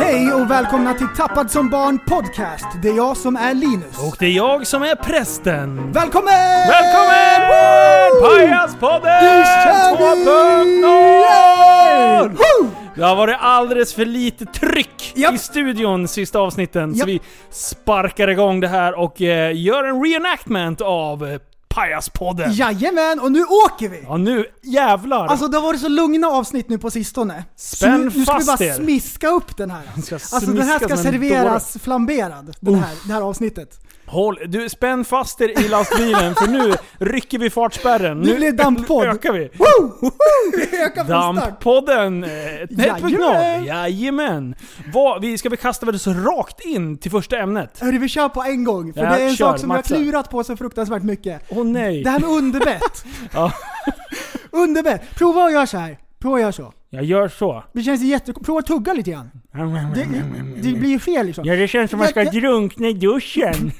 Hej och välkomna till Tappad som barn podcast. Det är jag som är Linus. Och det är jag som är prästen. Välkommen! Välkommen! Woo! Pajaspodden Nu kör vi! 2.0! Woo! Det har varit alldeles för lite tryck Japp. i studion sista avsnitten. Så Japp. vi sparkar igång det här och eh, gör en reenactment av eh, Pajaspodden. Ja. Jajamän, och nu åker vi! nu jävlar. Alltså det har varit så lugna avsnitt nu på sistone. Spänn så nu, nu ska vi fast bara er. smiska upp den här. ska Alltså den här smiska ska som en serveras flamberad, den här, det här avsnittet. Håll, du spänn fast er i lastbilen för nu rycker vi fartspärren. Nu blir det damppodd. ökar vi. Woo! Woo! Vi ökar från start. Damppodden eh, 1.0. Jajamän. Jajamän! Vad, vi ska vi kasta väl oss rakt in till första ämnet? Hörru, vi kör på en gång. För Ja, det är en kör, sak som maxa. jag har klurat på så fruktansvärt mycket. Åh nej! Det här med underbett. Ja. underbett. Prova att göra så här. Prova att göra så. Jag gör så. Det känns jätte... Prova att tugga lite grann. Det, Mm, det blir ju fel liksom. Ja, det känns som att man Jag- ska drunkna i duschen.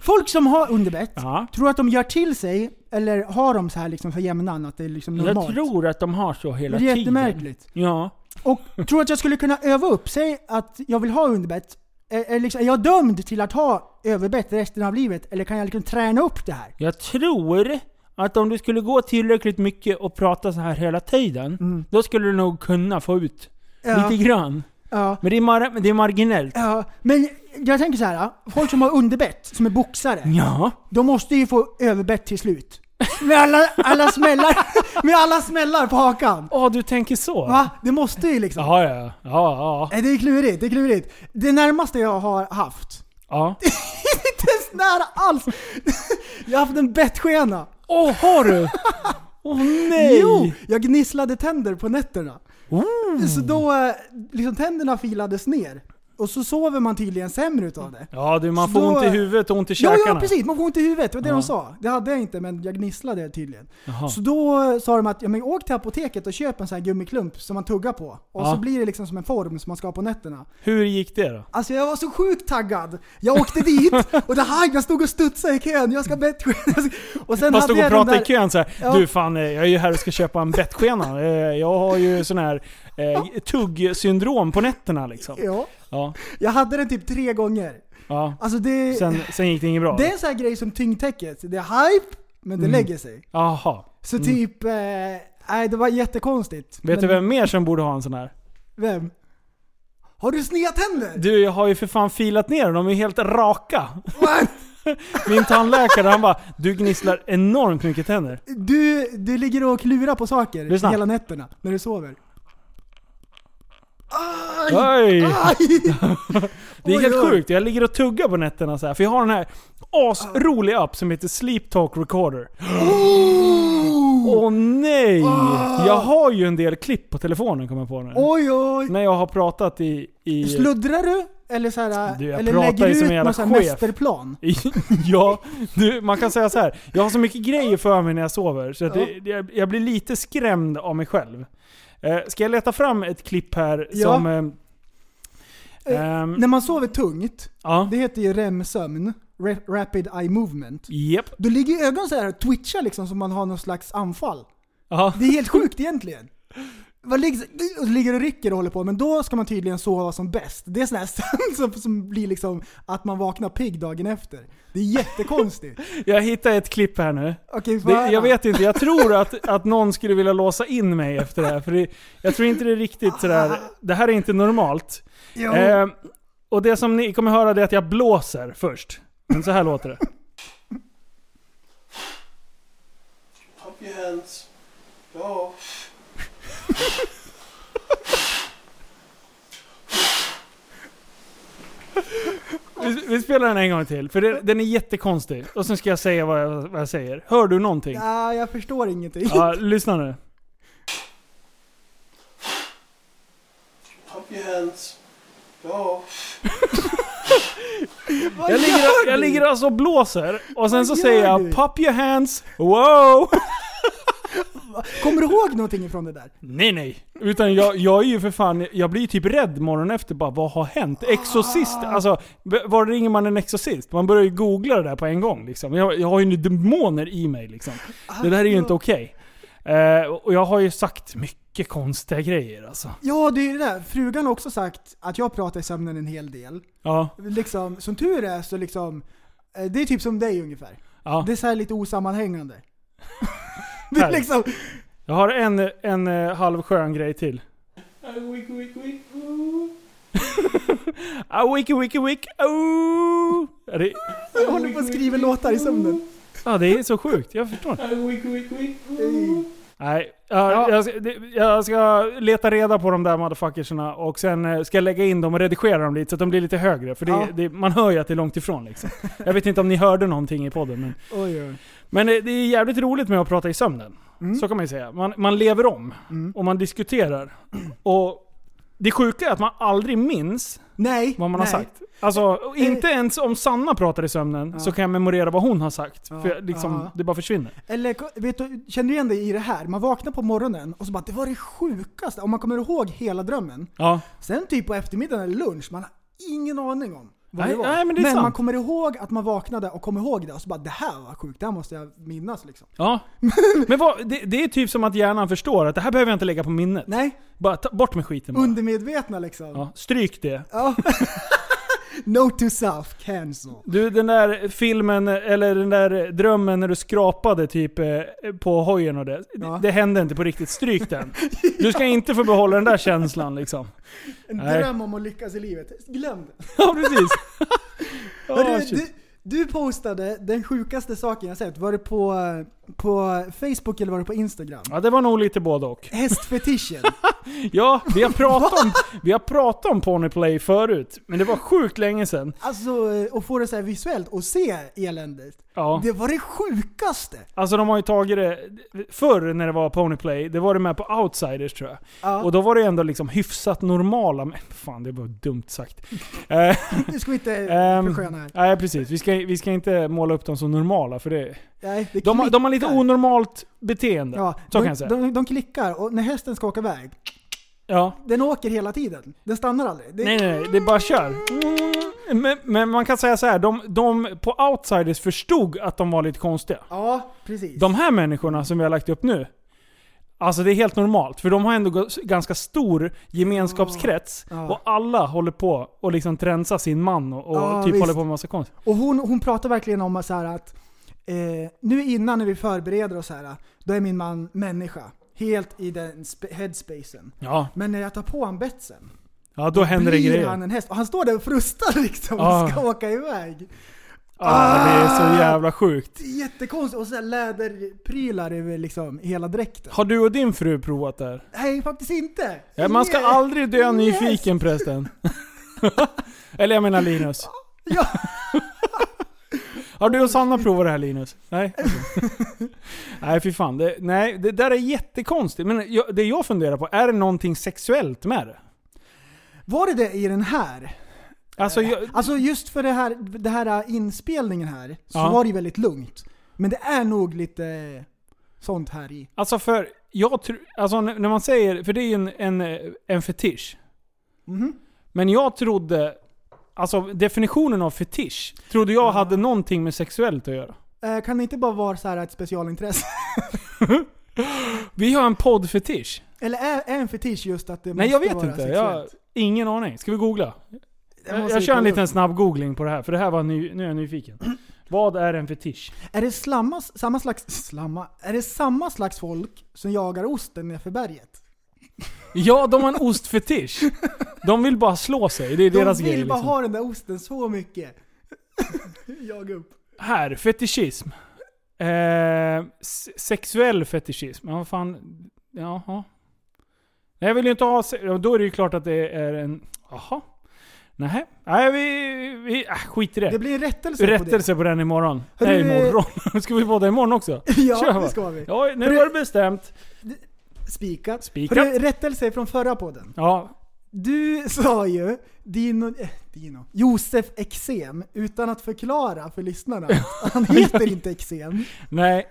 Folk som har underbett, Ja. tror att de gör till sig, eller har de så här liksom för jämnan, att det är liksom normalt? Jag tror att de har så hela Det är tiden. jättemärkligt. Ja. Och tror att jag skulle kunna öva upp sig att jag vill ha underbett? Är, är, liksom, är jag dömd till att ha överbett resten av livet? Eller kan jag liksom träna upp det här? Jag tror att om du skulle gå tillräckligt mycket och prata så här hela tiden, Mm. då skulle du nog kunna få ut Ja, lite grann. ja, Men det är, mar- det är marginellt. ja. Men jag tänker så här. folk som har underbett, som är boxare. Ja. De måste ju få överbett till slut. Med alla, alla smällar med alla smällar på hakan. Åh, du tänker så? Va? Det måste ju liksom. Jaha, ja, ja. Ja, ja. Nej, Det är klurigt, det är klurigt. Det närmaste jag har haft. ja. Inte ens nära alls. Jag har haft en bettskena. Åh, har du? Åh nej! Jo! Jag gnisslade tänder på nätterna. Så då, eh, liksom tänderna filades ner. Och så sover man tydligen sämre utav det. Ja du, man Så får då- ont i huvudet och ont i Ja, käkarna. ja precis, man får ont i huvudet. Det var det Ja. de sa. Det hade jag inte men jag gnisslade tydligen. Jaha. Så då eh, sa de att ja, men åk till apoteket och köp en sån här gummiklump som man tuggar på. Och Ja. så blir det liksom som en form som man ska ha på nätterna. Hur gick det då? Alltså jag var så sjukt taggad. Jag åkte dit och det här, jag stod och studsade i kön. Jag ska bett Och sen Man hade jag stod och den pratade där... i kön så här. Ja. Du fan, eh, jag är ju här och ska köpa en bettskena. Eh, Jag har ju sån här eh, tuggsyndrom på nätterna liksom. Ja, Ja. jag hade den typ tre gånger. ja. Alltså det, Sen, sen gick det inget bra. det är en sån här grej som tyngdtäcket. Det är hype, men Mm. det lägger sig. Jaha. Så typ, eh, nej det var jättekonstigt. Mm. Vet men, du vem mer som borde ha en sån här? Vem? Har du sneda tänder? Du, jag har ju för fan filat ner dem. De är ju helt raka. Min tandläkare han bara, du gnisslar enormt mycket tänder. Du, du ligger och klurar på saker Lyssna. hela nätterna när du sover. Aj! Ah. Oj! Aj! Det är Oj, helt oj. sjukt. Jag ligger och tuggar på nätterna så här. För jag har den här asroliga app som heter Sleep Talk Recorder. Åh nej! Ah. Jag har ju en del klipp på telefonen kommer jag på nu. Oj oj! När jag har pratat i... i Sluddrar du? Eller, så här, Du, jag eller pratar lägger ju du som en ut jävla någon sån här chef. Mm. mästerplan? i ja, du, man kan säga så här. Jag har så mycket grejer för mig när jag sover så att Ja. det, jag, jag blir lite skrämd av mig själv. Eh, ska jag leta fram ett klipp här Ja. som... ehm, Eh, ehm, När man sover tungt, ja. det heter ju REM-sömn, ra- Rapid Eye Movement. Japp. Då ligger ju ögonen så här och twitchar liksom som man har någon slags anfall. Ja. Det är helt sjukt egentligen. Vad ligger, och så ligger och rycker och håller på, men då ska man tydligen sova som bäst. Det är sån här sömn som, som blir liksom att man vaknar pigg dagen efter. Det är jättekonstigt. Jag hittade ett klipp här nu. Okej, får Det, jag jag höra? vet inte, jag tror att, att någon skulle vilja låsa in mig efter det här. För det, jag tror inte det är riktigt sådär. Det här är inte normalt. Jo. Eh, och det som ni kommer höra det är att jag blåser först. Men så här låter det. Up your hands. Go. Vi, vi spelar den en gång till, för det, den är jättekonstig. Och sen ska jag säga vad jag, vad jag säger. Hör du någonting? Ja, jag förstår ingenting. Ja, lyssna nu. Up your hands. Go. Vad gör Jag ligger, jag du? ligger alltså och blåser, och sen Vad så gör säger jag du? 'Pop your hands, wow!' Kommer du ihåg någonting ifrån det där? Nej nej. Utan jag, jag är ju för fan, jag blir ju typ rädd morgonen efter bara vad har hänt? Exorcist, Ah. alltså v- var ringer man en exorcist? Man börjar ju googla det där på en gång liksom. Jag, jag har ju nu demoner i mig liksom. Det där är ju inte Alltså. okej. Eh, och jag har ju sagt mycket konstiga grejer alltså. Ja, det är det där. Frugan har också sagt att jag pratar i sömnen en hel del. Ja, Liksom, som tur är så liksom, eh, det är typ som dig ungefär. ja. Det är så här lite osammanhängande. det är Härligt. liksom, Jag har en, en eh, halv skön grej till. Wick, wick, wick. Ah, wiki wiki wiki, oh! Ja, det, jag håller på att skriva låtar i sömnen. ja, det är så sjukt, jag förstår inte. Wick, wick, wick. Ej. Nej, jag, jag, ska, det- jag ska leta reda på de där motherfuckerserna och sen eh, ska jag lägga in dem och redigera dem lite så att de blir lite högre. För det, Ja. det, man hör ju att det är långt ifrån liksom. Jag vet inte om ni hörde någonting i podden. Men, Oj, oj. men eh, det är jävligt roligt med att prata i sömnen. Så kan man ju säga. Man, man lever om Mm. och man diskuterar. Och det sjuka är att man aldrig minns Nej. vad man nej. har sagt. Alltså, och inte ens om Sanna pratar i sömnen så kan jag memorera vad hon har sagt. Ja. För jag, liksom, Ja. det bara försvinner. Eller ko- vet du, känner du igen dig i det här? Man vaknar på morgonen och så bara det var det sjukaste. Om man kommer ihåg hela drömmen. Ja. Sen typ på eftermiddagen eller lunch, man har ingen aning om vad Nej, det var. nej, men det är sant. man kommer ihåg att man vaknade och kommer ihåg det och så bara det här var sjukt, det här måste jag minnas liksom. Ja. Men vad, det, det är typ som att hjärnan förstår att det här behöver jag inte lägga på minnet. Nej, Bara ta bort med skiten bara. undermedvetna liksom. Ja, stryk det. Ja. Note to self, cancel. Du, den där filmen, eller den där drömmen när du skrapade typ eh, på hojen och det. Ja. Det, det hände inte på riktigt. Stryk den. Du ska inte få behålla den där känslan liksom. En Nej. dröm om att lyckas i livet. Glöm det. Ja, precis. Hörru, Ah, shit. du, du postade den sjukaste saken jag sett. Var det på, på Facebook eller var det på Instagram? Ja, det var nog lite både och. Hästfetischen. Ja, vi har pratat om, vi har pratat om Ponyplay förut, men det var sjukt länge sedan. Alltså, eh, att få det så här visuellt och se eländet. Ja. Det var det sjukaste! Alltså de har ju tagit det, förr när det var Ponyplay, det var det med på Outsiders tror jag. Ja. Och då var det ändå liksom hyfsat normala, men fan det var dumt sagt. Eh, Nu ska vi inte Ehm, försköna här. Nej precis, vi ska, vi ska inte måla upp dem som normala för det... Nej, det De, har- de har lite klickar. onormalt beteende. Ja, så de, kan jag säga. De, de klickar och när hästen ska åka iväg, ja. den åker hela tiden. Den stannar aldrig. Det, Nej nej, nej, det är bara kör. Men, men man kan säga så här, de, de på Outsiders förstod att de var lite konstiga. Ja, precis. De här människorna som vi har lagt upp nu, alltså det är helt normalt. För de har ändå g- ganska stor gemenskapskrets. Ja. Och alla håller på och liksom trensar sin man och, och Ja, typ visst. håller på med massa konst. Och hon, hon pratar verkligen om så här att eh, nu innan när vi förbereder oss här, då är min man människa. Helt i den sp- headspacen. Ja, Men när jag tar på han betsen, ja då händer det blir grejer. han en häst. Och han står där och frustar liksom Ah. och ska åka iväg. Ah, det är så jävla sjukt. Det är jättekonstigt. Och så här läderprylar över liksom hela dräkten. Har du och din fru provat det här? Nej, faktiskt inte. Ja, Eh, man ska Yeah. aldrig dö nyfiken prästen. Eller jag menar Linus. Ja. Har du och Sanna provat det här Linus? Nej? Okej. nej fy fan. Det, nej, det där är jättekonstigt. Men jag, det jag funderar på, är det någonting sexuellt med det? Var det det i den här? Alltså, jag, Alltså just för det här, det här äh, inspelningen här, så Ja. var det ju väldigt lugnt. Men det är nog lite sånt här i. alltså för jag tror, alltså n- när man säger, för det är ju en, en, eh, en fetisch. Mhm. Men jag trodde, alltså definitionen av fetisch, trodde jag Äh, hade någonting med sexuellt att göra. Eh, Kan det inte bara vara så här ett specialintresse? Vi har en poddfetisch. Eller är, är en fetisch just att det Nej jag måste vet vara inte. Jag, sexuellt? ingen aning. Ska vi googla? Det Jag, måste jag vi kör en kolla liten upp. snabb googling på det här, för det här var ny, nu är jag nyfiken. Vad är en fetisch? Är det slamma, samma slags... Slamma? Är det samma slags folk som jagar osten nerför berget? Ja, de har en ostfetisch. De vill bara slå sig, det är De deras vill grej. bara Liksom. ha den där osten så mycket. Jaga upp. Här, fetischism. Eh, s- sexuell fetischism. Ja, vad fan. Jaha. Nej, jag vill ju inte ha se- ja, Då är det ju klart att det är en... Jaha. Nej, Nej vi... vi ah, skit i det. Det blir en rättelse, på Rättelse på den imorgon. Hörru, Nej, eh, imorgon. Ska vi podda imorgon också? det. Kör, ja, va? det ska vi. Ja, nu Hörru- var det bestämt. Spikat. Spikat. Hörru, Rättelse från förra podden. Ja, Du sa ju Dino, eh, Dino. Josef Exem utan att förklara för lyssnarna. att Han heter inte Exem. nej.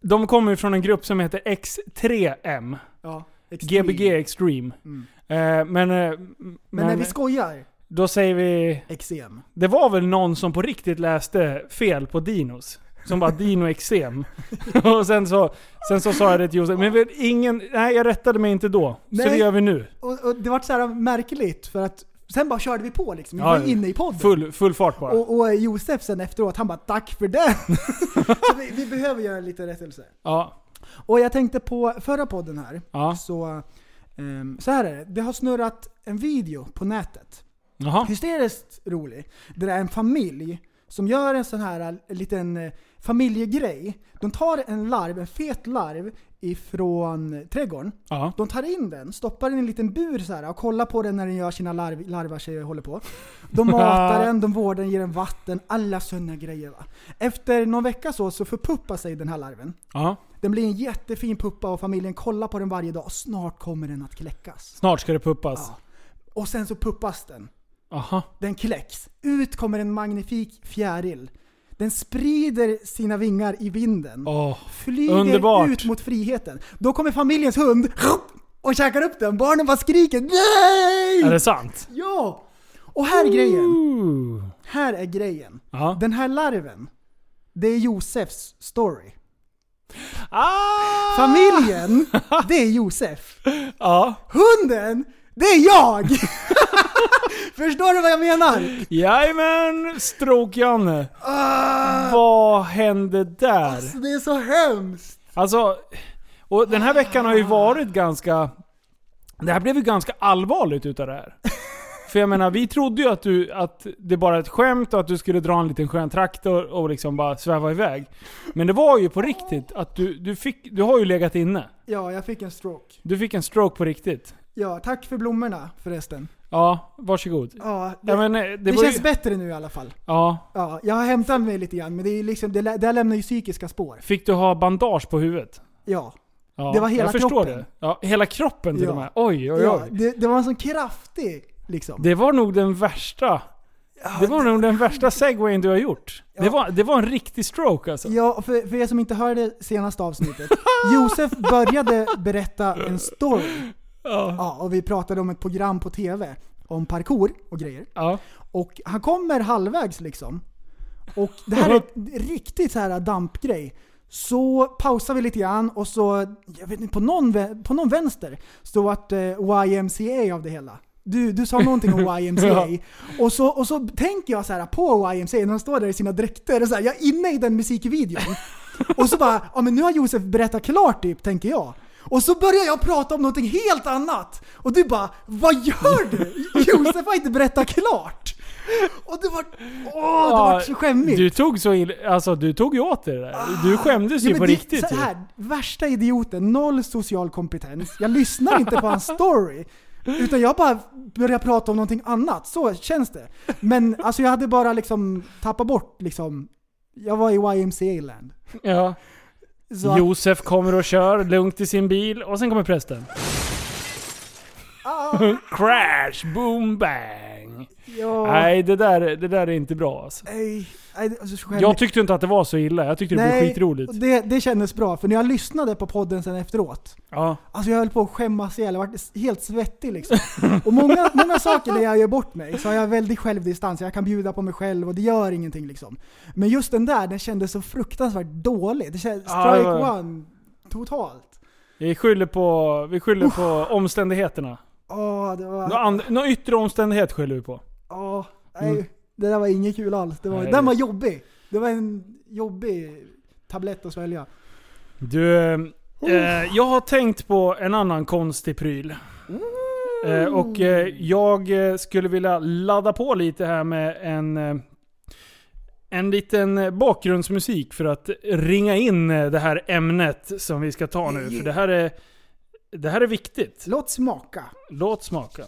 De kommer ju från en grupp som heter X3M. Ja, Extreme. Gbg Extreme. Mm. Eh, men... eh, m- Men, när men vi skojar, då säger vi... Exem. Det var väl någon som på riktigt läste fel på dinos. Som bara dino eksem. Och sen så, sen så sa jag det till Josef. Men vet, ingen, nej jag rättade mig inte då. Så Nej. det gör vi nu. Och, och det vart så här märkligt för att sen bara körde vi på liksom. Vi Ja, var inne i podden. Full, full fart bara. Och, och Josef sen efteråt, han bara 'Tack för det!' så vi, vi behöver göra lite rättelse. Ja, Och jag tänkte på förra podden här. ja. Så, ehm, så här är det. Det har snurrat en video på nätet. Jaha. Hysteriskt rolig. Där det är en familj som gör en sån här eh, liten eh, familjegrej. De tar en larv, en fet larv ifrån eh, trädgården. Ja. De tar in den, stoppar den i en liten bur så här och kollar på den när den gör sina larv, larvar sig och håller på. De matar den, de vårdar den, ger den vatten, alla sådana grejer va. Efter någon vecka så, så förpuppar sig den här larven. ja. Den blir en jättefin puppa och familjen kollar på den varje dag. Snart kommer den att kläckas. Snart ska det puppas. Ja. Och sen så puppas den. Aha. Den kläcks. Ut kommer en magnifik fjäril. Den sprider sina vingar i vinden. Åh. flyger underbart. ut mot friheten. Då kommer familjens hund och käkar upp den. Barnen bara skriker NEJ! Är det sant? Ja! Och här är grejen. Ooh. Här är grejen. Ja. Den här larven, det är Josefs story. Ah! Familjen, det är Josef. Ja. Hunden, det är jag! Förstår du vad jag menar? Jajamän, Stråk-Janne. Ah! Vad hände där? Så Det är så hemskt. Alltså, och den här veckan har ju varit ganska... Det här blev ju ganska allvarligt utav det här. För jag menar, vi trodde ju att, du, att det bara är ett skämt och att du skulle dra en liten skön traktor och liksom bara sväva iväg. Men det var ju på riktigt att du, du fick... Du har ju legat inne. Ja, jag fick en stroke. Du fick en stroke på riktigt. Ja, tack för blommorna förresten. Ja, varsågod. Ja, det, Ja, men, eh, det det, var känns ju, bättre nu i alla fall. Ja. Ja, jag har hämtat mig lite grann, men det, är liksom, det, lä- det här lämnar ju psykiska spår. Fick du ha bandage på huvudet? Ja. Ja, Det var hela jag förstår kroppen. det. Ja, hela kroppen till Ja. och med. Oj, oj, oj. ja det, det var en sån kraftig liksom. Det var nog den värsta. Det var nog den värsta segwayen du har gjort. Det, var, det var en riktig stroke alltså. Ja, för, för er som inte hörde senaste avsnittet. Josef började berätta en story. Ja. Ja, och vi pratade om ett program på TV. Om parkour och grejer. Ja. Och han kommer halvvägs liksom. Och det här är ett riktigt så här dampgrej. Så pausar vi lite grann och så, jag vet inte, på någon, vä- på någon vänster stod att eh, YMCA av det hela. Du, du sa någonting om YMCA. Ja. och, så, och så tänker jag så här på YMCA när de står där i sina dräkter. Och så här, jag är inne i den musikvideon. och så bara, ja men nu har Josef berättat klart typ, tänker jag. Och så börjar jag prata om någonting helt annat. Och du bara, vad gör du? Josef har inte berättat klart. Och det var, åh, det var så skämmigt. Ah. Du tog så illa, alltså du tog ju åt dig det där. Du skämdes ju Ja, men på det- riktigt Så ju. här, värsta idioten, noll social kompetens. Jag lyssnar inte på hans story. Utan jag bara börjar prata om någonting annat. Så känns det. Men alltså jag hade bara liksom tappat bort liksom. Jag var i YMCA-land. Ja. Så att- Josef kommer och kör lugnt i sin bil och sen kommer prästen. Ah. Crash, boom, bang. ja, nej. Nej, det där, det där är inte bra alltså. Nej, det var så skämmigt. Jag tyckte inte att det var så illa. Jag tyckte det blev skitroligt. och Det, det kändes bra. För när jag lyssnade på podden sen efteråt. Ja. Alltså jag höll på att skämmas ihjäl, jag vart helt svettig liksom. Och många, många saker där jag gör bort mig så har jag väldigt självdistans, jag kan bjuda på mig själv och det gör ingenting liksom. Men just den där, den kändes så fruktansvärt dålig. Det kändes, Ja, det strike var- one, Totalt. Vi skyller på, vi skyller på omständigheterna. Åh, det var... Nå- and- Någon yttre omständighet skyller vi på. Ja, nej. Mm. Det där var inget kul alls. Det var, Nej. den var jobbig. Det var en jobbig tablett att svälja. Du, eh, jag har tänkt på en annan konstig pryl. Eh, och eh, jag eh, skulle vilja ladda på lite här med en, eh, en liten eh, bakgrundsmusik för att ringa in eh, det här ämnet som vi ska ta nu. För det här är, det här är viktigt. Låt smaka. Låt smaka.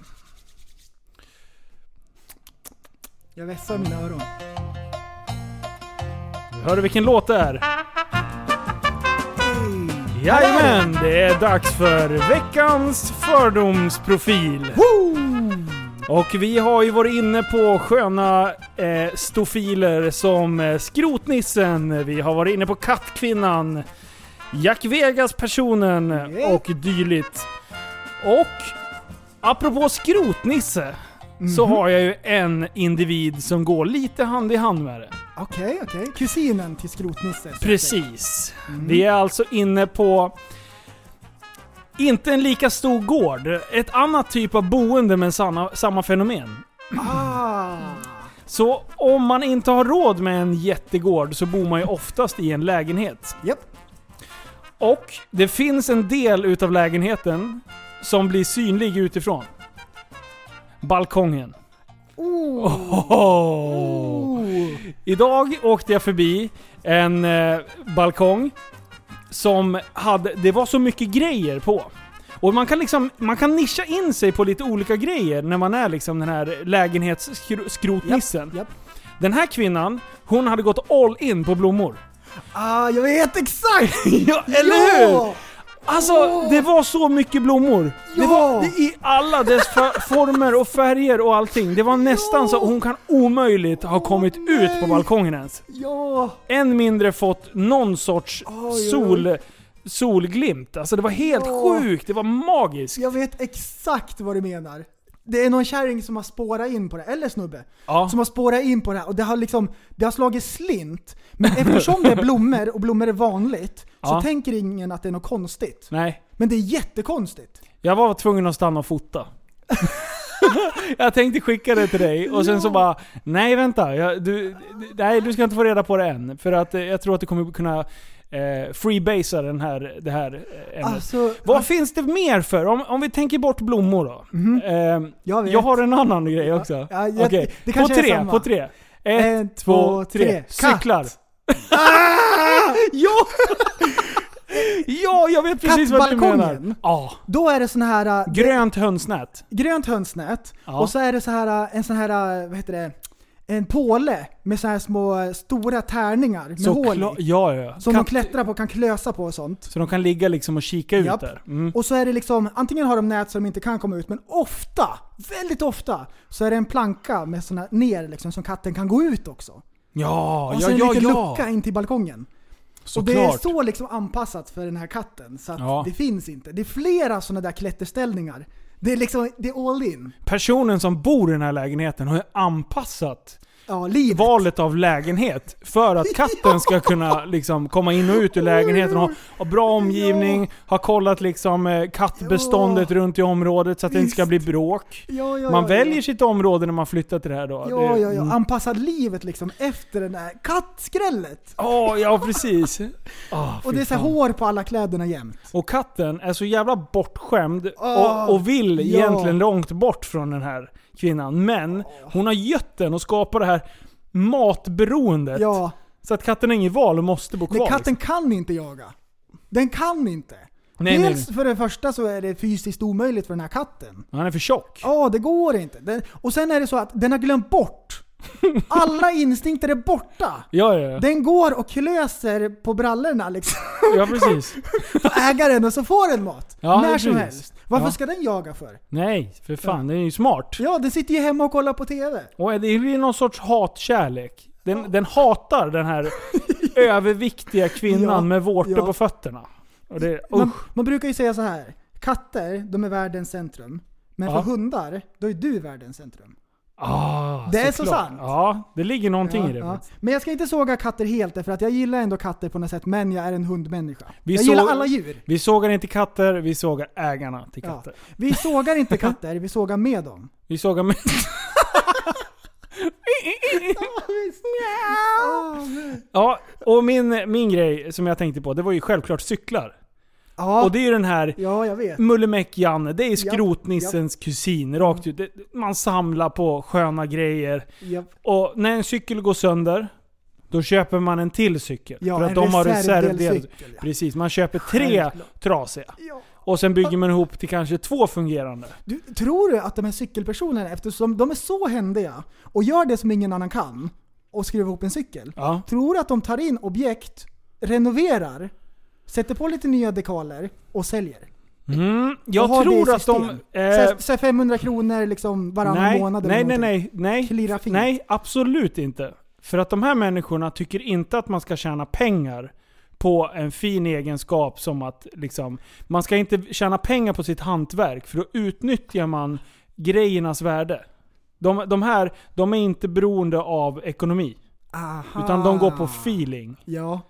Jag vässar mina öron. Hör du vilken låt det är? Mm. Jajamän, det är dags för veckans fördomsprofil. Och vi har ju varit inne på sköna eh, stofiler som eh, Skrotnissen, vi har varit inne på Kattkvinnan, Jack Vegas-personen och dylikt. Och apropå Skrotnisse så har jag ju en individ som går lite hand i hand med det. Okej, okej. Kusinen till Skrotnisse. så att säga. Precis. Vi är alltså inne på inte en lika stor gård, ett annat typ av boende men samma, samma fenomen. Ah. Så om man inte har råd med en jättegård så bor man ju oftast i en lägenhet. Japp. Och det finns en del utav lägenheten som blir synlig utifrån. Balkongen. Oh. Oh. Idag åkte jag förbi en eh, balkong som hade, det var så mycket grejer på. Och man kan liksom, man kan nischa in sig på lite olika grejer när man är liksom den här lägenhetsskrotnissen. japp. Den här kvinnan, hon hade gått all in på blommor. Ah, jag vet exakt! ja, eller hur? Alltså, det var så mycket blommor. Det Ja. var det, i alla dess fa- former och färger och allting. Det var nästan så hon kan omöjligt ha kommit ut på nej. balkongen ens. Ja! än mindre fått någon sorts oj. sol, solglimt. Alltså det var helt Ja. sjukt, det var magiskt. Jag vet exakt vad du menar. Det är någon kärring som har spårat in på det, eller snubbe. Ja. Som har spårat in på det här och det har liksom, det har slagit slint. Men eftersom det är blommor och blommor är vanligt, Ja. så tänker ingen att det är något konstigt. Nej, Men det är jättekonstigt. jag var tvungen att stanna och fota. jag tänkte skicka det till dig och sen så bara, nej vänta, jag, du, d- nej, du ska inte få reda på det än. För att eh, jag tror att du kommer kunna eh, freebasea den här, det här eh, ämnet. Alltså, Vad finns det mer för? Om, om vi tänker bort blommor då. Ehm, Jag Mhm. vet. jag har en annan grej också. Ja, jag- Okej, det på kanske är tre, samma. på tre. Ett, två, tre. Cyklar. Katt. Ja! ja, jag vet precis vad du menar. Kattbalkongen. Ja. Då är det sån här... äh, Grönt hönsnät. grönt hönsnät Ja. och så är det så här äh, en sån här, vad heter det, en påle med så här små eh, stora tärningar med Så hål kla- i. ja, ja. Som Katt- de klättrar på och kan klösa på och sånt. Så de kan ligga liksom och kika ut Japp. där. Mm. Och så är det liksom, antingen har de nät så de inte kan komma ut, men ofta, väldigt ofta, så är det en planka med såna här ner liksom som katten kan gå ut också. Ja, Och ja, så en ja, liten ja. lucka in till balkongen. och det är Såklart. så liksom anpassat för den här katten så att Ja. det finns inte. Det är flera såna där klätterställningar. Det är liksom, det är all in. Personen som bor i den här lägenheten har ju anpassat Ja, livet. valet av lägenhet för att katten ska kunna liksom komma in och ut ur lägenheten och ha, ha bra omgivning, ha kollat liksom eh, kattbeståndet runt i området så att det inte ska bli bråk. Ja, ja, Man ja, väljer ja. sitt område när man flyttar till det här då. Ja, Det- ja, ja. Mm. Anpassar livet liksom efter den där kattskrället. Ja, ja precis. Ah, Och fy det är så här fan. hår på alla kläderna jämt. och katten är så jävla bortskämd Ah, och, och vill ja. Ah. egentligen långt bort från den här kvinnan. Men hon har gött den och skapar det här matberoendet. Ja, Så att katten har inget val och måste bo kvar. men katten liksom. kan inte jaga. Den kan inte. Nej, nej, Dels för det första så är det fysiskt omöjligt för den här katten. Han är för tjock. Ja, det går inte. Den, och sen är det så att den har glömt bort. Alla instinkter är borta. Ja, ja, ja. Den går och klöser på brallorna liksom. ja precis. På ägaren och så får den mat. Ja, När som precis. helst. Varför Ja. ska den jaga för? Nej, för fan. Den är ju smart. Ja, den sitter ju hemma och kollar på TV. Och det är ju någon sorts hatkärlek. Den, den hatar den här överviktiga kvinnan Ja, med vårtor ja. på fötterna. Och det, Man, usch. man brukar ju säga så här. katter, de är världens centrum. Men Ja. för hundar, då är du världens centrum. Ah, Det är så såklart. sant. Ja, det ligger någonting Ja, i det. ja. faktiskt. Men jag ska inte såga katter helt därför att jag gillar ändå katter på något sätt, men jag är en hundmänniska. Vi jag gillar såg- alla djur. Vi sågar inte katter, vi sågar ägarna till Ja. katter. Vi sågar inte katter, vi sågar med dem. Vi sågar med... Ah, Ja, och min, min grej som jag tänkte på, det var ju självklart cyklar. Ja, Och det Mm. är ju den här ja jag vet. Mullemäck-Janne, det är skrotnissens kusin rakt ut. Det- Man samlar på sköna grejer. Japp. Och när en cykel går sönder, då köper man en till cykel. Ja, för att en de har reservdelcykel, reservdel. ja. Precis, man köper tre trasiga. Ja. Och sen bygger man ihop till kanske två fungerande. Du, tror du att de här cykelpersonerna, eftersom de är så händiga och gör det som ingen annan kan och skruvar ihop en cykel. Ja. Tror du att de tar in objekt, renoverar, sätter på lite nya dekaler och säljer? Mm, Och har jag det i tror att de... system. eh, Så- så 500 kronor liksom varannan nej, månad nej, eller nej, någonting. nej, nej, Klirrar fint. nej, absolut inte. För att de här människorna tycker inte att man ska tjäna pengar på en fin egenskap som att liksom, man ska inte tjäna pengar på sitt hantverk för då utnyttjar man grejernas värde. De, de här, de är inte beroende av ekonomi. Aha. Utan de går på Ah. feeling. Ja.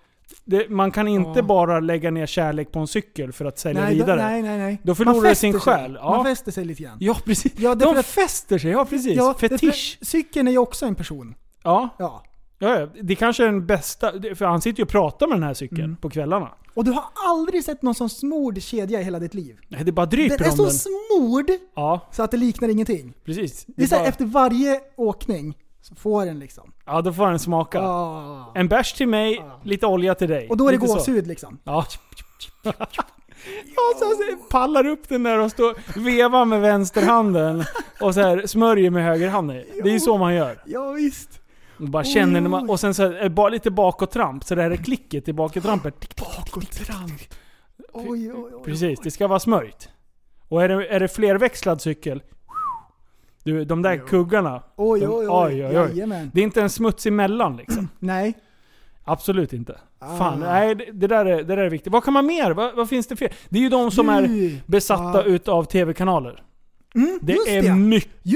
Det, man kan inte Ja. bara lägga ner kärlek på en cykel för att sälja Nej, då, vidare. nej, nej, nej. Då förlorar Man det fäster sin sig. själ, ja. Man fäster sig lite grann. Ja precis. Ja, därför de att- fäster sig, ja precis. Ja, därför att Fetisch. Cykeln är ju också en person. Ja. Ja. Ja, ja. det kanske är den bästa. det- För han sitter ju och pratar med den här cykeln Mm. på kvällarna. Och du har aldrig sett någon sån smord kedja i hela ditt liv. Nej, det bara dryper Den är om den. så smord Ja, så att det liknar ingenting. precis. Det är Det så här, bara, efter varje åkning så får den liksom. Ja, då får han smaka. Ah. En bärs till mig, lite olja till dig. Och då är det Lite så. gåshud liksom. Ja. Ja, så han pallar upp den där och står, vevar med vänsterhanden och så här smörjer med högerhanden. Det är ju så man gör. Ja, visst. Och bara känner när man, Oj. och sen så här, eh, bara lite bakåttramp, så det här är klicket i bakåttrampet. Tick, tick, tick, tick, tick, tick. Oj, oj, oj. Precis, det ska vara smörjt. Och är det, är det flerväxlad cykel, du, de där kuggarna. Oj, de, oj, oj. oj, oj. Jajamän. Det är inte en smuts emellan liksom. Nej. Absolut inte. Fan, Ah. nej det, det, där är, det där är viktigt. Vad kan man mer? Vad, vad finns det för? Det är ju de som är Du. besatta Ah. utav tv-kanaler. Mm, Det just är det. Just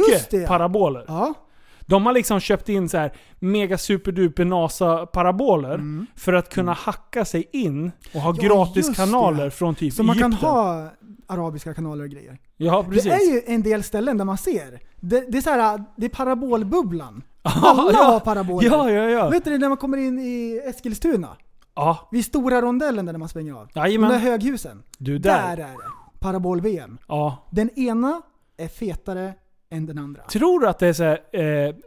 mycket det. paraboler. Ja. De har liksom köpt in så här mega superduper NASA-paraboler för att kunna hacka sig in och ha Mm. Ja, gratis just kanaler det. från typ Så man kan Egypten. ha arabiska kanaler och grejer. Ja, precis. Det är ju en del ställen där man ser. Det, det är så här, det är parabolbubblan. Ja, Alla ja. har paraboler. Ja, ja, ja. Vet du det när man kommer in i Eskilstuna? Ja, Vid stora rondellen där man svänger av. Jajamän. De där höghusen. du Där, där. är det. Parabol-VM. Ja. Den ena är fetare än den andra. Tror du att det är så här, eh,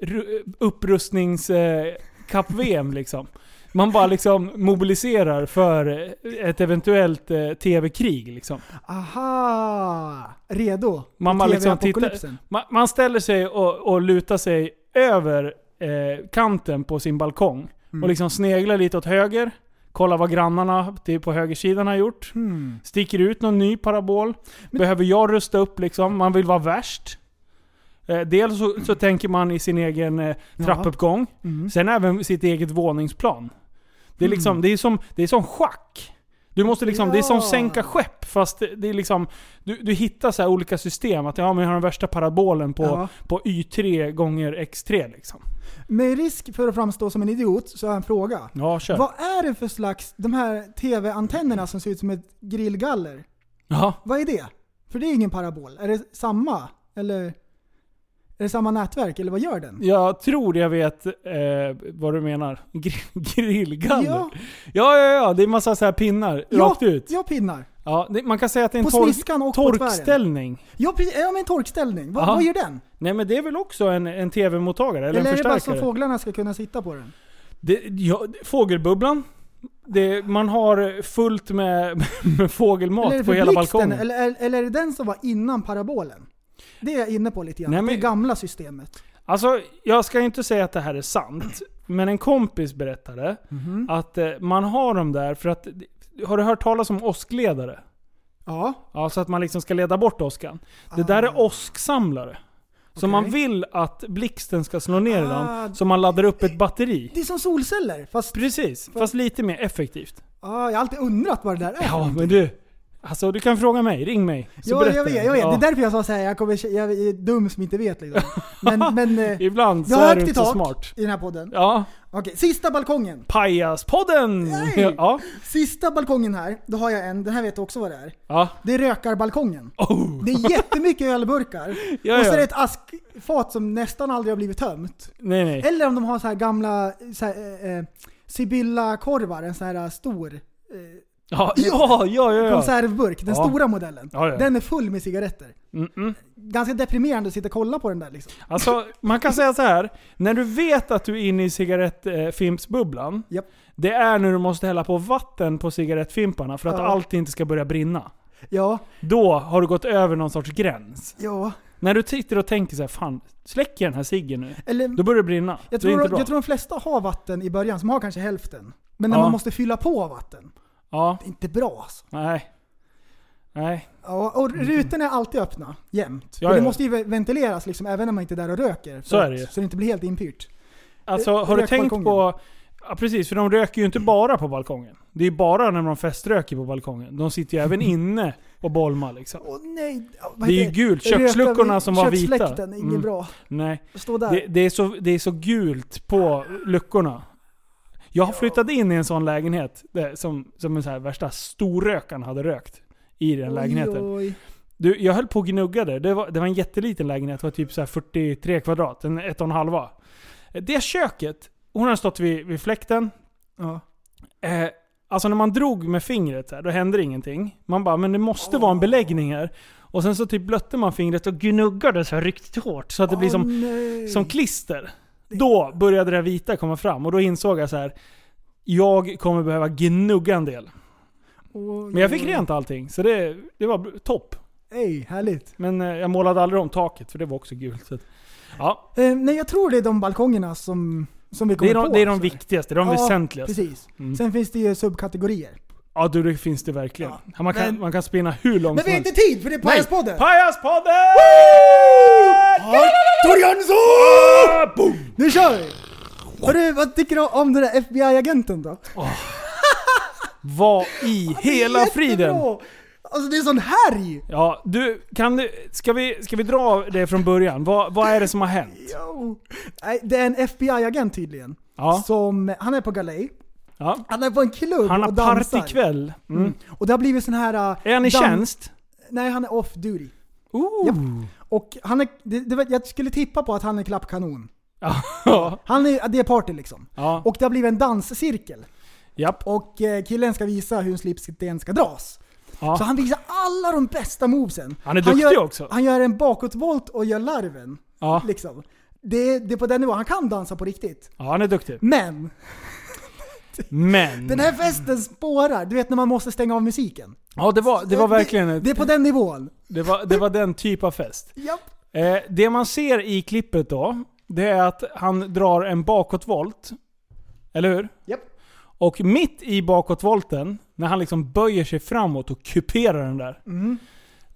ru- upprustnings eh, kapp vm liksom? Man bara liksom mobiliserar för eh, ett eventuellt eh, tv-krig liksom. Aha! Redo? Man, bara liksom tittar, TV-apokalypsen. man, man ställer sig och, och lutar sig över eh, kanten på sin balkong. Och liksom sneglar lite åt höger. Kollar vad grannarna till, på högersidan har gjort. Hmm. Sticker ut någon ny parabol. Behöver jag rusta upp liksom? Man vill vara värst. Eh, dels så, så tänker man i sin egen eh, trappuppgång. Mm. Sen även sitt eget våningsplan. Det är liksom, det är som, det är som schack. Du måste liksom, det är som Ja. sänka skepp fast det, det är liksom, du, du hittar så här olika system. Att ja, men jag har den värsta parabolen på, Ja. på Y3 gånger X3 liksom. Med risk för att framstå som en idiot så har jag en fråga. Ja, kör. Vad är det för slags, de här TV-antennerna som ser ut som ett grillgaller? Ja. Vad är det? För det är ingen parabol. Är det samma? Eller? Är det samma nätverk? Eller vad gör den? Jag tror jag vet eh, vad du menar. Gr- Grillgaller? Ja. Ja. ja, ja, Det är massa så här pinnar rakt ut. Ja, pinnar. Ja, det, man kan säga att det är en På tork, sniskan och på tvären. torkställning. Ja, precis. Ja, men en torkställning. Vad, Aha. vad gör den? Nej men det är väl också en, en tv-mottagare Eller eller, en är det bara så förstärkare? fåglarna ska kunna sitta på den? Det, ja, fågelbubblan. Det, man har fullt med, med Eller är fågelmat det på för hela blixten? balkongen. Eller, eller, eller är det den som var innan parabolen? Det är jag inne på lite grann. Nej, Det men- gamla systemet. Alltså, jag ska inte säga att det här är sant. Men en kompis berättade att eh, man har dem där för att... Har du hört talas om åskledare? Ja. Ja, så att man liksom ska leda bort åskan. Det där är åsksamlare. Så Ah. Okej. man vill att blixten ska slå ner i Ah, dem, så man laddar upp ett batteri. Det är som solceller. Fast Precis, fast lite mer effektivt. ah, jag har alltid undrat vad det där är. Ja, men du. Alltså du kan fråga mig, ring mig. Så Ja, berättar jag vet, jag vet. Ja. Det är därför jag sa såhär, jag, kommer, jag är dum som inte vet liksom. Men, men eh, Ibland jag så har är du högt i inte tak så smart. i den här podden. Ja, Okej, sista balkongen. Pajaspodden! Nej! Ja, Sista balkongen här, då har jag en, den här vet du också vad det är. ja. Det är rökarbalkongen. Oh. Det är jättemycket ölburkar. Ja, Och så ja. är det ett askfat som nästan aldrig har blivit tömt. Nej, nej. Eller om de har så här gamla så här, eh, eh, Sibylla-korvar, en sån här stor eh, Ja, ja, ja, ja. ja. konservburk, den Ja. stora modellen. Ja, Mm, ja. Den är full med cigaretter. Mm-mm. Ganska deprimerande att sitta och kolla på den där liksom. Alltså, man kan säga så här. När du vet att du är inne i cigarettfimpsbubblan. Japp. Det är när du måste hälla på vatten på cigarettfimparna för att Ja. allt inte ska börja brinna. Ja, Då har du gått över någon sorts gräns. ja. När du sitter och tänker så här, fan, släcker den här ciggen nu? Eller, Då börjar det brinna. jag, det är tror, inte bra. jag tror de flesta har vatten i början, som har kanske hälften. Men när Ja. man måste fylla på vatten. Ja, Det är inte bra alltså. nej. Nej. Ja, och rutorna är alltid öppna, jämt. Mm. Ja, För det ja. måste ju ve- ventileras liksom, även när man inte är där och röker. Så är det ju. så det inte blir helt inpyrt. Alltså, Eh, har du rök tänkt balkongen. på... Ja, precis. För de röker ju inte bara på balkongen. Det är ju bara när de feströker på balkongen. De sitter ju även inne och bolmar liksom. Åh nej! Ja, vad Det är ju heter gult. Köksluckorna som var vita. Köksfläkten, inget Mm. bra. Nej. Stå där. Det, det, är så, det är så gult på luckorna. Jag har flyttat in i en sån lägenhet där, som, som en så här värsta storrökaren hade rökt. I den lägenheten. Oj, oj. Du, jag höll på och gnuggade. Det var, det var en jätteliten lägenhet. Det var typ så här 43 kvadrat. En ett och en halva. Det köket. Hon har stått vid, vid fläkten. Ja. Eh, alltså när man drog med fingret så här, då hände ingenting. Man bara, men det måste vara en beläggning här. Och sen så typ blötte man fingret och gnuggade så här riktigt hårt. Så att det blir Åh, som, nej. som klister. Då började det vita komma fram och då insåg jag så här. Jag kommer behöva gnugga en del. Oj, Men jag fick oj. rent allting, så det, det var br- topp. Ej, härligt. Men eh, jag målade aldrig om taket för det var också gult. Så att, ja, Eh, nej, jag tror det är de balkongerna som, som vi det kommer är de, på. det är de så. viktigaste, de Ja, väsentligaste. Precis. Mm. Sen finns det ju subkategorier. Ja du, det finns det verkligen. man, kan, men- man kan spinna hur långt Men vi har inte tid för det är Pajaspodden! Pajaspodden! Torjansson! Nu kör vi! Hörru, vad tycker du om den där FBI-agenten då? Vad i hela friden? Jättebra! Alltså det är sån härj! Ja, du, kan du, ska, vi, ska vi dra det från början? Vad, vad är det som har hänt? Jo. Nej, Det är en FBI-agent tydligen. Ja, Som, han är på galej. ja. Han är på en klubb Han har och dansar. partykväll. Mm. Och det har blivit sån här... äh, Är han i dan- tjänst? Nej, han är off duty. Japp. Ooh. Och han är, det, det, var- jag skulle tippa på att han är klappkanon. Ja. Han är, det är party liksom. Ja. Och det har blivit en danscirkel. Japp. Och eh, killen ska visa hur en slipsten ska dras. Ja. Så han visar alla de bästa movesen. Han är duktig gör, också. Han gör en bakåtvolt och gör larven. Ja. Liksom. Det, det är på den nivån. Han kan dansa på riktigt. ja, han är duktig. Men, Men... den här festen spårar. Du vet när man måste stänga av musiken. Ja, det var, det var verkligen... Det, ett- det är på den nivån. Det var, det var den typ av fest. Japp. Eh, det man ser i klippet då, det är att han drar en bakåtvolt. Eller hur? Japp. Och mitt i bakåtvolten, när han liksom böjer sig framåt och kuperar den där.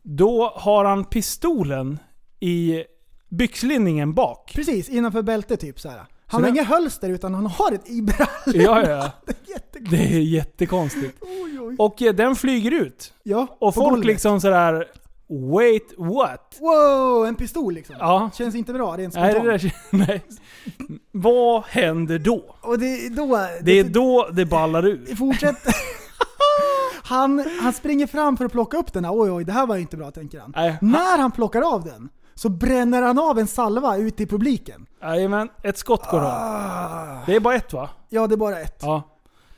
Då har han pistolen i byxlinningen bak. Precis, innanför bältet typ så här. Han Så har det- inget hölster utan han har ett i brallan. Ja, ja, ja. Jättekul. Det är jättekonstigt. Oj, oj. Och eh, den flyger ut. Ja, Och på folk golvet. liksom sådär... Wait, what? Wow, en pistol liksom. Ja. Känns inte bra rent Nej, spontant. det där, nej. Vad händer då? Och det, då, Det är då det ballar ur. det fortsätter. han, han springer fram för att plocka upp den här. Oj, oj, det här var ju inte bra tänker han. Nej. När han plockar av den så bränner han av en salva ute i publiken. Jajamän, ett skott går av. Det är bara ett va? Ja, det är bara ett. Ja.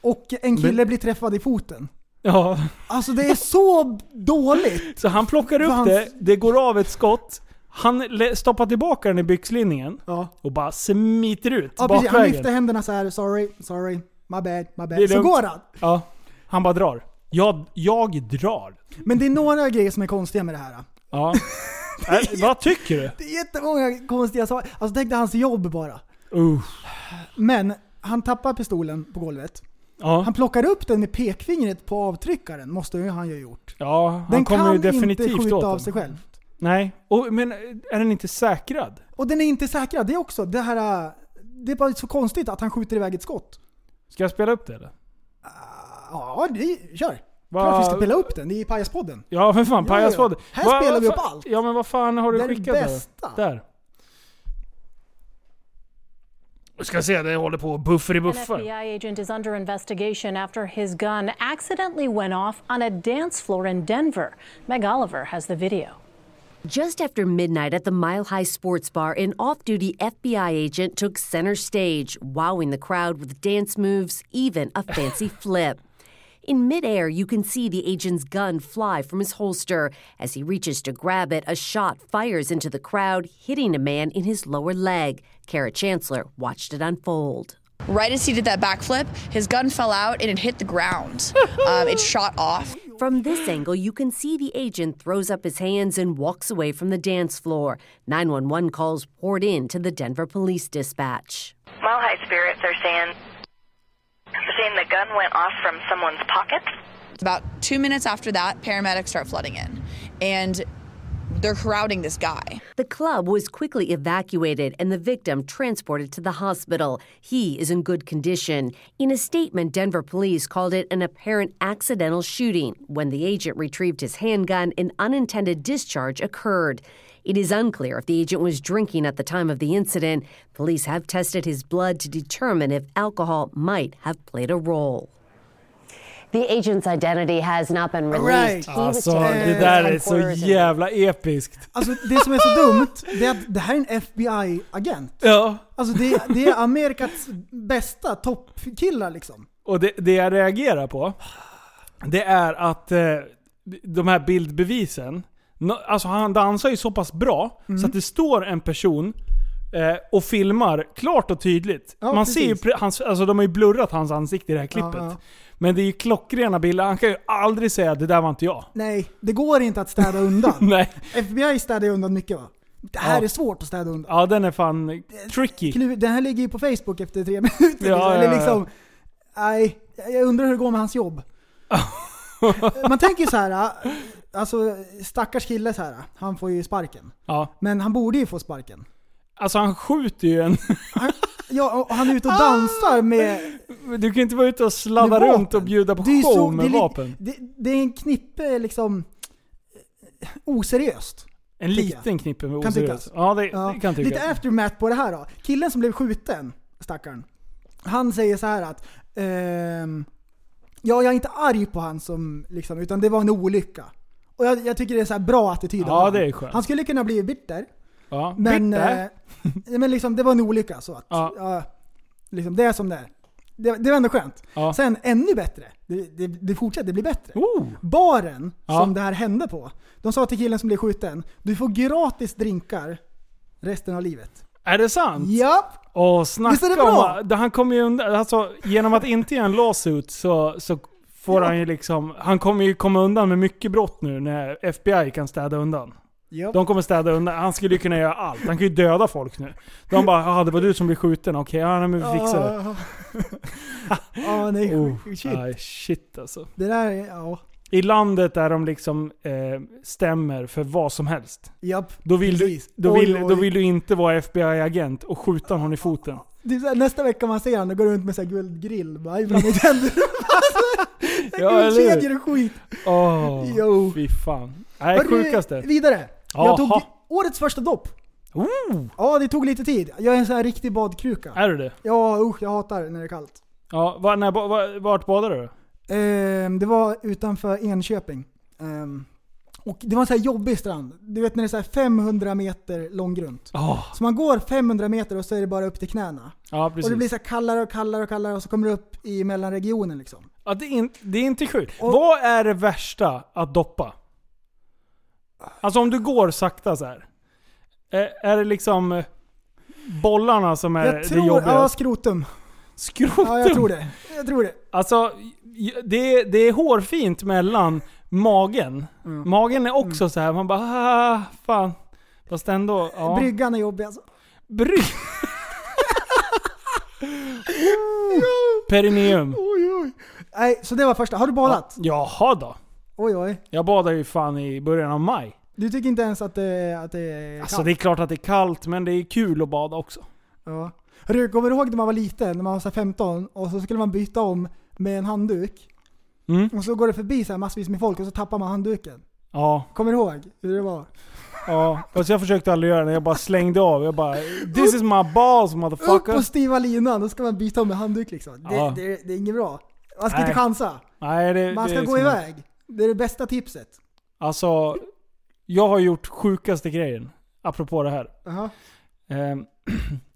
Och en kille blir träffad i foten. ja. Alltså det är så dåligt. Så han plockar upp Hans- det, det går av ett skott. Han le- stoppar tillbaka den i byxlinningen Ja. och bara smiter ut Ja precis, han lyfter bakvägen. händerna så här. sorry, sorry, my bad, my Det är bad. Så lugnt. går han. Ja. Han bara drar. Jag, jag drar. Men det är några grejer som är konstiga med det här. Ja. Äh, vad tycker du? Det är jättemånga konstiga saker. Alltså tänk dig hans jobb bara. Uff. Men han tappar pistolen på golvet. Ja. Han plockar upp den med pekfingret på avtryckaren, måste ju han ju ha gjort. ja, han Den kommer kan ju definitivt inte skjuta åt av den. sig själv. Nej. Och, men är den inte säkrad? Och den är inte säkrad, det är också. Det här... äh, Det är bara så konstigt att han skjuter iväg ett skott. Ska jag spela upp det eller? Ja, det, kör! Klart vi ska Va- spela upp den i Pajaspodden. Ja för fan, Ja, ja, ja. pajaspodd. Här Va- spelar vi fa- upp allt. Ja men vad fan har du Den skickat bästa. då? Där. Vi ska se, det håller på och buffer i An buffar. FBI agent is under investigation after his gun accidentally went off on a dance floor in Denver. Meg Oliver has the video. Just after midnight at the Mile High Sports Bar, an off duty FBI agent took center stage, wowing the crowd with dance moves, even a fancy flip. In midair, you can see the agent's gun fly from his holster. As he reaches to grab it, a shot fires into the crowd, hitting a man in his lower leg. Kara Chancellor watched it unfold. Right as he did that backflip, his gun fell out and it hit the ground. Um, it shot off. From this angle, you can see the agent throws up his hands and walks away from the dance floor. 911 calls poured in to the Denver Police Dispatch. Mile High Spirits are saying they're saying the gun went off from someone's pocket. About two minutes after that, paramedics start flooding in, and they're crowding this guy. The club was quickly evacuated and the victim transported to the hospital. He is in good condition. In a statement, Denver police called it an apparent accidental shooting. When the agent retrieved his handgun, an unintended discharge occurred. It is unclear if the agent was drinking at the time of the incident. Police have tested his blood to determine if alcohol might have played a role. The agent's identity has not been released. Alltså det där är så jävla episkt. Alltså det som är så dumt, det är att det här är en FBI-agent. Ja. Alltså det, det är Amerikas bästa toppkillar liksom. Och det, det jag reagerar på, det är att eh, de här bildbevisen, no, alltså han dansar ju så pass bra Mm. så att det står en person eh, och filmar klart och tydligt. Ja, Man precis. ser ju, pre- hans, alltså de har ju blurrat hans ansikte i det här klippet. Ja, ja. Men det är ju klockrena bilder, han kan ju aldrig säga att det där var inte jag. Nej, det går inte att städa undan. Nej. FBI städar ju undan mycket va? Det här Ja. är svårt att städa undan. Ja den är fan tricky. Knu- Den här ligger ju på Facebook efter tre minuter. liksom. Ja, Eller ja, ja. liksom, nej, jag undrar hur det går med hans jobb. Man tänker ju så här, alltså stackars kille så här, han får ju sparken. Ja. Men han borde ju få sparken. Alltså han skjuter ju en... Han, ja, och han är Ah! ute och dansar med, Du kan inte vara ute och sladda med vapen. runt och bjuda på Det är show ju så- med det är li- vapen. Det, det är en knippe liksom eh, oseriöst. En tycker jag. liten knippe med Kan oseriös. tyckas. Ja, det, Ja, det kan tyckas. lite aftermath på det här då. Killen som blev skjuten, stackaren. Han säger så här att ehm, Ja, jag är inte arg på han som liksom, utan det var en olycka. Och jag, jag tycker det är så här bra attityd av Ja, han. det är skönt. Han skulle kunna bli bitter. Ja. Men, Bitter. eh, men liksom, det var en olycka så att, Ja. ja. liksom, det är som det är. Det, det var ändå skönt. Ja. Sen ännu bättre. Det, det, det fortsätter bli bättre. Oh. Baren Ja. som det här hände på, de sa till killen som blev skjuten, du får gratis drinkar resten av livet. Är det sant? Ja, Åh, snacka Visst är det bra? om... Han kommer ju undan. Alltså, genom att inte göra en lawsuit så, så får han ju liksom... Han kommer ju komma undan med mycket brott nu när FBI kan städa undan. Japp. De kommer städa undan. Han skulle ju kunna göra allt. Han kan ju döda folk nu. De bara ah, det var du som blev skjuten. Okej, ja, nej, men vi fixar det. Ja, Ja, nej. Oh, Ah, Shit. nej, shit alltså. Det där är, ja. I landet där de liksom eh, stämmer för vad som helst. Japp. Då vill, du, Precis. då, Oj, vill, då oj. vill du inte vara FBI-agent och skjuta någon i foten. Det är så här, nästa vecka man ser honom, då går runt med så här guldgrill. Bara, ibland i tänder. Ja, eller hur? Guldkedjor och skit. Åh, Jo. fy fan. Nej, Hörru, sjukaste. Vidare. Jaha. Jag tog årets första dopp. Oh, Ja, det tog lite tid. Jag är en sån här riktig badkruka. är du det? Ja, usch, jag hatar när det är kallt. Ja, var, när, var, vart badade du? Ehm, det var utanför Enköping. Ehm, och det var en sån här jobbig strand. Du vet när det är så här 500 meter långgrunt. Oh, Så man går 500 meter och så är det bara upp till knäna. ja, precis. Och det blir så här kallare och kallare och kallare och så kommer det upp i mellanregionen liksom. ja, det, är in, det är inte sjukt. Och- Vad är det värsta att doppa? Alltså om du går sakta så här. Är, är det liksom eh, bollarna som är Jag det tror, ja jobbigaste? skrotum. Skrotum! Ja jag tror det. Jag tror det. Alltså, j- det, är- det är hårfint mellan magen. Mm. Magen är också så här. man bara ah, fan. Fast ändå, ja. Bryggan är jobbig alltså. Bry... Perineum. Oj, oj. Nej, så det var första. Har du badat? Jaha då. Oj oj. Jag badade ju fan i början av maj. Du tycker inte ens att det, att det är Alltså kallt? det är klart att det är kallt, men det är kul att bada också. Ja. Hörru, kommer du ihåg när man var liten, när man var så här 15 och så skulle man byta om med en handduk? Mm. Och så går det förbi så här massvis med folk och så tappar man handduken. Ja. Kommer du ihåg hur det var? Ja, fast jag försökte aldrig göra det. Jag bara slängde av. Jag bara This is my balls Upp motherfucker. på stiva linan, då ska man byta om med handduk liksom. Det, Ja. det, det är inget bra. Man ska Nej. inte chansa. Nej, det, Man det ska är gå liksom- iväg. Det är det bästa tipset. Alltså, jag har gjort sjukaste grejen. Apropå det här. Jaha. Ehm,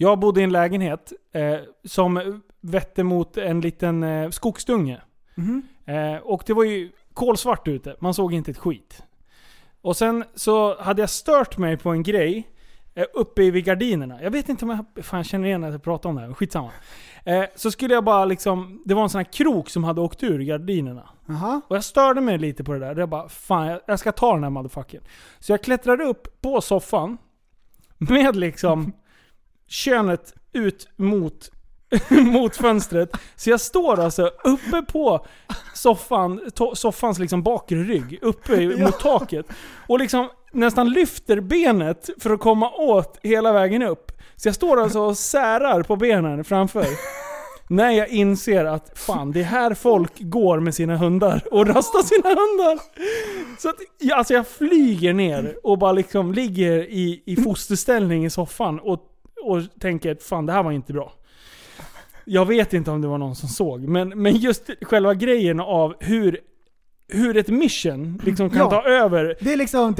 Jag bodde i en lägenhet eh, som vette mot en liten eh, skogsdunge. Mhm. Eh, och det var ju kolsvart ute, man såg inte ett skit. Och sen så hade jag stört mig på en grej eh, uppe i vid gardinerna. Jag vet inte om jag fan, känner igen att jag pratar om det här, skitsamma. Eh, så skulle jag bara liksom, det var en sån här krok som hade åkt ur gardinerna. Och jag störde mig lite på det där. Jag bara, fan jag, jag ska ta den här motherfuckern. Så jag klättrade upp på soffan med liksom könet ut mot, mot fönstret. Så jag står alltså uppe på soffan, to, soffans liksom bakre rygg, uppe i- mot taket. Och liksom nästan lyfter benet för att komma åt hela vägen upp. Så jag står alltså och särar på benen framför. När jag inser att fan, det är här folk går med sina hundar och rastar sina hundar. Så att, jag- alltså jag flyger ner och bara liksom ligger i, i fosterställning i soffan och, och tänker att fan det här var inte bra. Jag vet inte om det var någon som såg, men, men just själva grejen av hur, hur ett mission liksom kan Ja. ta över. Det är liksom...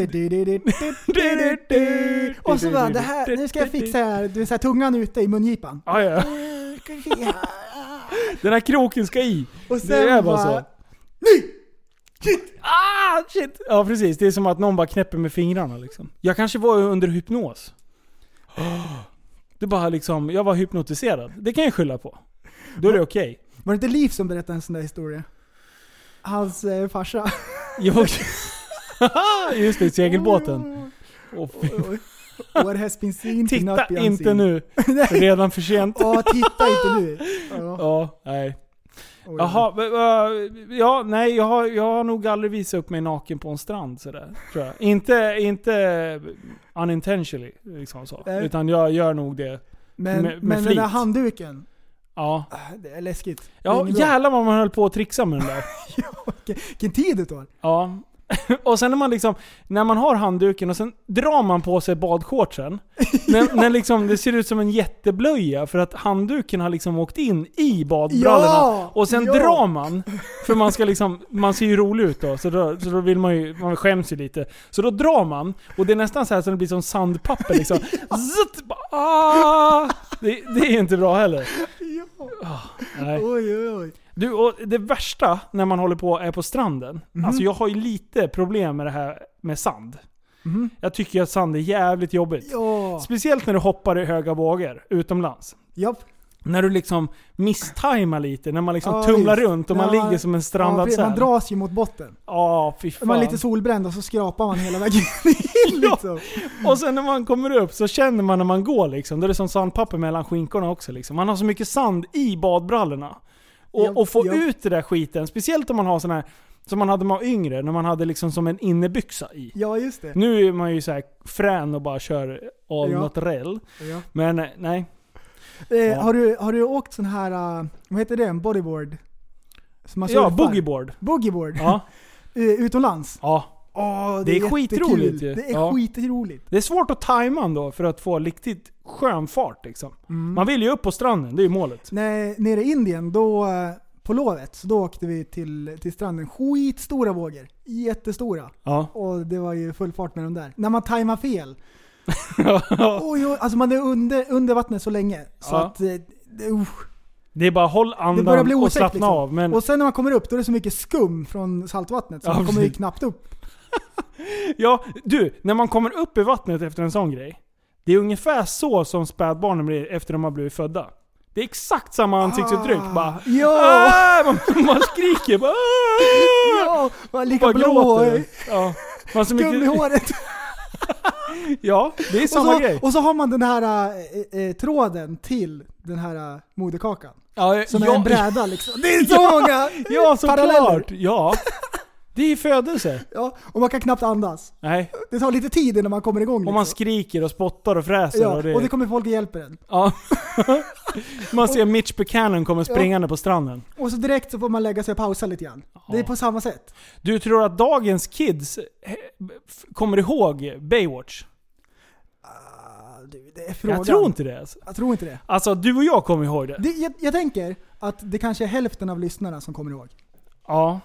Och så bara det här, nu ska jag fixa det här. Du är så här tungan ute i mungipan. Ja, ja. Den här kroken ska i. Och sen det är bara så. bara- Ah, shit! Ja precis, det är som att någon bara knäpper med fingrarna liksom. Jag kanske var under hypnos. Det bara liksom, jag var hypnotiserad. Det kan jag skylla på. Då är det okej. Var det inte Liv som berättade en sån där historia? Hans eh, farsa. Jag... Just det, segelbåten. Oh. Åh, fy. What has been seen Titta inte nu. Det är Redan för sent. Ja, titta inte nu. Ja. Ja, nej. Jaha, v- v- ja, nej, jag har, jag har nog aldrig visat upp mig naken på en strand sådär. Tror jag. Inte, inte unintentionally, liksom så. Nej. Utan jag gör nog det Men, med, med men den flit. där handduken. Ja. Det är läskigt. Det är Ja, inget bra. jävlar vad man höll på att trixa med den där. Vilken tid det tar. Ja. Och sen när man liksom, när man har handduken och sen drar man på sig badshortsen. När, när liksom det ser ut som en jätteblöja för att handduken har liksom åkt in i badbrallorna. Ja! och sen Ja! drar man. För man ska liksom, man ser ju rolig ut då. Så då, så då vill man ju, man skäms ju lite. Så då drar man. Och det är nästan så här så det blir som sandpapper liksom. Zzzt, bara, ah! det, det är inte bra heller. Ah, nej. Oj, oj, oj. Du, och det värsta när man håller på är på stranden. Mhm. Alltså jag har ju lite problem med det här med sand. Jag tycker att sand är jävligt jobbigt. Mhm. Ja. Speciellt när du hoppar i höga vågor utomlands. Japp. När du liksom misstajmar lite, när man liksom Ja, tumlar visst. runt och När man ligger som en ja, strandad precis. säl. Man dras ju mot botten. Ja, fy Är fan. man lite solbränd och så skrapar man hela vägen in liksom. Och sen när man kommer upp så känner man när man går liksom, då är det som sandpapper mellan skinkorna också liksom. Man har så mycket sand i badbrallorna. Och, Ja, och få ja. ut det där skiten, speciellt om man har sån här som man hade när man var yngre, när man hade liksom som en innebyxa i. Ja, just det. Nu är man ju så här frän och bara kör all Ja. naturell. Ja. Men eh, nej. Eh, Ja. har, du, har du åkt sån här, eh, vad heter det, en bodyboard? Som man Ja, surfar? boogieboard. Boogieboard. Ja. Eh, Utomlands. ja. Åh, Det är skitroligt ju. ju. Det är Ja. skitroligt. Det är svårt att tajma ändå för att få riktigt skön fart liksom. Mm. Man vill ju upp på stranden, det är ju målet. När, nere i Indien, då eh, på lovet, så då åkte vi till, till stranden. Skitstora vågor. Jättestora. Ja. Och det var ju full fart med dem där. När man tajmar fel. oj, oj, alltså man är under, under vattnet så länge. Så Ja. att... eh, det- usch. Det är bara håll Det andan börjar bli och otäckt slappna liksom. av. Men Och sen när man kommer upp då är det så mycket skum från saltvattnet så Ja, man kommer ju precis. knappt upp. Ja, du, när man kommer upp i vattnet efter en sån grej. Det är ungefär så som spädbarnen blir efter de har blivit födda. Det är exakt samma ansiktsuttryck. Ah. Bara, Ja! "Ah!" man, man skriker bara, "Ah!" ja! Man lika bara blå gråter. och Ja. Man har så skum i mycket, håret. ja, det är Och samma så, grej. och så har man den här eh, eh, tråden till den här eh, moderkakan. Ja, Som ja, är en bräda liksom. Det är så många Ja, såklart. paralleller. Ja. Det är ju födelse. Ja, och man kan knappt andas. Nej. Det tar lite tid innan man kommer igång. Och man liksom. skriker och spottar och fräser. ja, och det... kommer folk och hjälper en. ja. man ser Mitch Buchanan komma springande på stranden. Och så direkt så får man lägga sig och pausa lite grann. Det är på samma sätt. Du tror att dagens kids eh, f- kommer ihåg Baywatch? Ah, Det är frågan. Jag tror inte det. Alltså. Jag tror inte det. alltså du och jag kommer ihåg det. det jag, jag tänker att det kanske är hälften av lyssnarna som kommer ihåg. Ja.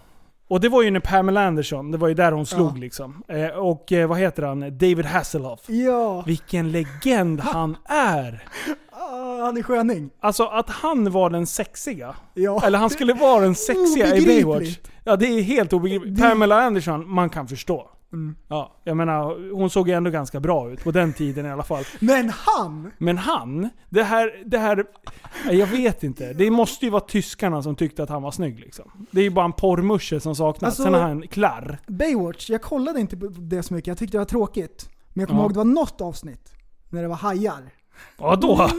Och det var ju när Pamela Anderson, det var ju där hon slog liksom. Eh, och eh, vad heter han? David Hasselhoff. Ja, Vilken legend han är! ah, han är sköning. Alltså att han var den sexiga. Ja. Eller han skulle vara den sexiga i Obegripligt. Baywatch. Ja, det är helt obegripligt. Pamela Anderson, man kan förstå. Mm. Ja, jag menar, hon såg ju ändå ganska bra ut på den tiden i alla fall. Men han! Men han, det här, det här... nej, Jag vet inte. Det måste ju vara tyskarna som tyckte att han var snygg liksom. Det är ju bara en porrmusche som saknas. Alltså- Sen har han klarr. Baywatch, jag kollade inte på det så mycket. Jag tyckte det var tråkigt. Men jag kommer Ja. ihåg det var något avsnitt när det var hajar. Vadå?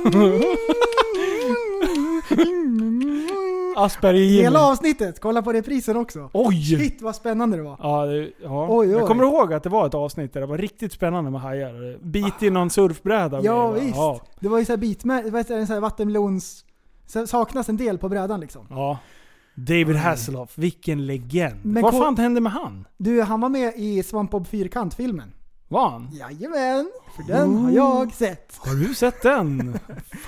Hela Asperger. avsnittet, kolla på reprisen också. Oj! Shit vad spännande det var. Ja, det, ja. Oj, oj. Jag kommer ihåg att det var ett avsnitt där det var riktigt spännande med hajar. Bit i någon surfbräda och Ja grejer, va? visst. Ja. Det var ju såhär bitmärken, vad heter det, såhär vattenmelons... så- Saknas en del på brädan liksom. ja. David Hasselhoff, vilken legend. Men Vad ko- fan hände med han? Du, han var med i SvampBob Fyrkant-filmen. Var han? Jajamän, för den har jag sett. Har du sett den?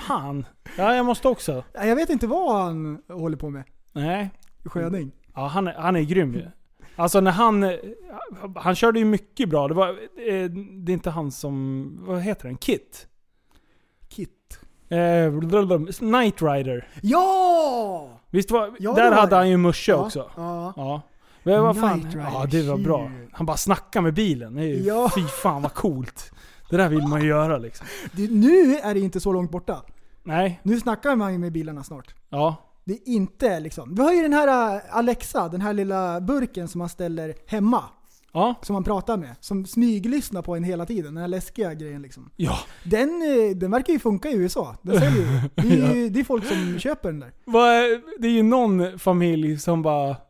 fan. Ja, jag måste också. Ja, Jag vet inte vad han håller på med. Nej. Sköning. Ja, han, är- han är grym ju. Alltså när han... eh, Han körde ju mycket bra. Det var... eh, Det är inte han som... Vad heter den? Kit? Kit. Eh, blablabla. Knight Rider. Ja! Visst var... Ja, det där var hade det. han ju musche Ja, också. Ja. Ja. Men vad fan. Knight Rider, Ja, det var bra. shit. Han bara snackar med bilen. Det är ju, Ja. Fy fan vad coolt. Det där vill man ju göra liksom. Du, nu är det inte så långt borta. Nej. Nu snackar man ju med bilarna snart. Ja. Det är inte liksom. Vi har ju den här äh, Alexa, den här lilla burken som man ställer hemma. Ja. Som man pratar med. Som smyglyssnar på en hela tiden. Den här läskiga grejen liksom. Ja. Den, eh, den verkar ju funka i USA. Den säljer ju. Det är ju det är folk som köper den där. Vad är- Det är ju någon familj som bara t-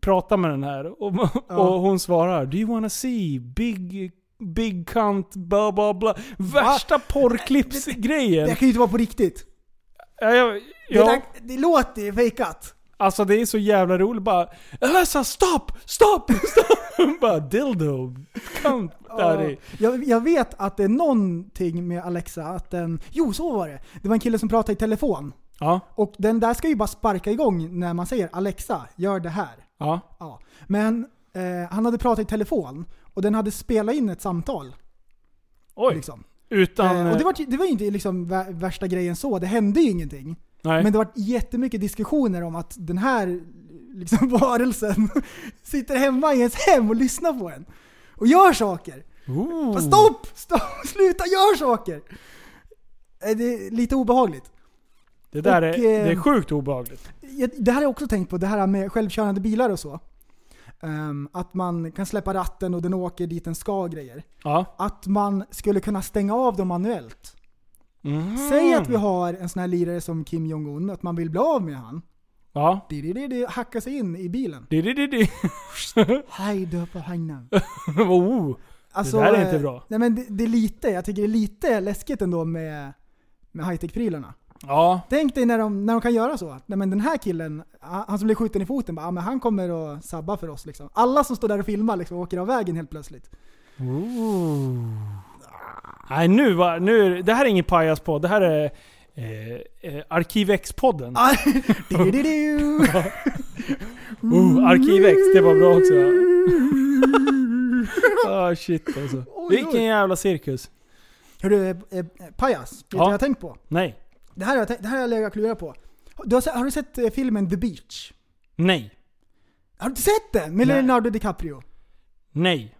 pratar med den här och, och hon svarar Do you wanna see big, big cunt bla bla bla. Värsta porrklippsgrejen. Det kan ju inte vara på riktigt. Ja, jag- Det, ja, där, det låter ju fejkat. alltså det är så jävla roligt bara Elsa stopp, stopp, stopp. bara dildo, cunt. Där är. Jag, jag vet att det är någonting med Alexa att den... Jo, så var det. Det var en kille som pratade i telefon. Ja, Och den där ska ju bara sparka igång när man säger Alexa, gör det här. ja. Ja. Men eh, han hade pratat i telefon och den hade spelat in ett samtal. Oj. Liksom. Utan... Eh, och det var, ju- det var ju inte liksom vä- värsta grejen så, det hände ju ingenting. nej. Men det var jättemycket diskussioner om att den här liksom, varelsen sitter hemma i ens hem och lyssnar på en. Och gör saker. Ooh. Fast Stopp! Stopp! Sluta gör saker! Eh, Det är lite obehagligt. Det där är, och, eh, det är sjukt obehagligt. Jag- Det här har jag också tänkt på, det här med självkörande bilar och så. Ehm, att man kan släppa ratten och den åker dit den ska och grejer. Ja. Att man skulle kunna stänga av dem manuellt. Säg Mm. att vi har en sån här lirare som Kim Jong-Un, att man vill bli av med han. Ja. Di-di-di-di, Hacka sig in i bilen. Det, det, det, det. Hej du på hajnan. oh. Alltså, där är inte eh, bra. Nej men det, det är lite, jag tycker det är lite läskigt ändå med, med high-tech-prylarna. Ja. Tänk dig när de, när de kan göra så. Nej, men den här killen, han han som blev skjuten i foten, bara, ah, men han kommer att sabba för oss. Liksom. Alla som står där och filmar liksom, åker av vägen helt plötsligt. Nej nu var, nu, är det- det här är ingen pajaspodd, det här är eh, eh, Arkivex-podden. Ah, du-du-du. Oh, Arkivex, det var bra också. Ah shit alltså. oj. Vilken jävla cirkus. Hörru, eh, eh, Pajas, vet du Ja. vad jag har tänkt på? Nej. Det här har jag, tänkt, det här har jag legat och klurat på. Du har, se- har du sett eh, filmen The Beach? Nej. Har du inte sett den? Med Nej. Leonardo DiCaprio? Nej.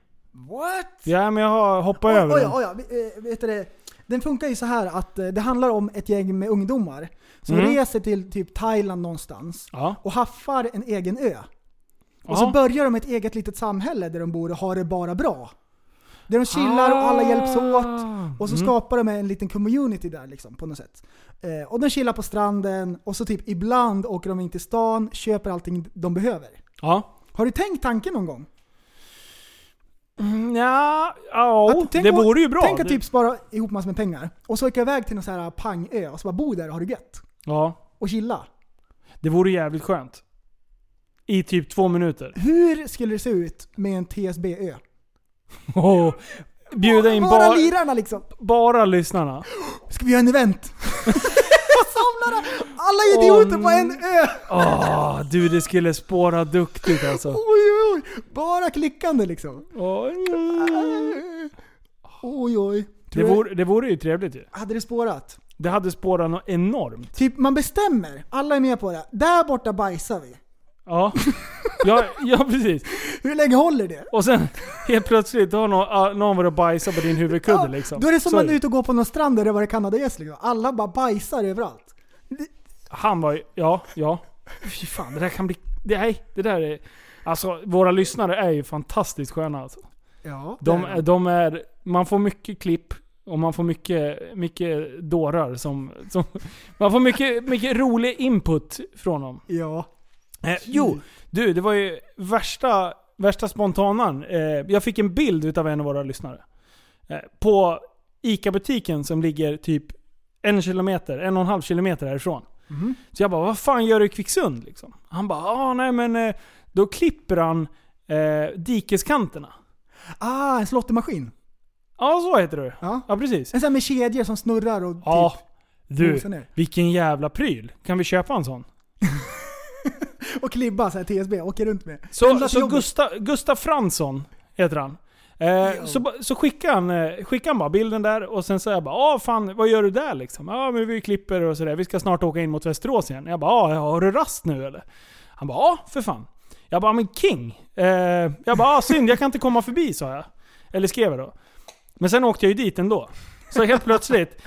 What? Ja men jag har hoppat Oj, över oj, den. oj, oj, eh, vet du det? Den funkar ju så här att eh, det handlar om ett gäng med ungdomar som Mm. reser till typ Thailand någonstans Ja. och haffar en egen ö. Och så Ja. börjar de ett eget litet samhälle där de bor och har det bara bra. Där de chillar och alla hjälps Ah. åt. Och så Mm. skapar de en liten community där liksom, på något sätt. Eh, och de chillar på stranden och så typ ibland åker de in till stan, köper allting de behöver. Ja. Har du tänkt tanken någon gång? Ja, ja Tänk Oh, det om- vore ju bra. Tänk att Det- typ spara ihop massor med pengar och så åka iväg till någon så här pangö och så bara bo där och ha det gött. Ja, Och chilla. det vore jävligt skönt. I typ två minuter. Hur skulle det se ut med en TSB-ö? Åh, bjuda in Bara bara, lirarna liksom. bara lyssnarna. Ska vi göra en event? Och samla alla idioter på en ö! Åh, du det skulle spåra duktigt alltså. Oj, oj, oj. Bara klickande liksom. Oj, oj. Det Tror du- vore, det vore ju trevligt ju. Hade det spårat? Det hade spårat något enormt. Typ man bestämmer, alla är med på det. Där borta bajsar vi. Ja. ja, ja precis. Hur länge håller det? Och sen helt plötsligt har någon, ah, någon varit och bajsat på din huvudkudde Ja, liksom. Då är det som Så om man är ute och går på någon strand där det var kanadagäss liksom. Alla bara bajsar överallt. Han var ju, ja, ja. Fy fan, det där kan bli... det- Nej, det där är... Alltså våra lyssnare är ju fantastiskt sköna alltså. Ja, De, det är- de är... Man får mycket klipp och man får mycket, mycket dårar som, som... Man får mycket, mycket rolig input från dem. Ja. Eh, jo, du, det var ju värsta, värsta spontanan. Eh, jag fick en bild utav en av våra lyssnare. Eh, på ICA-butiken som ligger typ en kilometer, en och en halv kilometer härifrån. Så jag bara, vad fan gör du i Kvicksund? Liksom. Han bara, ah, nej men eh, då klipper han eh, dikeskanterna. Ah, en slottemaskin. Ja, så heter det. Ja. ja precis. En sån här med kedjor som snurrar och Ja, du. mosar ner. Vilken jävla pryl. Kan vi köpa en sån? typ, och klibba så här TSB, åker runt med. Pendlar Så, till så jobbet. Gustav, Gustav Fransson heter han. Eh, så ba- så skickade, han, eh, skickade han bara bilden där och sen sa jag bara ah, fan vad gör du där liksom? Ja ah, men vi klipper och sådär, vi ska snart åka in mot Västerås igen. Jag bara ah, har du rast nu eller? Han bara ja för fan. Jag bara men king. Eh, jag bara ah, synd jag kan inte komma förbi sa jag. Eller skrev jag då. Men sen åkte jag ju dit ändå. Så helt plötsligt,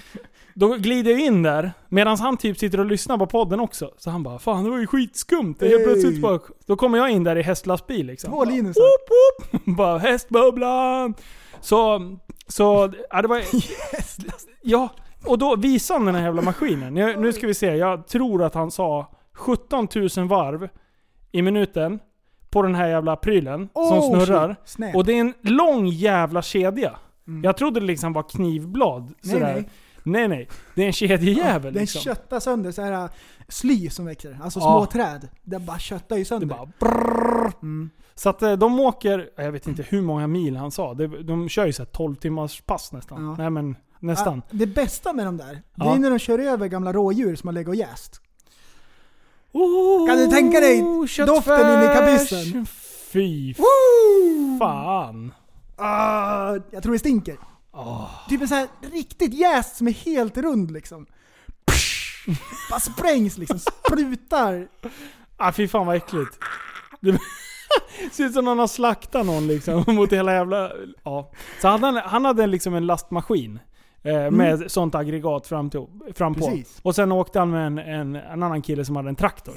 då glider jag in där medan han typ sitter och lyssnar på podden också. Så han bara 'Fan det var ju skitskumt' Det är helt Hey. plötsligt bara, Då kommer jag in där i hästlastbil liksom. Två Linus. Woop, woop. Bara hästbubblan! Så, så, ja det var... Ja, och då visade han den här jävla maskinen. Nu, nu ska vi se, jag tror att han sa 17 000 varv i minuten på den här jävla prylen som Oh, snurrar. shit. Snap. Mm. Och det är en lång jävla kedja. Jag trodde det liksom var knivblad. Nej, sådär. nej. nej nej. Det är en kedjejävel Den liksom. köttar sönder så här äh, sly som växer. Alltså Ja. små träd. Den bara köttar ju Det sönder. bara brrrr. Så att eh, de åker, eh, jag vet inte hur många mil han sa. De, de kör ju så här 12 timmars pass nästan. Ja. Nej men nästan. Ah, det bästa med de där, det Ja. är när de kör över gamla rådjur som har legat och jäst. Oh, Kan du tänka dig doften in i kabyssen? Fy fan. Ah, jag tror det stinker. Ah. Typ en sån här riktigt jäst som är helt rund liksom. Psh! Bara sprängs liksom, sprutar. Ah, fy fan vad äckligt. Det ser ut som någon har slaktat någon liksom mot hela jävla... Ja. Så han hade, han hade liksom en lastmaskin. Eh, med sånt aggregat fram, till, fram på. Mm. Precis. Och sen åkte han med en, en, en annan kille som hade en traktor.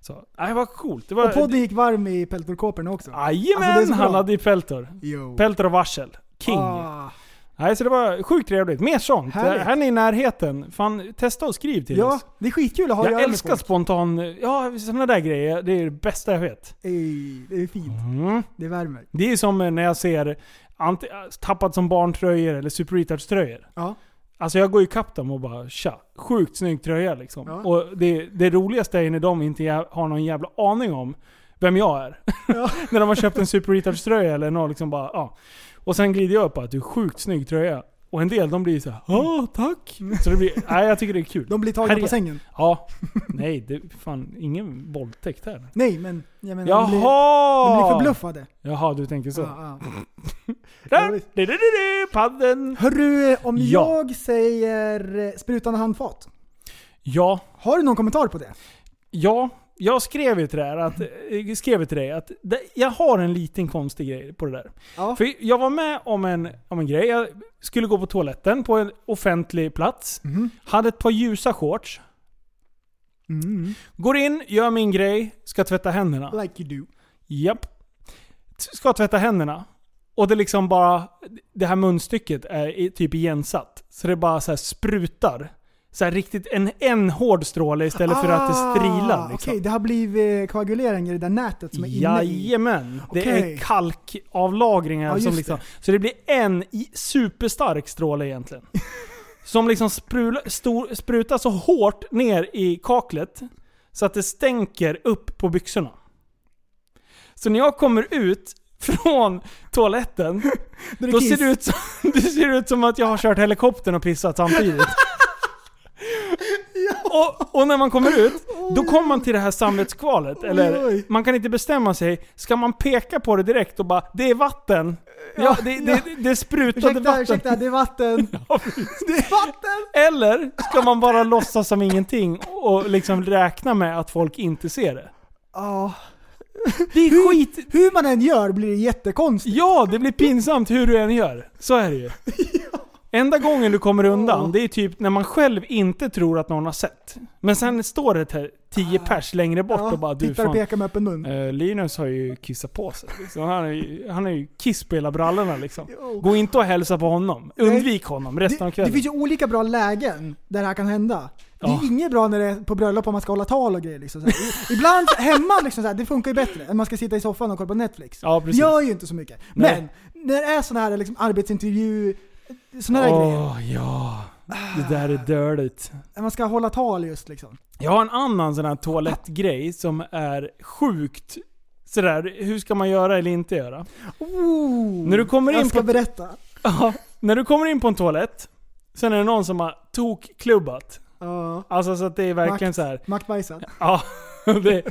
Så, nej, vad coolt. Det var, Och podden gick varm i peltorkåporna också. Jajamän! Alltså, det är så bra. han hade ju peltor. Jo. Peltor och varsel. King. Ah, Nej, så det var sjukt trevligt. Mer sånt. Härligt. Här är i närheten. Fan, testa och skriv till ja, oss. det är skitkul att ha att jag göra med älskar folk. spontan... Ja, sådana där grejer. Det är det bästa jag vet. Ey, det är fint. Mm. Det värmer. Det är som när jag ser ant- tappat som barntröjor eller Super Retards tröjor. Ja. Alltså jag går ju kapp dem och bara tja, sjukt snygg tröja liksom. Ja. Och det, det roligaste är ju när de inte jä- har någon jävla aning om vem jag är. när de har köpt en Super Retards tröja eller någon liksom bara ja. Och sen glider jag upp att du sjukt snygg tröja. Och en del de blir så här, ja tack. Så det blir, nej jag tycker det är kul. Mm. De blir tagna Herre. på sängen. Ja. Nej, det fan ingen våldtäkt här. Nej, men jag menar de blir, de blir Jaha! förbluffade. Jaha, du tänker så. Ja, ja. Där! Du, du, du, du, Padden! Hörru, om Ja. jag säger eh, sprutande handfat. Ja, Har du någon kommentar på det? ja. Jag skrev ju till, det här att, eh, skrev ju till dig att det, jag har en liten konstig grej på det där. Ja. För jag var med om en, om en grej. Jag skulle gå på toaletten på en offentlig plats. Mhm. Hade ett par ljusa shorts. Går in, gör min grej, ska tvätta händerna. Mm. Like you do. Japp. T- Ska tvätta händerna. Och det liksom bara... Det här munstycket är i- typ igensatt. Så det bara så här sprutar. så här riktigt en, en hård stråle istället för att det strilar. Ah, Liksom. Okej, det har blivit koaguleringar i det där nätet som är inne i. Jajamän! Det Okej. är kalkavlagringar Ja, just som liksom... det. Så det blir en i- superstark stråle egentligen. Som liksom sprula, stor, sprutar så hårt ner i kaklet så att det stänker upp på byxorna. Så när jag kommer ut från toaletten, är då ser kiss. det, ut som, det ser ut som att jag har kört helikoptern och pissat samtidigt. Och, och när man kommer ut, då kommer man till det här samvetskvalet. Eller, oj. man kan inte bestämma sig. Ska man peka på det direkt och bara ”Det är vatten”? Ja, det, det, det sprutade Ursäkta, vatten. ursäkta, det är vatten. det är vatten! Eller ska man bara låtsas som ingenting och liksom räkna med att folk inte ser det? Ja. Det är skit... Hur man än gör blir det jättekonstigt. Ja, det blir pinsamt hur du än gör. Så är det ju. Enda gången du kommer undan, det är typ när man själv inte tror att någon har sett. Men sen står det här 10 pers längre bort och bara du Ah. tittar och fan, pekar med öppen mun. eh, Linus har ju kissat på sig. Liksom. Han är ju, han är ju kiss på hela brallorna liksom. Gå inte och hälsa på honom. Undvik honom resten av Det, det kvällen. finns ju olika bra lägen där det här kan hända. Det är Ja. inget bra när det är på bröllop om man ska hålla tal och grejer. Liksom, så här. Ibland hemma, liksom, så här, det funkar ju bättre än man ska sitta i soffan och kolla på Netflix. Ja, det precis. gör ju inte så mycket. Nej. Men när det är sådana här liksom, arbetsintervju, sådana här grejer. Åh ja, det där är dirtigt. När man ska hålla tal just liksom. Jag har en annan sån här toalettgrej som är sjukt sådär, hur ska man göra eller inte göra? Ooh, När du kommer in jag ska på- berätta. Ja, när du kommer in på en toalett, sen är det någon som har tokklubbat. Ja. Alltså så att det är verkligen så här. Mackbajsad. Ja, det,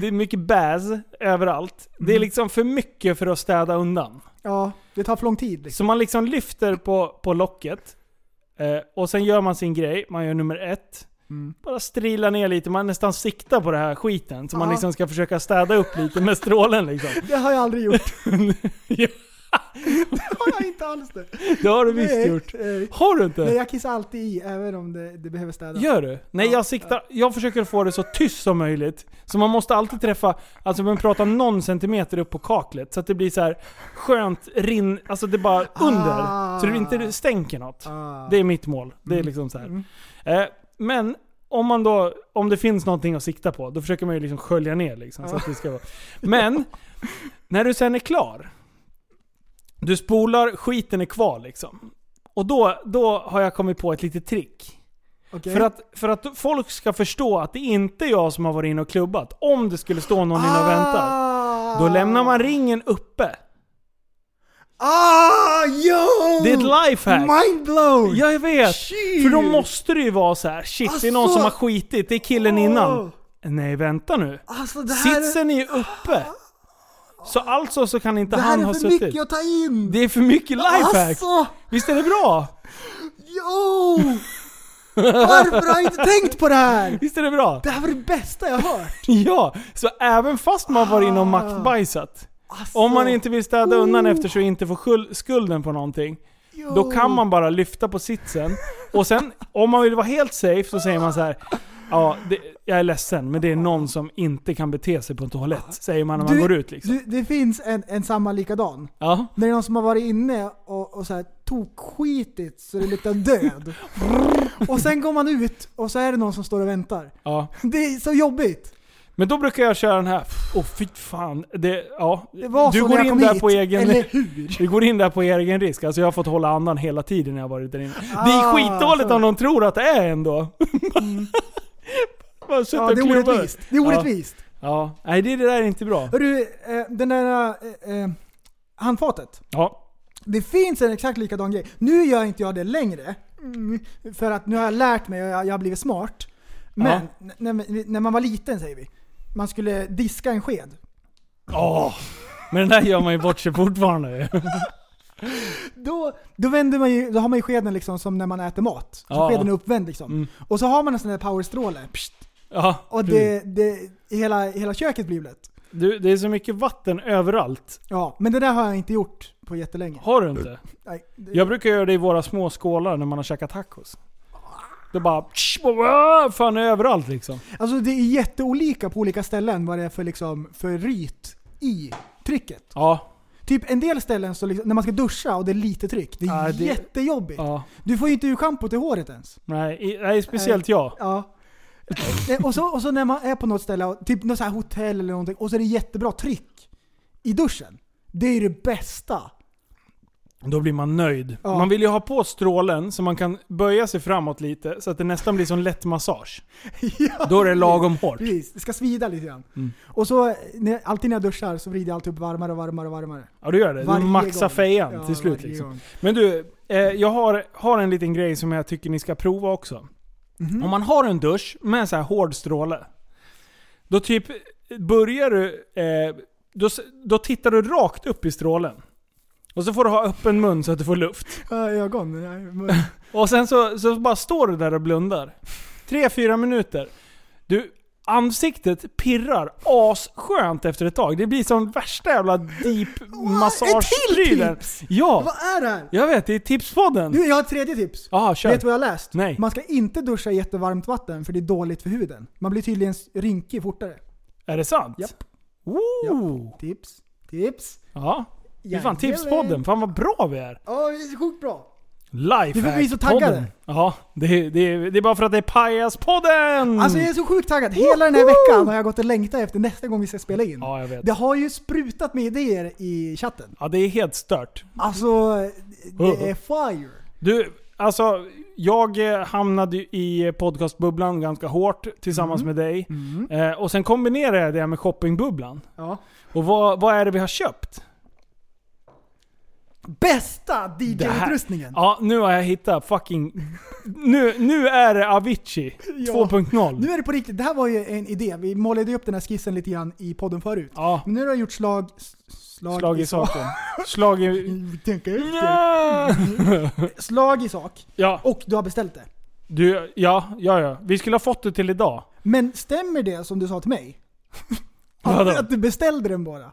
det är mycket bäs överallt. Det Mm. är liksom för mycket för att städa undan. Ja, det tar för lång tid. Liksom. Så man liksom lyfter på, på locket. Eh, och sen gör man sin grej, man gör nummer ett. Mm. Bara strila ner lite, man nästan siktar på den här skiten. Så man Ja. liksom ska försöka städa upp lite med strålen liksom. Det har jag aldrig gjort. Ja, Det har jag inte alls det. det har du visst Nej, gjort. nej. Har du inte? Nej, jag kissar alltid i, även om det, det behöver städas. Gör du? Nej, jag siktar. Jag försöker få det så tyst som möjligt. Så man måste alltid träffa, alltså man pratar någon centimeter upp på kaklet. Så att det blir så här skönt rinn, alltså det är bara under. Ah. Så det inte stänker något. Ah. Mm. Det är mitt mål. Det är liksom så här. Eh, men om man då, om det finns någonting att sikta på, då försöker man ju liksom skölja ner liksom. Ah. Så att det ska vara. Men, när du sen är klar. Du spolar, skiten är kvar liksom. Och då, då har jag kommit på ett litet trick. Okej. För att, för att folk ska förstå att det inte är jag som har varit inne och klubbat. Om det skulle stå någon inne och väntar. Då lämnar man ringen uppe. Ah, yo! Det är ett lifehack. Mind blown! Ja, jag vet. Shit. För då måste det ju vara så här. shit det är någon Alltså. som har skitit, det är killen Åh. innan. Nej, vänta nu. Alltså det här, Sitsen är ju uppe. Så alltså så kan inte det här han är ha för suttit. mycket att ta in! Det är för mycket lifehack. Alltså, Visst är det bra? yo! Varför har jag inte tänkt på det här? Visst är det bra? Det här var det bästa jag har hört! Ja, så även fast man varit Ah. inne och maktbajsat. Alltså, Om man inte vill städa undan efter så inte får skul- skulden på någonting. Då kan man bara lyfta på sitsen. Och sen, om man vill vara helt safe så säger man så här. Ja, det, jag är ledsen men det är någon som inte kan bete sig på en toalett. Säger man när man Du- går ut liksom. Du, det finns en, en samma likadan. Ja. När det är någon som har varit inne och, och så här tokskitigt så det luktar död. och sen går man ut och så är det någon som står och väntar. ja. Det är så jobbigt. Men då brukar jag köra den här. Åh fy fan. Det, ja. Det var du så går när jag in kom där hit, på egen... eller hur? Du går in där på egen risk. Alltså jag har fått hålla andan hela tiden när jag varit där inne. det är Ah, skitdåligt så. Mm. om någon tror att det är en då. Bara sitta Ja, och det är klubba. orättvist. Det är Ja. orättvist. Ja, nej det, det där är inte bra. Hörru, eh, den där eh, eh, handfatet. Ja. Det finns en exakt likadan grej. Nu gör inte jag det längre. mm, För att nu har jag lärt mig och jag, jag har blivit smart. Men n- när, när man var liten säger vi. Man skulle diska en sked. Åh! Men den där gör man ju bort sig fortfarande. Då, då, vänder man ju, då har man ju skeden liksom som när man äter mat. Så Ja. Mm. skeden är uppvänd liksom. Och så har man en sån där powerstråle. Pst, Ja, Och det, det, hela, hela köket blir blött. du, det är så mycket vatten överallt. Ja, men det där har jag inte gjort på jättelänge. Har du inte? Nej, det, Jag brukar göra det i våra små skålar när man har käkat tacos. Det bara... tsch, wow, Fan, det är överallt liksom. Alltså det är jätteolika på olika ställen vad det är för, liksom, för ryt i trycket. Ja. Typ en del ställen så liksom, när man ska duscha och det är lite tryck, det är Ja, det- jättejobbigt. Ja. Du får ju inte ur schampot i håret ens. Nej, i- nej speciellt jag. Ja. Eh, och, så, och så när man är på något ställe, typ något så här hotell eller någonting, och så är det jättebra tryck i duschen. Det är ju det bästa. Då blir man nöjd. Ja. Man vill ju ha på strålen så man kan böja sig framåt lite så att det nästan blir som lätt massage. Då är det lagom hårt. Precis, det ska svida lite grann. Mm. Och så, eh, när, alltid när jag duschar så vrider jag alltid upp varmare och varmare och varmare. Ja du gör det. Varje du maxar gång. fejan Ja, till slut varje liksom. gång. Men du, eh, jag har, har en liten grej som jag tycker ni ska prova också. Om man har en dusch med en så här hård stråle. Då typ börjar du... Eh, då, s- då tittar du rakt upp i strålen. Och så får du ha öppen mun så att du får luft. Ja, Ögon? nej, mun. Och sen så, så bara står du där och blundar. Tre, fyra minuter. Du, ansiktet pirrar asskönt efter ett tag. Det blir som värsta jävla deep massageprylen. Ja, Vad är det här? jag vet. Det är tipspodden. Du, jag har ett tredje tips. Ja, kör. Vet du vad jag har läst? Nej. Man ska inte duscha i jättevarmt vatten för det är dåligt för huden. Man blir tydligen rynkig fortare. Är det sant? Japp. Ooh. Tips. Tips. Ja. Det är Jajamän. fan tipspodden. Fan vad bra vi är. Ja, det är sjukt bra. Lifehack-podden. Det är för att vi är så taggade. Ja, det, är- det, är- det är bara för att det är Pajaspodden! Alltså jag är så sjukt taggad. Hela den här veckan har jag gått och längtat efter nästa gång vi ska spela in. Ja, jag vet. Det har ju sprutat med idéer i chatten. Ja, det är helt stört. Alltså, det är fire. Du, alltså jag eh, hamnade ju i podcastbubblan ganska hårt tillsammans Mm. med dig. Eh, och sen kombinerade jag det med shoppingbubblan. Ja. Och vad, vad är det vi har köpt? Bästa Det här- DJ-utrustningen. Ja, nu har jag hittat fucking... Nu, nu är det Avicii Ja. 2.0. Nu är det på riktigt. Det här var ju en idé. Vi målade ju upp den här skissen lite grann i podden förut. Ja, Men nu har jag gjort slag... s- Slag, Mm, slag i saken. Slag i... Tänk efter. Nja! Slag i sak. Ja, Och du har beställt det. du, ja, ja, ja. Vi skulle ha fått det till idag. Men stämmer det som du sa till mig? Vadå? Att, att du beställde den bara?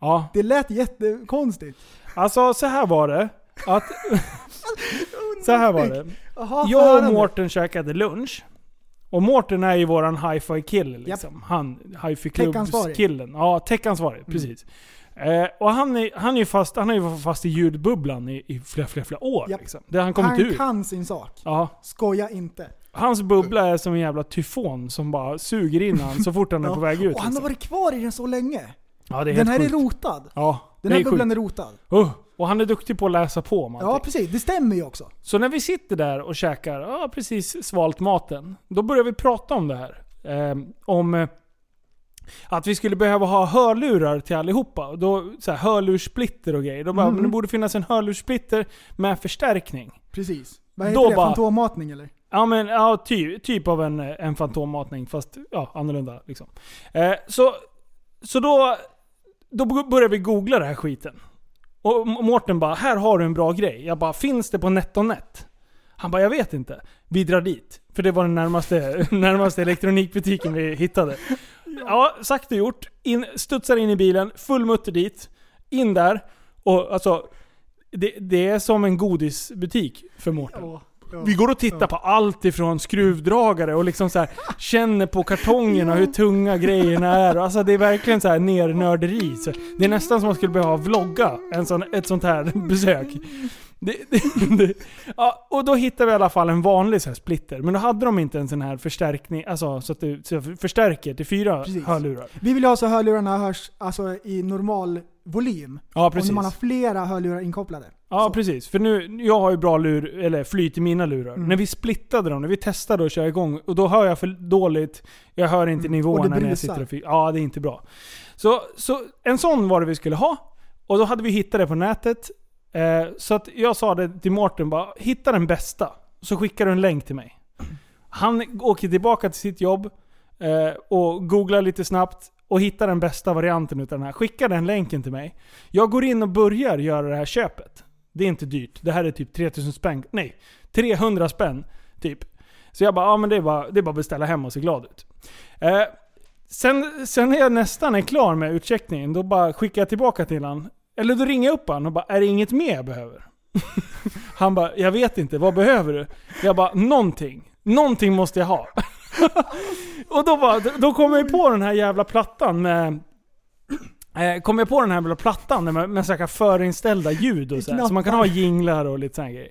Ja, Det lät jättekonstigt. alltså så här var det. Att, så här var det. Jaha, Jag och fan. Mårten käkade lunch. Och Mårten är ju våran hi-fi kille liksom. Han, hi-fi Tech-ansvarig. klubbs-killen. Ja, tech-ansvarig. Mm. Precis. Eh, och han, är, han, är ju fast, han har ju varit fast i ljudbubblan i, i flera, flera, flera år. Japp. Liksom. Det har han kommit Han ut. kan sin sak. Ja, Skoja inte. hans bubbla är som en jävla tyfon som bara suger in han så fort han är på väg ut. Och han har liksom. varit kvar i den så länge. ja, det är Den helt här är sjukt. rotad. Ja, Den här det är bubblan sjukt. är rotad. Oh, och han är duktig på att läsa på om allting. Ja, precis. Det stämmer ju också. Så när vi sitter där och käkar, ja precis svalt maten. Då börjar vi prata om det här. Eh, om eh, att vi skulle behöva ha hörlurar till allihopa. Och Då, så här, hörlurssplitter och grejer. Då Mm. bara, men det borde finnas en hörlurssplitter med förstärkning. Precis. Vad heter Då det? bara- Fantommatning eller? Ja men ja, ty, typ av en, en fantommatning fast ja, annorlunda liksom. Eh, så så då, då börjar vi googla den här skiten. Och M- Mårten bara, här har du en bra grej. Jag bara, finns det på NetOnNet? Han bara, jag vet inte. Vi drar dit. För det var den närmaste, närmaste elektronikbutiken vi hittade. Ja, sagt och gjort. In, studsar in i bilen, full mutter dit. In där. Och alltså, det, det är som en godisbutik för Mårten. Vi går och tittar på allt ifrån skruvdragare och liksom så här, känner på kartongerna hur tunga grejerna är. Alltså det är verkligen så här nernörderi. Så det är nästan som man skulle behöva vlogga en sån, ett sånt här besök. Det, det, det. Ja, och då hittade vi i alla fall en vanlig så här splitter. Men då hade de inte en sån här förstärkning, alltså så att det så att förstärker till fyra Precis. hörlurar. Vi vill ju ha så hörlurarna hörs alltså, i normal volym. Ja Och när precis. man har flera hörlurar inkopplade. Ja Så. precis, för nu, jag har ju bra lur, eller flyt i mina lurar. Mm. När vi splittade dem, när vi testade att köra igång, och då hör jag för dåligt, jag hör inte Mm. Och nivåerna det när jag brusar. sitter och fy- Ja, det är inte bra. Så, så en sån var det vi skulle ha, och då hade vi hittat det på nätet. Eh, så att jag sa det till Mårten, bara hitta den bästa. Så skickar du en länk till mig. Han åker tillbaka till sitt jobb, eh, och googlar lite snabbt och hittar den bästa varianten utav den här. Skickar den länken till mig. Jag går in och börjar göra det här köpet. Det är inte dyrt. Det här är typ 3000 spänn. Nej, 300 spänn typ. Så jag bara, ja men det är bara, det är bara att beställa hem och se glad ut. Eh, sen, sen när jag nästan är klar med utcheckningen, då bara skickar jag tillbaka till han. Eller då ringer jag upp han och bara, är det inget mer jag behöver? han bara, jag vet inte, vad behöver du? Jag bara, någonting. Någonting måste jag ha. och då, bara, då kom jag ju på den här jävla plattan med Eh, Kom jag på den här jävla plattan där man- med sådana förinställda ljud och så, här, så man kan ha jinglar och lite sådana grejer.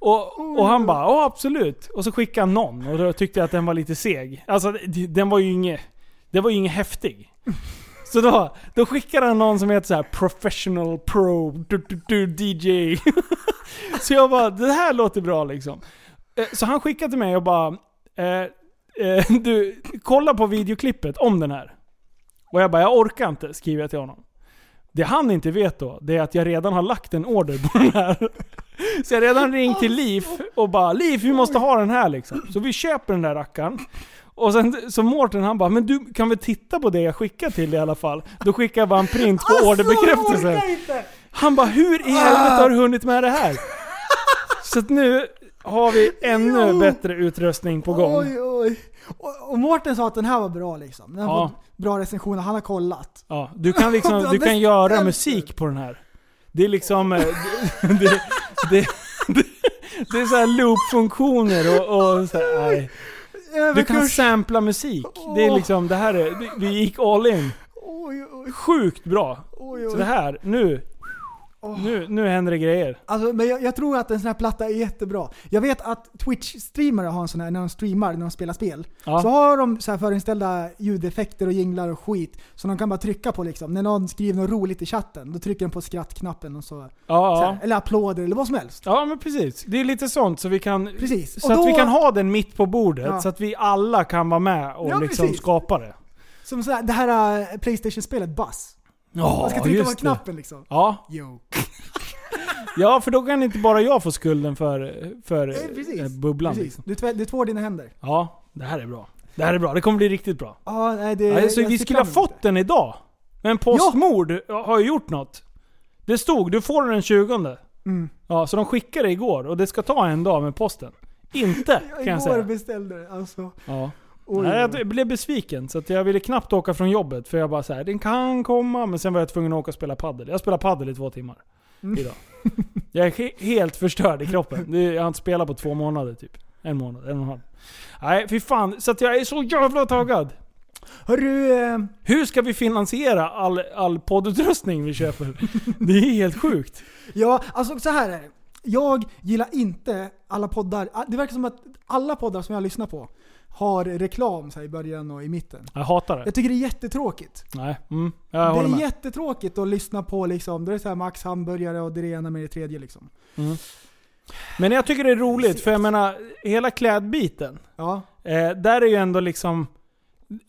Och, och han bara ja absolut. Och så skickade han någon och då tyckte jag att den var lite seg. Alltså d- den var ju inget, den var ju inget häftig. Så då, då skickade han någon som heter så här professional pro du, du, du, DJ. så jag bara det här låter bra liksom. Eh, Så han skickade till mig och bara eh, eh, du kolla på videoklippet om den här. Och jag bara, jag orkar inte, skriver jag till honom. Det han inte vet då, det är att jag redan har lagt en order på den här. Så jag har redan ringt till Liv och bara Liv, vi måste ha den här liksom. Så vi köper den där rackaren. Och sen så Mårten han bara, men du kan väl titta på det jag skickar till dig i alla fall? Då skickar jag bara en print på Alltså, orderbekräftelsen. Han bara, hur i helvete har du hunnit med det här? Så att nu har vi ännu bättre utrustning på gång. Oj, oj. Och, och Mårten sa att den här var bra liksom. Den har Ja. fått bra recensioner, han har kollat. Ja, du kan liksom, Ja, du det kan göra stämmer. musik på den här. Det är liksom, eh, det, det, det, det, det är så här loop-funktioner och, och så här, nej. Du kan Överkurs. sampla musik. Det är liksom, det här är, det- vi gick all in. Oj, oj, Sjukt bra. oj, oj. Så det här, nu, nu, nu händer det grejer. Alltså, men jag, jag tror att en sån här platta är jättebra. Jag vet att Twitch-streamare har en sån här när de streamar, när de spelar spel. Ja. Så har de så här förinställda ljudeffekter och jinglar och skit som de kan bara trycka på liksom. När någon skriver något roligt i chatten, då trycker de på skrattknappen och så. så Ja, här, ja. eller applåder eller vad som helst. ja men precis. Det är lite sånt så vi kan, Precis. så Och att vi då- kan ha den mitt på bordet. Ja. Så att vi alla kan vara med och Ja, liksom precis. skapa det. Som så här, det här eh, Playstation-spelet Buzz. Ja, Man ska trycka på just det. knappen liksom. Ja, Yo. Ja, för då kan inte bara jag få skulden för, för Eh, precis. eh, bubblan. Precis. Liksom. Du, tvär, du tvår dina händer. Ja, det här är bra. Det här är bra. Det kommer bli riktigt bra. Ja, nej, det, Ja, så Eh, jag vi ser skulle ha fram emot fått den idag. Men Postmord har ju gjort något. Det stod, du får den den 20. Mm. Ja, så de skickade igår och det ska ta en dag med posten. Inte, det. kan Jag jag igår säga. beställde det. Alltså, Ja. oj. Nej, jag blev besviken, så att jag ville knappt åka från jobbet. För jag bara så här, den kan komma, men sen var jag tvungen att åka och spela paddel. Jag spelade paddel i två timmar Mm. idag. Jag är he- helt förstörd i kroppen. Det- Jag har inte spelat på två månader typ. En månad, en och en halv. Nej, fy fan. Så att jag är så jävla taggad. Hörru, eh, Hur ska vi finansiera all, all poddutrustning vi köper? Det är helt sjukt. Ja, alltså så här är det. Jag gillar inte alla poddar. Ah, Det verkar som att alla poddar som jag lyssnar på har reklam så här, i början och i mitten. Jag hatar det. Jag tycker det är jättetråkigt. Nej, mm, jag det håller är med. jättetråkigt att lyssna på liksom, det är så här Max hamburgare och det är det ena med det tredje liksom. Men jag tycker det är roligt, för jag menar, hela klädbiten. Ja, Eh, där är ju ändå liksom...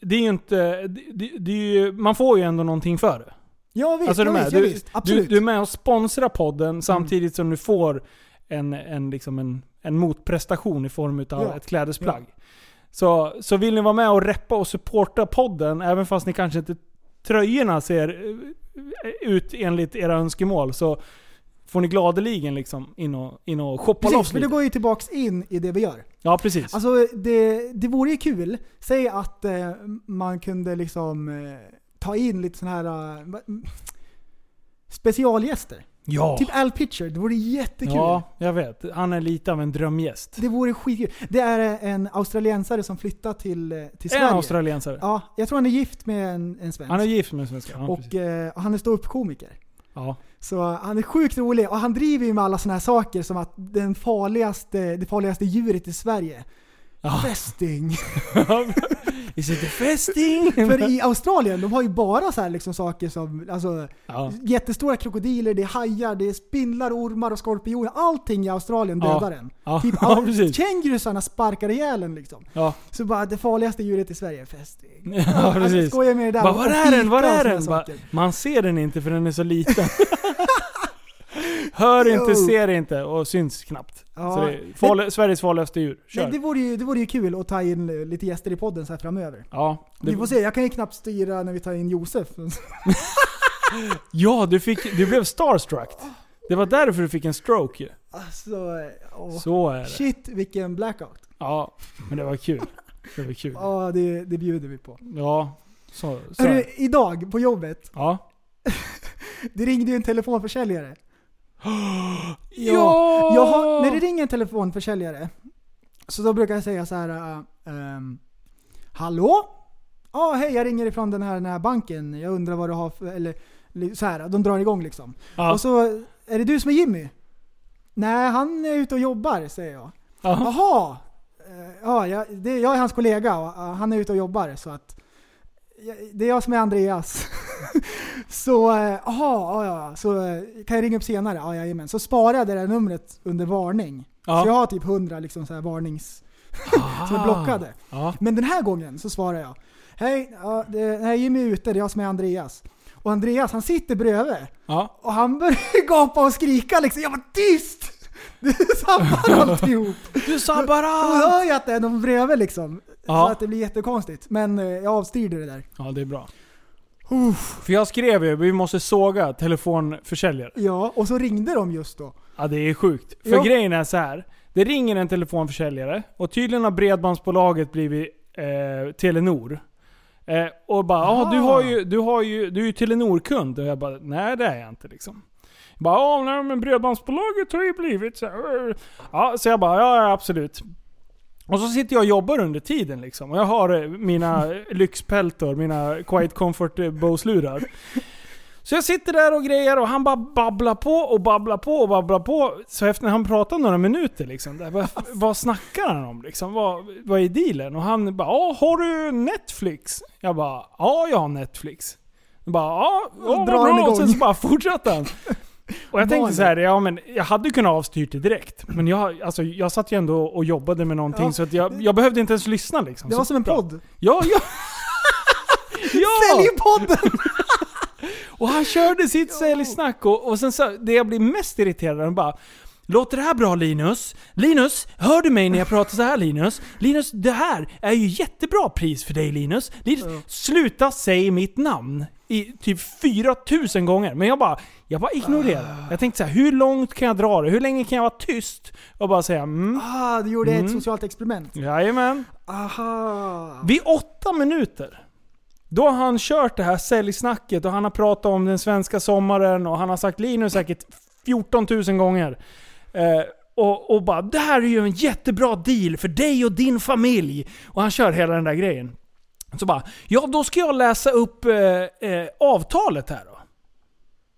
Det är ju inte... Det, det, det är ju, man får ju ändå någonting för det. ja visst, Alltså, du, ja, är med, visst, ja, du, visst. du, Absolut. Mm. du är med och sponsrar podden samtidigt som du får en, en, liksom en, en motprestation i form av Ja. ett klädesplagg. Så, så vill ni vara med och reppa och supporta podden, även fast ni kanske inte tröjorna ser eh, ut enligt era önskemål, så får ni gladeligen liksom in och, in och shoppa Precis, loss men det lite. går ju tillbaks in i det vi gör. Ja, precis. Alltså det, det vore ju kul, säg att eh, man kunde liksom eh, ta in lite sådana här eh, va- specialgäster. ja. Typ Al Pitcher, det vore jättekul. Ja, jag vet. Han är lite av en drömgäst. Det vore skitkul. Det är en australiensare som flyttar till, eh, till Sverige. En australiensare. Ja, jag tror han är gift med en, en svensk. Han är gift med en svenska. Ja, och precis. eh, han är ståuppkomiker. ja. Så eh, han är sjukt rolig och han driver ju med alla sådana här saker som att den farligaste, det farligaste djuret i Sverige, Ja. fästing. Is it the festing? För i Australien, de har ju bara så här liksom saker som, alltså ja. jättestora krokodiler, det är hajar, det är spindlar, ormar och skorpioner. Allting i Australien Ja. dödar en. Ja. Typ Ja, precis. kängurusarna sparkar ihjäl en liksom. Ja. Så bara det farligaste djuret i Sverige är fästing. ja, Alltså, precis. skoja med det där. Bara, var är den? Var Och är såna den? Bara, saker. man ser den inte för den är så liten. Hör inte, Jo. ser inte och syns knappt. Ja. Så det är farlig, Sveriges farligaste djur. Kör. Nej, det, vore ju, det vore ju kul att ta in eh, lite gäster i podden så här framöver. ja, det- Vi får se, jag kan ju knappt styra när vi tar in Josef. ja du, fick, du blev starstruck. Det var därför du fick en stroke ju. Alltså, åh. Så är det. Shit vilken blackout. Ja, men det var kul. Det var kul. Ja, det, det bjuder vi på. Ja, så, så är Hörru, det. idag på jobbet, Ja. det ringde ju en telefonförsäljare. Ja! Jag har, när det ringer en telefonförsäljare, så då brukar jag säga så här. eh, ehm, äh, Hallå? Ja, hej jag ringer ifrån den här, den här banken. Jag undrar vad du har för... Eller li- så här, de drar igång liksom. Ja. Och så, är det du som är Jimmy? Nej, han är ute och jobbar, säger jag. Ja. Jaha! Eh, Ja, jag, det, jag är hans kollega och eh, han är ute och jobbar så att... jag- Det är jag som är Andreas. så, eh, jaha, ja, ja, så eh, kan jag ringa upp senare? Ja, jajamän. Så sparar jag det där numret under varning. Ja. Så jag har typ 100 liksom så här varnings... som är blockade. Ja. Men den här gången så svarar jag. Hej, ja, det, nej, Jimmy är ute, det är jag som är Andreas. Och Andreas han sitter bredvid Ja. och han börjar gapa och skrika liksom. Jag var tyst! Du sabbar alltihop! Du sabbar Då allt! hör jag att det är någon bredvid liksom. Ja. Så att det blir jättekonstigt. Men eh, jag avstyrde det där. Ja, det är bra. För jag skrev ju, vi måste såga telefonförsäljare. Ja, och så ringde de just då. Ja, det är sjukt. För Ja. grejen är så här. Det ringer en telefonförsäljare och tydligen har bredbandsbolaget blivit eh, Telenor. Eh, och bara ah. du, har ju, du, har ju, du är ju Telenor-kund. Och jag bara nej det är jag inte liksom. Jag bara ah, nej men bredbandsbolaget har ju blivit så här. Ja, så jag bara ja, ja absolut. Och så sitter jag och jobbar under tiden liksom. Och jag har eh, mina lyxpeltor, mina Quiet Comfort eh, Bose-lurar. Så jag sitter där och grejer och han bara babblar på och babblar på och babblar på. Så efter när han pratar några minuter liksom, där, vad, vad snackar han om liksom? Vad, vad är dealen? Och han bara ja, har du Netflix? Jag bara ja, jag har Netflix. Jag bara ja, ja vad drar han bra. igång. Och sen så bara fortsatte han. Och jag tänkte Vanligt. så här, ja men jag hade kunnat avstyrt det direkt. Men jag, alltså, jag satt ju ändå och jobbade med någonting Ja. så att jag, jag behövde inte ens lyssna liksom. Det Så var som en bra. podd. Ja, ja! ja! Säljpodden! Och han körde sitt säljsnack och, och sen så, det jag blir mest irriterad han bara Låter det här bra Linus? Linus, hör du mig när jag pratar så här Linus? Linus, det här är ju jättebra pris för dig Linus. Linus Sluta säg mitt namn i typ 4000 gånger. Men jag bara, jag bara ignorerar. Jag tänkte så här, hur långt kan jag dra det? Hur länge kan jag vara tyst? Och bara säga mm, Ah, du gjorde ett socialt experiment. jajamän. Aha. Vid åtta minuter, då har han kört det här säljsnacket och han har pratat om den svenska sommaren och han har sagt Linus säkert 14 000 gånger. Eh, och, och bara “Det här är ju en jättebra deal för dig och din familj”. Och han kör hela den där grejen. Så bara “Ja, då ska jag läsa upp eh, eh, avtalet här då”.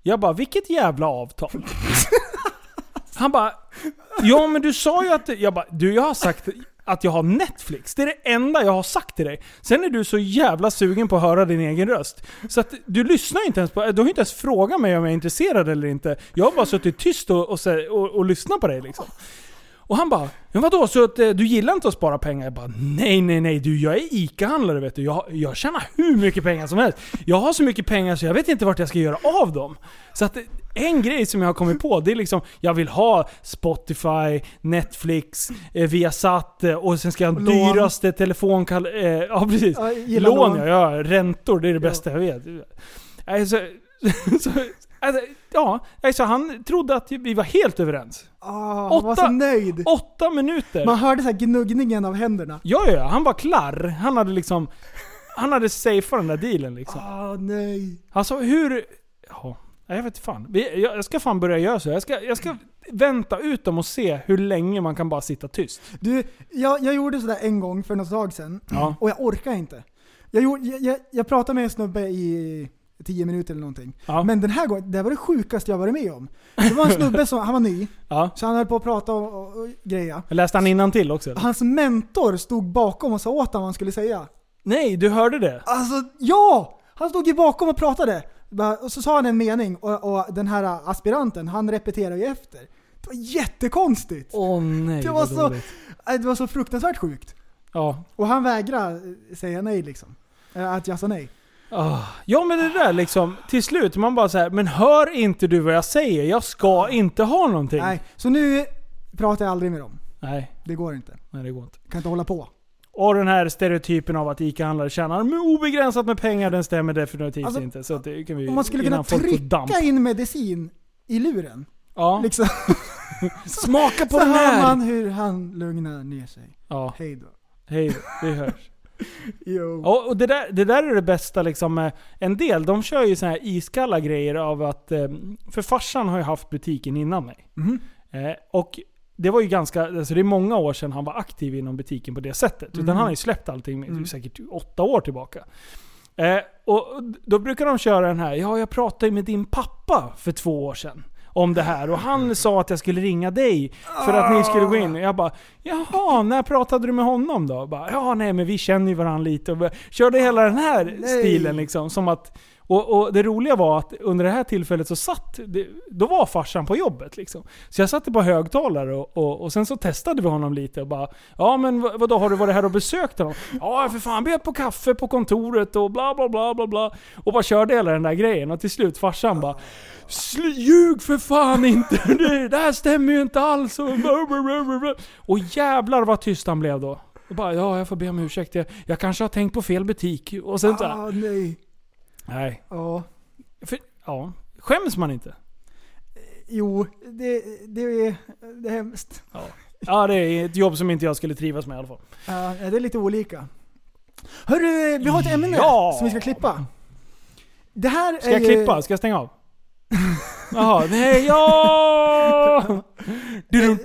Jag bara “Vilket jävla avtal?” Han bara “Ja men du sa ju att...” Jag bara “Du, jag har sagt att jag har Netflix. Det är det enda jag har sagt till dig. Sen är du så jävla sugen på att höra din egen röst. Så att du lyssnar inte ens på... Du har inte ens frågat mig om jag är intresserad eller inte. Jag har bara suttit tyst och, och, sä- och, och lyssnat på dig liksom. Och han bara “Men vadå, så att, eh, du gillar inte att spara pengar?” Jag bara “Nej, nej, nej du, jag är ICA-handlare vet du. Jag, jag tjänar hur mycket pengar som helst. Jag har så mycket pengar så jag vet inte vart jag ska göra av dem.” Så att eh, en grej som jag har kommit på, det är liksom jag vill ha Spotify, Netflix, eh, Viasat eh, och sen ska jag ha den Lån. dyraste telefonkal... Eh, ja precis. Ja, gillar lån lån. ja, ja, räntor det är det bästa jag vet. Alltså, så, alltså, ja, alltså, han trodde att vi var helt överens. Ah, han var Åtta- så nöjd. Åtta minuter. Man hörde så här gnuggningen av händerna. Ja, ja, ja, han var klar. Han hade liksom... Han hade safeat den där dealen liksom. Ah, nej. Alltså hur... Ja, nej, jag vet fan. Vi- Jag jag ska fan börja göra så. Jag ska, jag ska vänta ut dem och se hur länge man kan bara sitta tyst. Du, jag, jag gjorde sådär en gång för något tag sedan. Ja. Och jag orkar inte. Jag, gjorde, jag, jag, jag pratade med en snubbe i 10 minuter eller någonting. Ja. Men den här gången, det här var det sjukaste jag varit med om. Det var en snubbe som, han var ny, Ja. så han höll på att prata och, och, och greja. Läste han innan till också? eller? Hans mentor stod bakom och sa åt honom vad han skulle säga. Nej, du hörde det? Alltså, ja! Han stod ju bakom och pratade. Bara- Och så sa han en mening och, och den här aspiranten, han repeterade ju efter. Det var jättekonstigt. Åh nej, det, var vad så, dåligt. Nej, det var så fruktansvärt sjukt. Ja. Och han vägrade eh, säga nej liksom. Eh, Att jag sa nej. Ah. ja men det där liksom, till slut man bara så här, men hör inte du vad jag säger? Jag ska inte ha någonting. Nej, så nu pratar jag aldrig med dem. Nej, Det går inte. nej det går inte. Kan inte hålla på. Och den här stereotypen av att ICA-handlare tjänar med obegränsat med pengar, den stämmer definitivt Alltså, inte. Så att det kan vi Om man skulle innan kunna folk får trycka in medicin i luren. Ja. Liksom. Smaka på Så den hör här! man hur han lugnar ner sig. Ja, Hej då. hej, det hörs. Jo. Och, och det, där, det där är det bästa liksom. eh, En del, de kör ju såna här iskalla grejer av att... eh, För farsan har ju haft butiken innan mig. Eh, Och det var ju ganska, alltså det är många år sedan han var aktiv inom butiken på det sättet. Utan Mm. han har ju släppt allting med Mm. säkert åtta år tillbaka. Eh, och då brukar de köra den här, ja jag pratade ju med din pappa för två år sedan. Om det här och Mm. han sa att jag skulle ringa dig för att Ah. ni skulle gå in. Jag bara, jaha, när pratade du med honom då? Bara, ja nej men vi känner ju varandra lite. Och bara, körde hela den här Nej. stilen liksom. Som att, och, och det roliga var att under det här tillfället så satt, det, då var farsan på jobbet liksom. Så jag satte på högtalare och, och, och sen så testade vi honom lite och bara Ja men vad- vadå, har du varit här och besökt honom? Ja för fan, bjöd på kaffe på kontoret och bla bla bla bla bla. Och bara körde hela den där grejen och till slut farsan bara "Sl- Ljug för fan inte! Det, det här stämmer ju inte alls! Och, bla, bla, bla, bla, bla. och jävlar vad tyst han blev då. Och bara, ja jag får be om ursäkt, jag, jag kanske har tänkt på fel butik. Och sen så här, ah, nej. Nej. Ja. För, ja. Skäms man inte? Jo, det, det, är, det är hemskt. Ja. ja, det är ett jobb som inte jag skulle trivas med i alla fall. Ja, det är lite olika. Hörru, vi har ett ämne Ja. som vi ska klippa. Det här Ska är jag ju- klippa? Ska jag stänga av? Jaha, nej, ja! Du,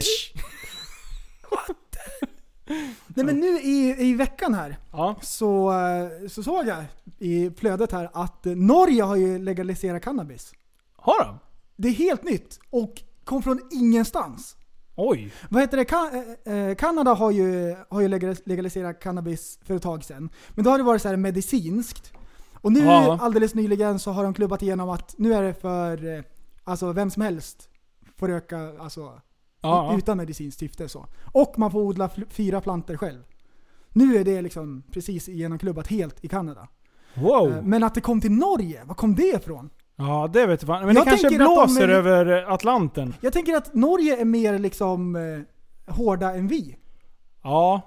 Nej men nu i, i veckan här så, eh, så såg jag i flödet här att eh, Norge har ju legaliserat cannabis. Har de? Det är helt nytt och kom från ingenstans. Oj. Vad heter det? Ka- eh, eh, Kanada har ju, har ju legalis- legaliserat cannabis för ett tag sedan. Men då har det varit så här medicinskt. Och nu Ja. alldeles nyligen så har de klubbat igenom att nu är det för eh, alltså vem som helst får röka alltså, Ja. u- utan medicinskt syfte. Så. Och man får odla fl- fyra planter själv. Nu är det liksom precis genomklubbat helt i Kanada. Eh, Wow. Men att det kom till Norge, var kom det ifrån? Ja, det vet jag fan. Men Jag det kanske tänker att de blåser är- över Atlanten. Jag tänker att Norge är mer liksom eh, hårda än vi. Ja.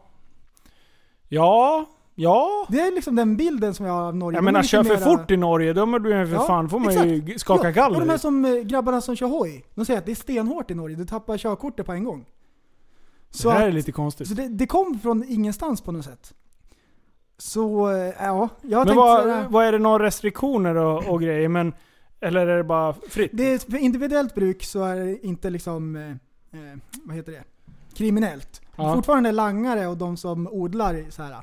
Ja. Ja. Det är liksom den bilden som jag har av Norge. Jag De är menar, lite kör för mera- fort i Norge, då är du ju för Ja, fan, får man exakt. ju skaka ja, galler. Och de här som, eh, grabbarna som kör hoj, de säger att det är stenhårt i Norge. Du tappar körkortet på en gång. det här att- är lite konstigt. Så det, det kom från ingenstans på något sätt. Så eh, ja, jag har men tänkt vad, sådär, vad är det några restriktioner och, och grejer? Men, eller är det bara fritt? det är för individuellt bruk så är det inte liksom, eh, eh, vad heter det, kriminellt. Men Ja. Fortfarande langare och de som odlar så här,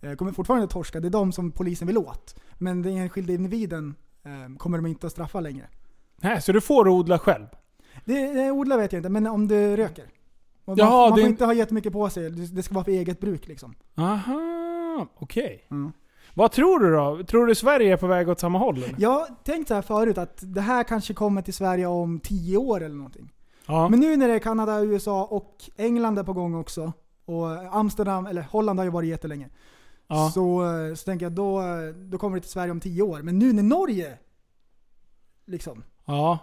eh, kommer fortfarande torska. Det är de som polisen vill åt. Men den enskilda individen eh, kommer de inte att straffa längre. Nej, så du får odla själv? Det, det odlar vet jag inte, men om du röker. Och Jaha, man man det- får inte ha jättemycket på sig. Det det ska vara för eget bruk liksom. Aha, okej. Mm. Vad tror du då? Tror du Sverige är på väg åt samma håll? Eller? Jag har tänkt så här förut att det här kanske kommer till Sverige om 10 år eller någonting. Ja. Men nu när det är Kanada, USA och England är på gång också. Och Amsterdam, eller Holland har ju varit jättelänge. Ja. Så, eh, så tänker jag då, eh, då kommer det till Sverige om 10 år. Men nu när Norge liksom Ja.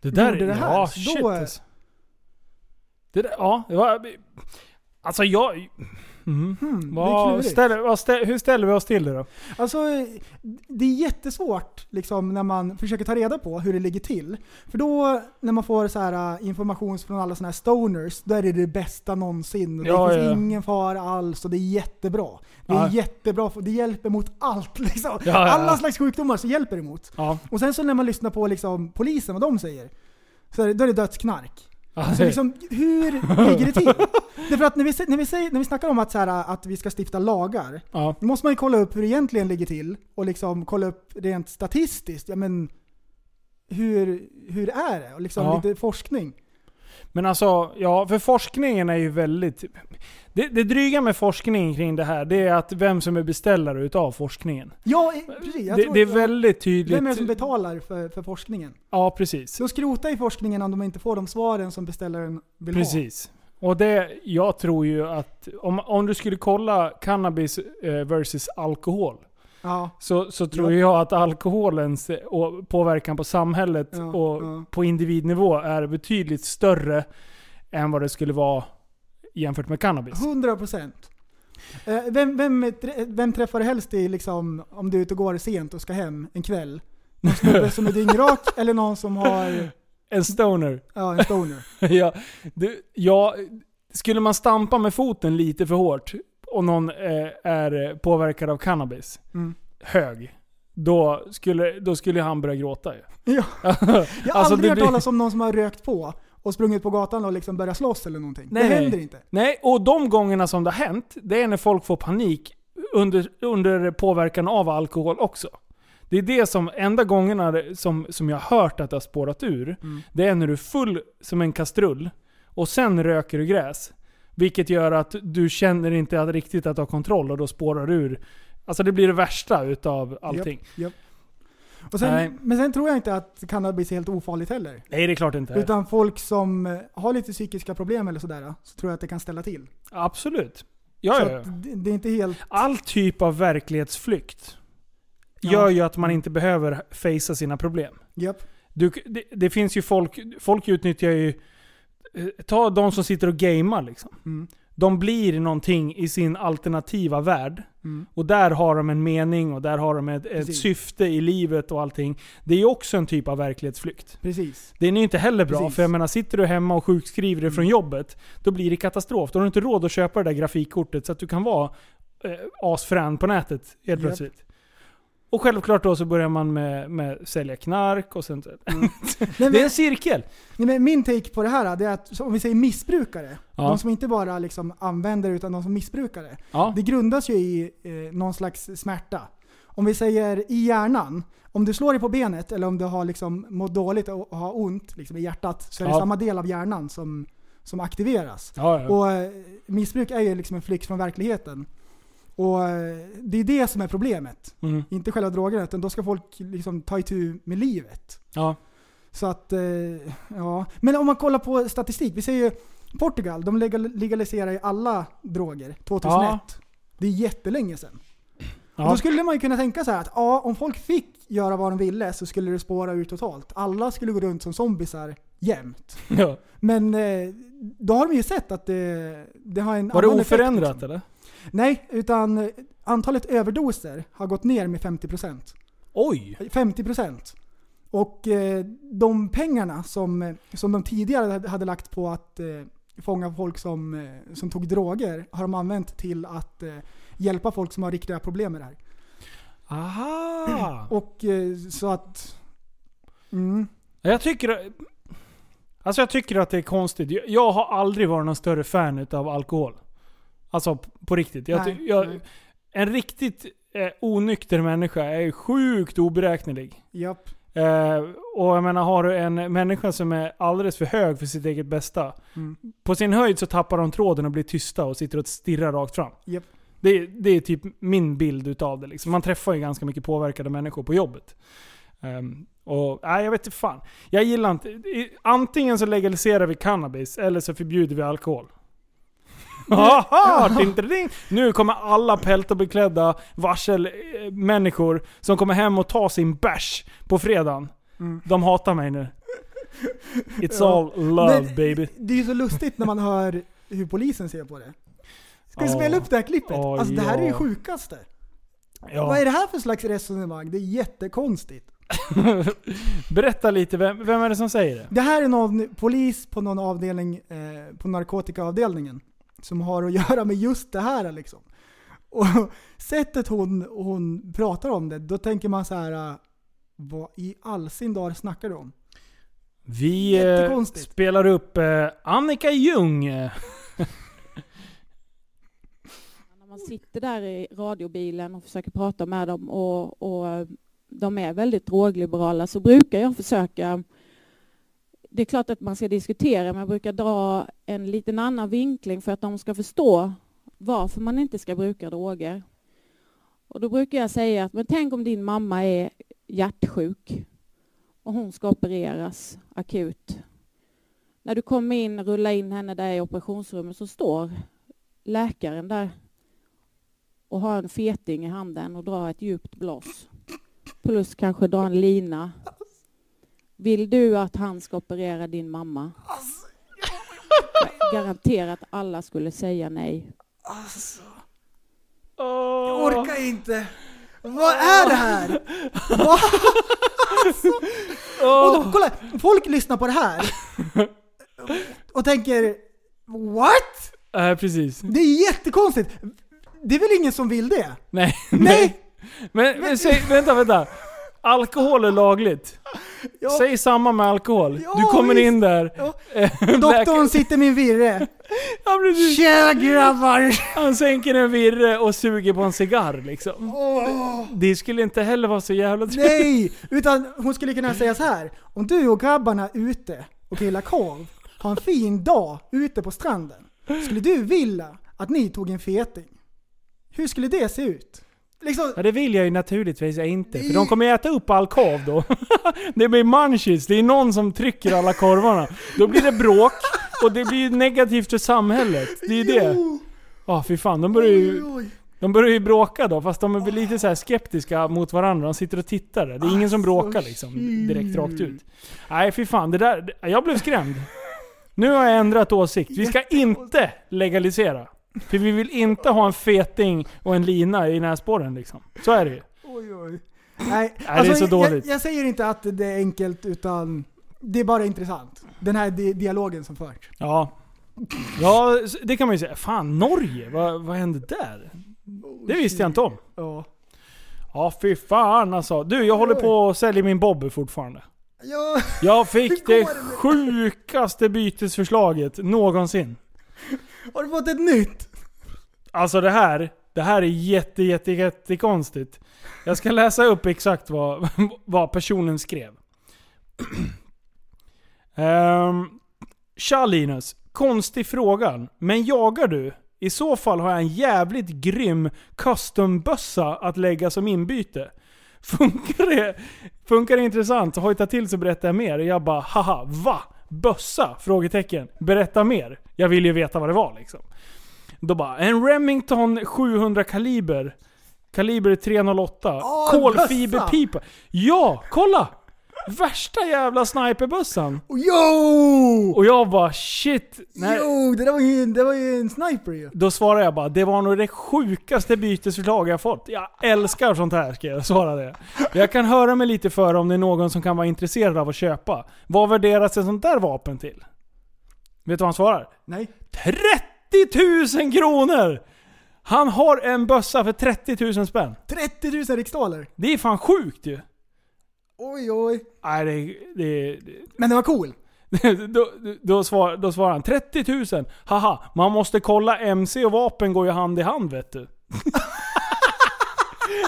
Det där gjorde det här. Ja, så shit. då, alltså. Det där, ja, det var... Alltså jag... Mm. Hmm, det är Vad, klurigt. ställer, vad ställer, hur ställer vi oss till det då? Alltså, det är jättesvårt liksom, när man försöker ta reda på hur det ligger till. För då, när man får så här, äh, information från alla sådana här stoners, då är det det bästa någonsin. Och Ja, det finns ja. ingen fara alls och det är jättebra. Det är Ja. jättebra, för det hjälper mot allt. Liksom. Ja, ja, ja. Alla slags sjukdomar så hjälper det mot. Ja. Och sen så när man lyssnar på liksom, polisen, vad de säger, så är det, då är det dödsknark. Ja, Så det- liksom, hur ligger det till? Därför att när vi, sä- när vi, säger, när vi snackar om att, så här, att vi ska stifta lagar, Ja. då måste man ju kolla upp hur det egentligen ligger till och liksom kolla upp rent statistiskt. Ja, men hur, hur är det? Och liksom Ja. lite forskning. Men alltså, ja, för forskningen är ju väldigt... Det, det dryga med forskning kring det här, det är att vem som är beställare utav forskningen. Ja, eh, precis. Jag Det, tror- det är ja. väldigt tydligt. Vem är det som betalar för, för forskningen? Ja, precis. Så skrota i forskningen om de inte får de svaren som beställaren vill ha. Precis. Och det, jag tror ju att om, om du skulle kolla cannabis eh, versus alkohol. Ja. Så, så tror jag att alkoholens eh, å- påverkan på samhället och på individnivå är betydligt större än vad det skulle vara jämfört med cannabis. 100 procent. Eh, Vem, vem, trä- vem träffar du helst i, liksom, om du är ute och går sent och ska hem en kväll? Någon snubbe som är dyngrak eller någon som har... En stoner. Ja, en stoner. ja, du, ja, skulle man stampa med foten lite för hårt och någon eh, är eh, påverkad av cannabis, Mm. hög, då skulle, då skulle han börja gråta ju. Alltså, Ja. Jag har aldrig hört talas om någon som har rökt på och sprungit på gatan och liksom börjat slåss eller någonting. det händer inte. Nej, och de gångerna som det har hänt, det är när folk får panik under, under påverkan av alkohol också. Det är det som, enda gångerna det- som, som jag har hört att det har spårat ur, det är när du är full som en kastrull och sen röker du gräs. Vilket gör att du känner inte att riktigt att du har kontroll och då spårar du ur. Alltså det blir det värsta utav allting. Japp, japp. Och sen, Nej. Men sen tror jag inte att cannabis är helt ofarligt heller. Nej, det är klart inte. Utan folk som eh, har lite psykiska problem eller sådär, så tror jag att det kan ställa till. Absolut. Ja, så ja, ja. att det- det är inte helt... All typ av verklighetsflykt Ja. gör ju att man inte behöver facea sina problem. Japp. Du, det, det finns ju folk, folk utnyttjar ju, eh, ta de som sitter och gamear liksom. Mm. De blir någonting i sin alternativa värld. Mm. Och där har de en mening och där har de ett, ett Precis. syfte i livet och allting. Det är ju också en typ av verklighetsflykt. Precis. Den är ju inte heller bra, Precis. Mm. för jag menar sitter du hemma och sjukskriver dig från jobbet, då blir det katastrof. Då har du inte råd att köpa det där grafikkortet så att du kan vara eh, asfrän på nätet Japp. helt plötsligt. Och självklart då så börjar man med, med sälja knark och sånt. Nej, Det är men, en cirkel. nej, men min take på det här det är att, så om vi säger missbrukare, Ja. de som inte bara liksom använder utan de som missbrukar det. Ja. Det grundas ju i eh, någon slags smärta. Om vi säger i hjärnan, om du slår dig på benet eller om du har liksom mått dåligt och och har ont liksom, i hjärtat så är det Ja. samma del av hjärnan som, som aktiveras. Ja, ja. Och eh, missbruk är ju liksom en flykt från verkligheten. Och eh, det är det som är problemet. Mm. Inte själva drogerna, utan då ska folk liksom ta itu med livet. Ja. Så att, eh, ja. Men om man kollar på statistik. Vi ser ju Portugal, de legal- legaliserar ju alla droger 2001. Det är jättelänge sedan. Ja. Och Då skulle man ju kunna tänka så här att ja, om folk fick göra vad de ville så skulle det spåra ur totalt. Alla skulle gå runt som zombisar jämt. Ja. Men eh, då har de ju sett att det, det har en Var det annan effekt, oförändrat liksom. eller? Nej, utan eh, antalet överdoser har gått ner med 50%. Oj! 50%. Och eh, de pengarna som, eh, som de tidigare hade lagt på att eh, fånga folk som, eh, som tog droger har de använt till att eh, hjälpa folk som har riktiga problem med det här. Aha! Och eh, så att... Mm, Jag tycker... Alltså jag tycker att det är konstigt. Jag, jag har aldrig varit någon större fan av alkohol. Alltså p- på riktigt. Jag, ty- Nej, jag, nej. en riktigt eh, onykter människa är sjukt oberäknelig. japp. Eh, och jag menar, har du en människa som är alldeles för hög för sitt eget bästa. Mm. På sin höjd så tappar de tråden och blir tysta och sitter och stirrar rakt fram. Japp. Det, det är typ min bild utav det. Liksom. Man träffar ju ganska mycket påverkade människor på jobbet. Ehm, och, nej, jag vet inte fan. Jag gillar inte... i- Antingen så legaliserar vi cannabis eller så förbjuder vi alkohol. Aha, ding, ding, ding. Nu kommer alla peltobeklädda varselmänniskor eh, som kommer hem och tar sin bärs på fredagen. De hatar mig nu. It's Mm. Ja. all love Men- baby. Det är ju så lustigt när man hör hur polisen ser på det. Ska vi Ja. spela upp det här klippet? Ja, alltså det här är det ja. sjukaste. Vad Ja. är det här för slags resonemang? Det är jättekonstigt. Berätta lite, vem, vem är det som säger det? Det här är någon polis på någon avdelning, eh, på narkotikaavdelningen, som har att göra med just det här liksom. Och sättet hon, hon pratar om det, då tänker man så här. eh, Vad i all sin dar snackar du om? Vi eh, Jättekonstigt. spelar upp eh, Annika Ljung. eh, När man sitter där i radiobilen och försöker prata med dem och, och de är väldigt drogliberala så brukar jag försöka... Det är klart att man ska diskutera men jag brukar dra en liten annan vinkling för att de ska förstå varför man inte ska bruka droger. Och då brukar jag säga att men tänk om din mamma är hjärtsjuk och hon ska opereras akut. När du kommer in, rulla in henne där i operationsrummet så står läkaren där och har en feting i handen och drar ett djupt blås. Plus kanske dra en lina. Vill du att han ska operera din mamma? Garanterat alla skulle säga nej. Jag orkar inte! Vad är det här? Vad? Och då, kolla, folk lyssnar på det här och tänker What? Eh, precis. Det är jättekonstigt! Det är väl ingen som vill det? Nej. Nej! Men, men säg, vänta, vänta. Alkohol är lagligt. Säg samma med alkohol. du kommer visst. in där. Doktorn sitter med en virre. Tjena grabbar! Han sänker en virre och suger på en cigarr liksom. Åh. Det skulle inte heller vara så jävla trevligt. Nej! Utan hon skulle kunna säga så här. Om du och grabbarna är ute och grillar korv, ha en fin dag ute på stranden. Skulle du vilja att ni tog en feting? Hur skulle det se ut? Liksom, Ja det vill jag ju naturligtvis inte, för de kommer ju äta upp all korv då. Det blir munchies, det är någon som trycker alla korvarna. Då blir det bråk, och det blir ju negativt för samhället. Det är ju det. Ja fy fan, de börjar ju... De börjar ju bråka då, fast de är väl lite så här skeptiska mot varandra. De sitter och tittar. där. Det är ingen som bråkar liksom, direkt rakt ut. Nej fy fan, det där... Jag blev skrämd. Nu har jag ändrat åsikt. Vi ska inte legalisera. För vi vill inte ha en feting och en lina i näsborren liksom. Så är det ju. oj, oj. Nej, alltså, det är så dåligt. Jag, jag säger inte att det är enkelt, utan det är bara intressant. Den här di- dialogen som förs. Ja. Ja, s- det kan man ju säga. Fan, Norge. Vad, vad hände där? Det visste jag inte om. Ja. Ja, fy fan alltså. Du, jag håller på och säljer min Bobby fortfarande. Ja. Jag fick det går det med- sjukaste bytesförslaget någonsin. Har du fått ett nytt? Alltså det här, det här är jätte, jätte, jätte konstigt. Jag ska läsa upp exakt vad, vad personen skrev. um, Tja Linus, konstig frågan, men jagar du? I så fall har jag en jävligt grym custombössa att lägga som inbyte. Funkar det, funkar det intressant? Hojta till så berättar jag mer. Jag bara haha, va? Bössa? Frågetecken. Berätta mer. Jag vill ju veta vad det var liksom. Då bara, en Remington 700 kaliber. Kaliber 308. kolfiberpipa. Ja, kolla! Värsta jävla sniperbössan. Yo! Och jag bara shit. Nej. Jo, det där var ju, det var ju en sniper ju. Då svarar jag bara, det var nog det sjukaste bytesförslag jag fått. Jag älskar sånt här, ska jag svara det. Jag kan höra mig lite för om det är någon som kan vara intresserad av att köpa. Vad värderas ett sånt där vapen till? Vet du vad han svarar? Nej. 30 000 kronor! Han har en bössa för 30 000 spänn. 30 000 riksdaler. Det är fan sjukt ju. Oj, oj. Nej, det, det, det. Men den var cool. då, då, svar, då svarar han 30 000. Haha, man måste kolla MC och vapen går ju hand i hand vet du.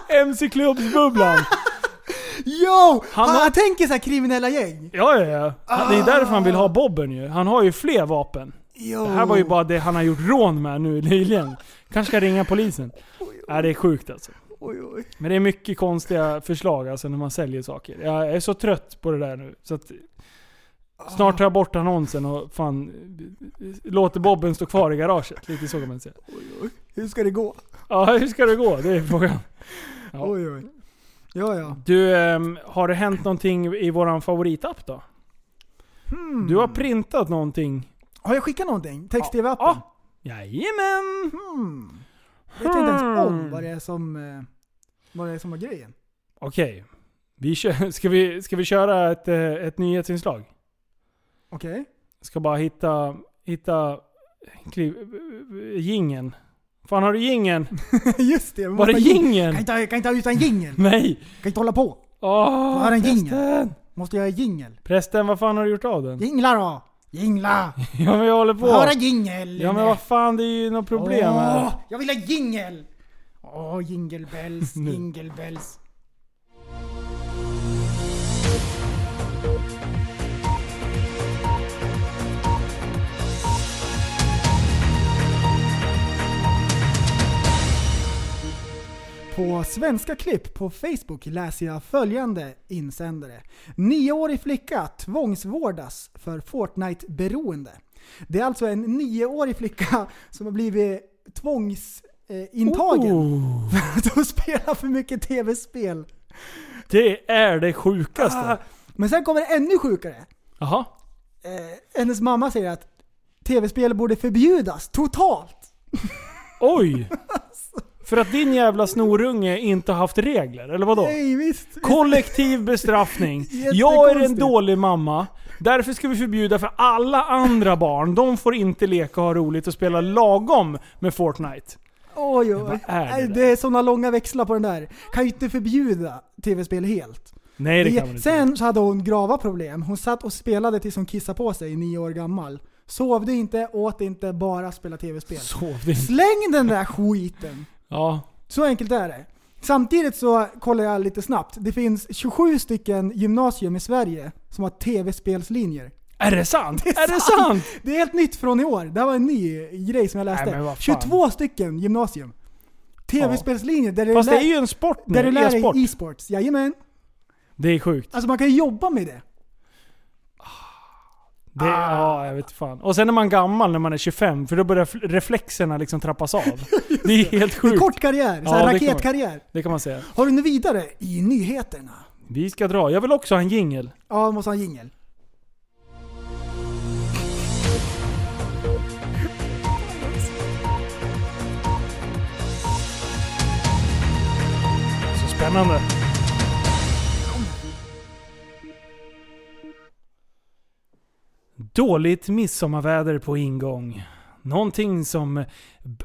MC-klubbsbubblan. Yo! Han, Han han, har- tänker så här kriminella gäng. Ja, ja, ja. Det är därför han vill ha bobben ju. Han har ju fler vapen. Yo. Det här var ju bara det han har gjort rån med nu nyligen. Kanske ska ringa polisen. Nej, det är sjukt alltså. Oj, oj. Men det är mycket konstiga förslag alltså när man säljer saker. Jag är så trött på det där nu. Så att snart tar jag bort annonsen och fan låter bobben stå kvar i garaget. Lite så kan man säga. Hur ska det gå? Ja, hur ska det gå? Det är frågan. Ja. Oj, oj. Ja, ja. Du, ehm, har det hänt någonting i våran favoritapp då? Hmm. Du har printat någonting. Ah! Har jag skickat någonting? Text-tv-appen? Jajamän! Hmm. Jag vet inte ens Hmm. om vad det är som, eh, vad det är som var grejen. Okej. Vi kör, ska, vi, ska vi köra ett, eh, ett nyhetsinslag? Okej? Jag ska bara hitta... Hitta... Kliv, gingen. Fan har du gingen? Just det. vi Var måste ha det jing- jingeln? Kan inte, kan inte ha utan jingeln. Nej! Kan inte hålla på. Åh, Jag har en jingel. prästen! Måste jag ha jingel? Prästen, vad fan har du gjort av den? Jingla då! Jingla! Ja men jag håller på. Höra jingel! Ja men vad fan, det är ju något problem här. Åh, jag vill ha jingel! Åh, jingle bells, Nu. jingle bells. På Svenska klipp på Facebook läser jag följande insändare. Nioårig flicka tvångsvårdas för Fortnite-beroende. Det är alltså en nioårig flicka som har blivit tvångsintagen Oh. för att hon spelar för mycket tv-spel. Det är det sjukaste. Ah, Men sen kommer det ännu sjukare. Jaha? Eh, hennes mamma säger att tv-spel borde förbjudas totalt. Oj! För att din jävla snorunge inte har haft regler, eller vadå? Nej, visst. Kollektiv bestraffning. Jag är en Jättekonstigt. dålig mamma. Därför ska vi förbjuda för alla andra barn. De får inte leka och ha roligt och spela lagom med Fortnite. Oj, oj. Vad är det Nej, där? det är sådana långa växlar på den där. Kan ju inte förbjuda tv-spel helt. Nej, det kan man inte. Sen så hade hon grava problem. Hon satt och spelade tills hon kissade på sig, nio år gammal. Sovde inte, åt inte, bara spelade tv-spel. Sovde inte. Släng den där skiten! Ja. Så enkelt är det. Samtidigt så kollar jag lite snabbt. Det finns 27 stycken gymnasium i Sverige som har tv-spelslinjer. Är det sant? är det sant? Det är helt nytt från i år. Det här var en ny grej som jag läste. Nej, men vad fan. 22 stycken gymnasium. Tv-spelslinjer där du Fast det lär- är ju en sport nu, Där du lär dig e-sport. e-sports. Jajamän. Det är sjukt. Alltså man kan ju jobba med det. Det, Ja, jag vet fan. Och sen är man gammal när man är 25, för då börjar fl- reflexerna liksom trappas av. det är helt sjukt. Kort karriär, så här Ja, det kan man- raketkarriär. Det kan man säga. Har du något vidare i nyheterna? Vi ska dra. Jag vill också ha en jingel. Ja, måste ha en jingel. Så spännande. Dåligt midsommarväder på ingång. Någonting som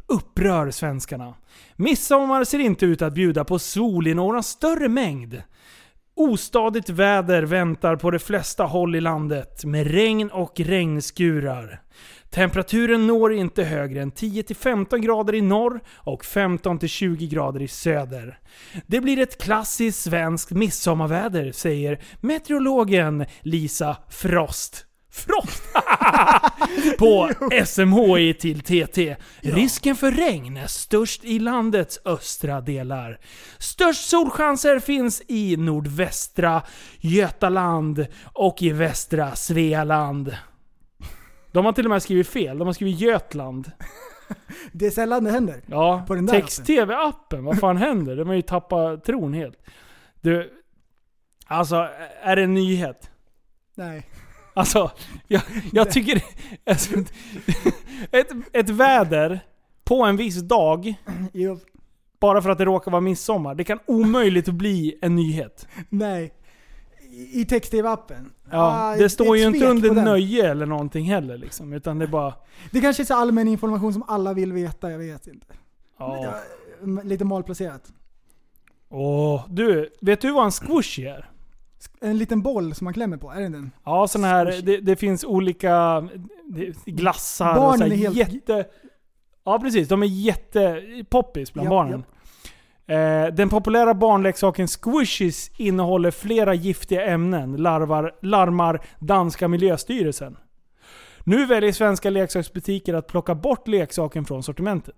upprör svenskarna. Midsommar ser inte ut att bjuda på sol i några större mängd. Ostadigt väder väntar på de flesta håll i landet med regn och regnskurar. Temperaturen når inte högre än 10-15 grader i norr och 15-20 grader i söder. Det blir ett klassiskt svenskt midsommarväder, säger meteorologen Lisa Frost. Frost! på SMHI till TT. Risken för regn är störst i landets östra delar. Störst solchanser finns i nordvästra Götaland och i västra Svealand. De har till och med skrivit fel. De har skrivit Götland. Det är sällan det händer. Ja, På den där text-tv-appen. Vad fan händer? De har ju tappat tron helt. Du, alltså är det en nyhet? Nej. Alltså, jag, jag tycker... Alltså, ett, ett väder på en viss dag, bara för att det råkar vara midsommar, det kan omöjligt bli en nyhet. Nej. I i text-tv-appen. Ja, Ah, det står är ju inte tvek på under den. nöje eller någonting heller liksom, utan det är bara... Det kanske är så allmän information som alla vill veta, jag vet inte. Ja. Men, äh, Lite malplacerat. Åh, du, vet du vad en squishy är? En liten boll som man klämmer på, är det den? Ja, sån här, det, det finns olika det- glassar och Barnen så här, är helt- jätte... Ja precis, de är jättepoppis bland Japp, barnen. Eh, den populära barnleksaken Squishies innehåller flera giftiga ämnen, larvar, larmar danska miljöstyrelsen. Nu väljer svenska leksaksbutiker att plocka bort leksaken från sortimentet.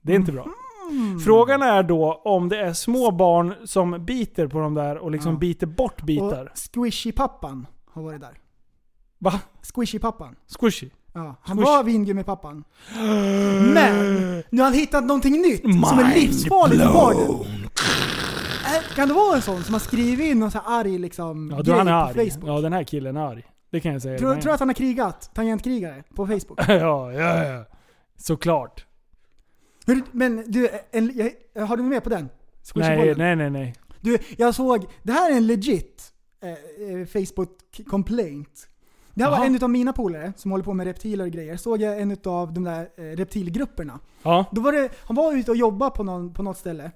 Det är inte bra. Mhm. Frågan är då om det är små barn som biter på de där och liksom Ja. biter bort bitar. Och Squishy-pappan har varit där. Va? Squishy-pappan. Squishy? Ja, han Squish. var vingummipappan. Men nu har han hittat någonting nytt som är Mind livsfarligt för blown. barnen. Äh, Kan det vara en sån som har skrivit in någon så här arg liksom, Ja, du, grej han är på arg. Facebook? Ja, den här killen är arg. Det kan jag säga. Tror Den tror du att han har krigat? Tangentkrigare? På Facebook? här- ja, ja, ja. Såklart. Hur, men du, en, jag, har du med på den? Nej, Squishybollen? nej, nej, nej. Du, jag såg, det här är en legit eh, eh, Facebook complaint. Det här var Jaha. en utav mina polare som håller på med reptiler och grejer. Såg jag en utav de där eh, reptilgrupperna. Ja. Då var det, han var ute och jobbade på, någon, på något ställe.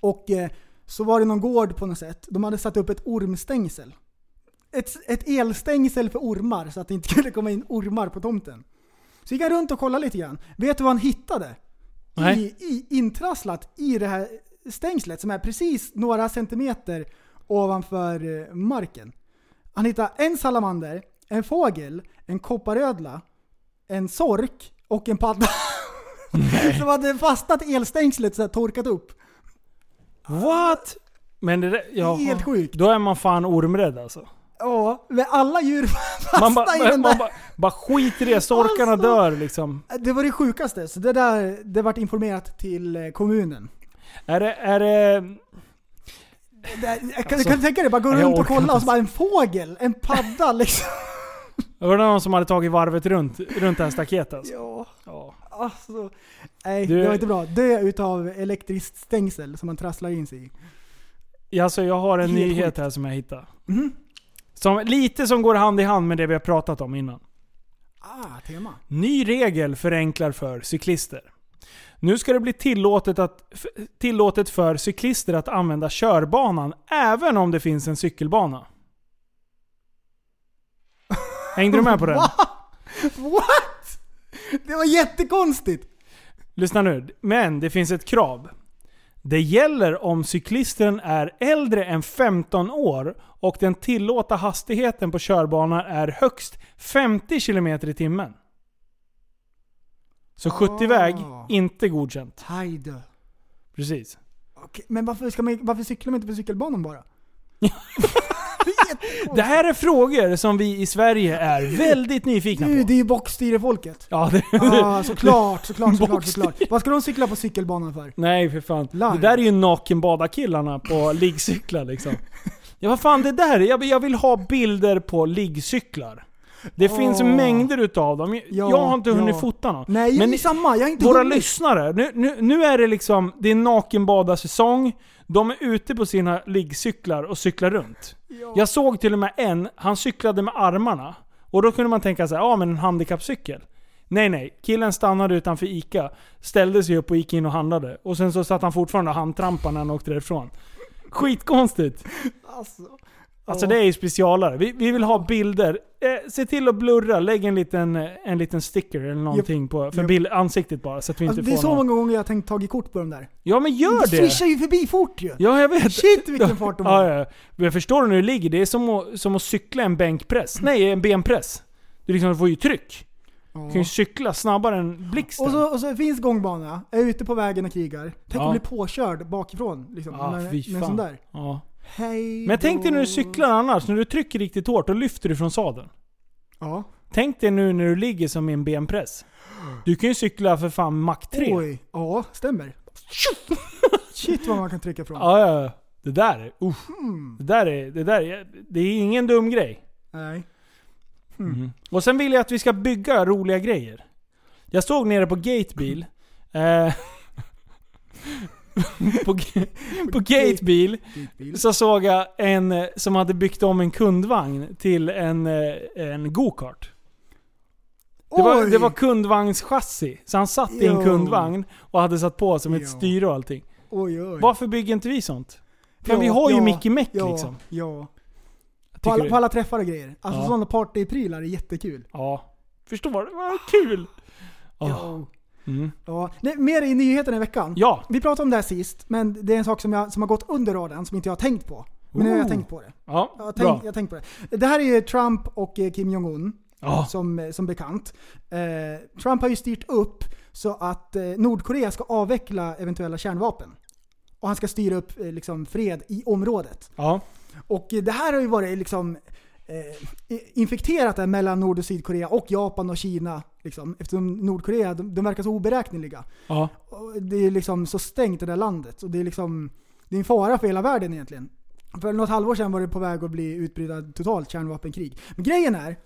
Och eh, så var det någon gård på något sätt. De hade satt upp ett ormstängsel. Ett, ett elstängsel för ormar så att det inte skulle komma in ormar på tomten. Så gick han runt och kollade lite grann. Vet du vad han hittade? Nej. I, i, intrasslat i det här stängslet som är precis några centimeter ovanför eh, marken. Han hittade en salamander, en fågel, en kopparödla, en sork och en padda. som hade fastnat i elstängslet så här, torkat upp. What? Men det där, ja. Helt sjukt. Då är man fan ormrädd alltså. Ja, men alla djur fastnade Man, bara i den man, där. bara bara skiter i det, storkarna Alltså. dör liksom. Det var det sjukaste. Så det där, det vart informerat till eh, kommunen. Är det, är det... Det, jag kan, Alltså, kan du tänka dig, bara gå jag runt och orkar kolla inte. och så bara en fågel, en padda liksom. Var det någon som hade tagit varvet runt, runt det här staketet alltså? Ja. Ja. Alltså, nej, Du- det var inte bra. Dö utav elektriskt stängsel som man trasslar in sig i. Ja, Alltså jag har en Helt nyhet sjukt. här som jag hittade. Mhm. Som, lite som går hand i hand med det vi har pratat om innan. Ah, tema. Ny regel förenklar för cyklister. Nu ska det bli tillåtet, att, f- tillåtet för cyklister att använda körbanan även om det finns en cykelbana. Hängde du med på den? What? Det var jättekonstigt! Lyssna nu. Men det finns ett krav. Det gäller om cyklisten är äldre än 15 år och den tillåta hastigheten på körbanan är högst 50 km i timmen. Så 70-väg, inte godkänt. Hejdå. Precis. Okej, Men varför, ska man, varför cyklar man inte på cykelbanan bara? Det här är frågor som vi i Sverige är väldigt nyfikna på. Du, det är ju bockstyrefolket. Ja, det, Ah, såklart, såklart, såklart, Boxning. såklart. Vad ska de cykla på cykelbanan för? Nej för fan. Det där är ju nakenbadarkillarna på liggcyklar liksom. Ja vad fan det där, jag, jag vill ha bilder på liggcyklar. Det Åh. finns mängder utav dem. Jag- Ja, jag har inte hunnit ja. fota någon. Nej, Men men samma. Jag har inte våra hunnit. lyssnare, nu, nu, nu är det liksom, det är nakenbadarsäsong. De är ute på sina liggcyklar och cyklar runt. Jag såg till och med en, han cyklade med armarna. Och då kunde man tänka sig, ja men en handikappcykel. Nej nej, killen stannade utanför ICA, ställde sig upp och gick in och handlade. Och sen så satt han fortfarande och handtrampade när han åkte därifrån. Skitkonstigt. Alltså, Alltså Ja. det är ju specialare. Vi, vi vill ha bilder. Eh, se till att blurra, lägg en liten, eh, en liten sticker eller någonting på, för Japp. bild, ansiktet bara. Så att vi inte alltså det är får så någon... många gånger jag har tänkt tagit kort på de där. Ja men gör De det! swishar ju förbi fort ju. Ja, jag vet. Shit, vilken fart de har. ja, ja. Men Jag förstår hur det ligger. Det är som att, som att cykla en bänkpress. Nej, en benpress. Du liksom får ju tryck. Du kan ju cykla snabbare än blixten. Och så, och så finns gångbana, är ute på vägen och krigar. Tänk Ja. att bli påkörd bakifrån liksom, Ah, med, fy med en fan. sån där. Ja. Hej Men tänk dig när du då. cyklar annars. När du trycker riktigt hårt, då lyfter du från sadeln. Ja. Tänk dig nu när du ligger som i en benpress. Du kan ju cykla för fan Mach 3. Oj, ja stämmer. Shit vad man kan trycka från. Ja, ja, ja. Det där är... usch. Mm. Det där är... Det där är... Det är ingen dum grej. Nej. Mm. Och sen vill jag att vi ska bygga roliga grejer. Jag såg nere på Gatebil. eh, på, g- på Gatebil så såg jag en eh, som hade byggt om en kundvagn till en, eh, en go-kart. Det var, Oj! det var kundvagnschassi. Så han satt i en Jo. kundvagn och hade satt på som ett styre och allting. Oj, oj. Varför bygger inte vi sånt? För Ja, vi har ju ja, Mickey Meck ja, liksom. Ja. På Tycker alla, du? på alla träffar och grejer. Alltså Ja. sådana partyprylar är jättekul. Ja. Förstår du? Vad kul! Åh. Mm. Ja. Nej, mer i nyheterna i veckan. Ja. Vi pratade om det här sist, men det är en sak som, jag, som har gått under radarn som inte jag har tänkt på. Men nu har jag Oh. tänkt på det. Ja, Jag har bra. tänkt, jag har tänkt på det. Det här är ju Trump och eh, Kim Jong-Un, Ja. som, eh, som bekant. Eh, Trump har ju styrt upp så att eh, Nordkorea ska avveckla eventuella kärnvapen. Och han ska styra upp eh, liksom, fred i området. Ja. Och eh, det här har ju varit liksom, eh, i- infekterat där mellan Nord och Sydkorea och Japan och Kina. Liksom, eftersom Nordkorea de, de verkar så oberäkneliga. Ja. Och det är liksom så stängt det där landet. Och det är liksom det är en fara för hela världen egentligen. För något halvår sedan var det på väg att bli utbrydda totalt kärnvapenkrig. Men grejen är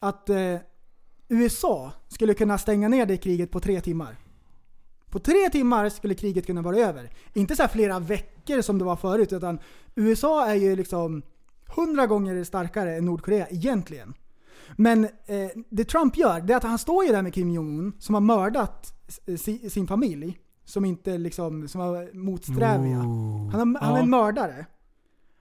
att eh, USA skulle kunna stänga ner det kriget på tre timmar. På tre timmar skulle kriget kunna vara över. Inte så här flera veckor som det var förut, utan USA är ju liksom hundra gånger starkare än Nordkorea egentligen. Men eh, det Trump gör, det är att han står ju där med Kim Jong-Un som har mördat eh, si, sin familj. Som inte liksom, som var motsträviga. Han, har, han är en Ja. mördare.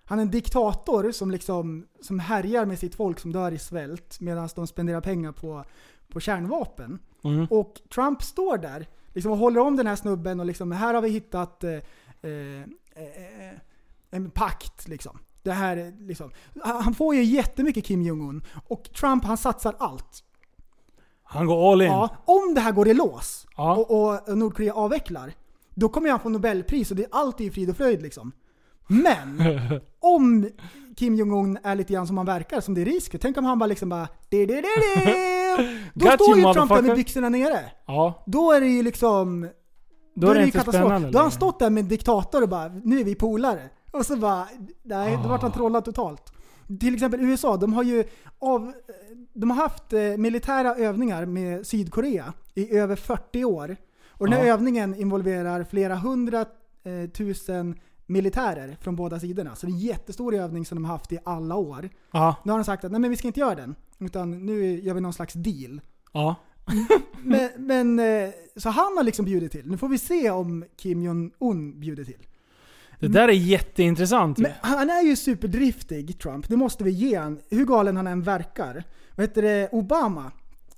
Han är en diktator som liksom som härjar med sitt folk som dör i svält medan de spenderar pengar på, på kärnvapen. Mm. Och Trump står där liksom, och håller om den här snubben och liksom här har vi hittat eh, eh, eh, en pakt liksom. Det här är liksom. Han han får ju jättemycket Kim Jong-Un och Trump han satsar allt. Han går all in. Ja, om det här går i lås Ja. och, och Nordkorea avvecklar, då kommer han få Nobelpris och det, allt är ju frid och fröjd liksom. Men om Kim Jong-Un är lite grann som han verkar, som det är risk. Tänk om han bara liksom bara... "Di, di, di, di." Då Got står you, ju Trump där med motherfucker. byxorna nere. Ja. Då är det ju liksom... Då är det ju inte spännande Då har han längre. stått där med en diktator och bara “Nu är vi polare”. Och så bara... Nej, då vart Ah. han trollad totalt. Till exempel USA, de har ju av, de har haft eh, militära övningar med Sydkorea i över 40 år. Och den här Ja. övningen involverar flera hundratusen militärer från båda sidorna. Så det är en jättestor övning som de har haft i alla år. Ja. Nu har de sagt att nej men vi ska inte göra den. Utan nu gör vi någon slags deal. Ja. Mm. Men, men, eh, så han har liksom bjudit till. Nu får vi se om Kim Jong-Un bjuder till. Det där är jätteintressant ju. Men han är ju superdriftig, Trump. Det måste vi ge han. Hur galen han än verkar. Vad heter det? Obama.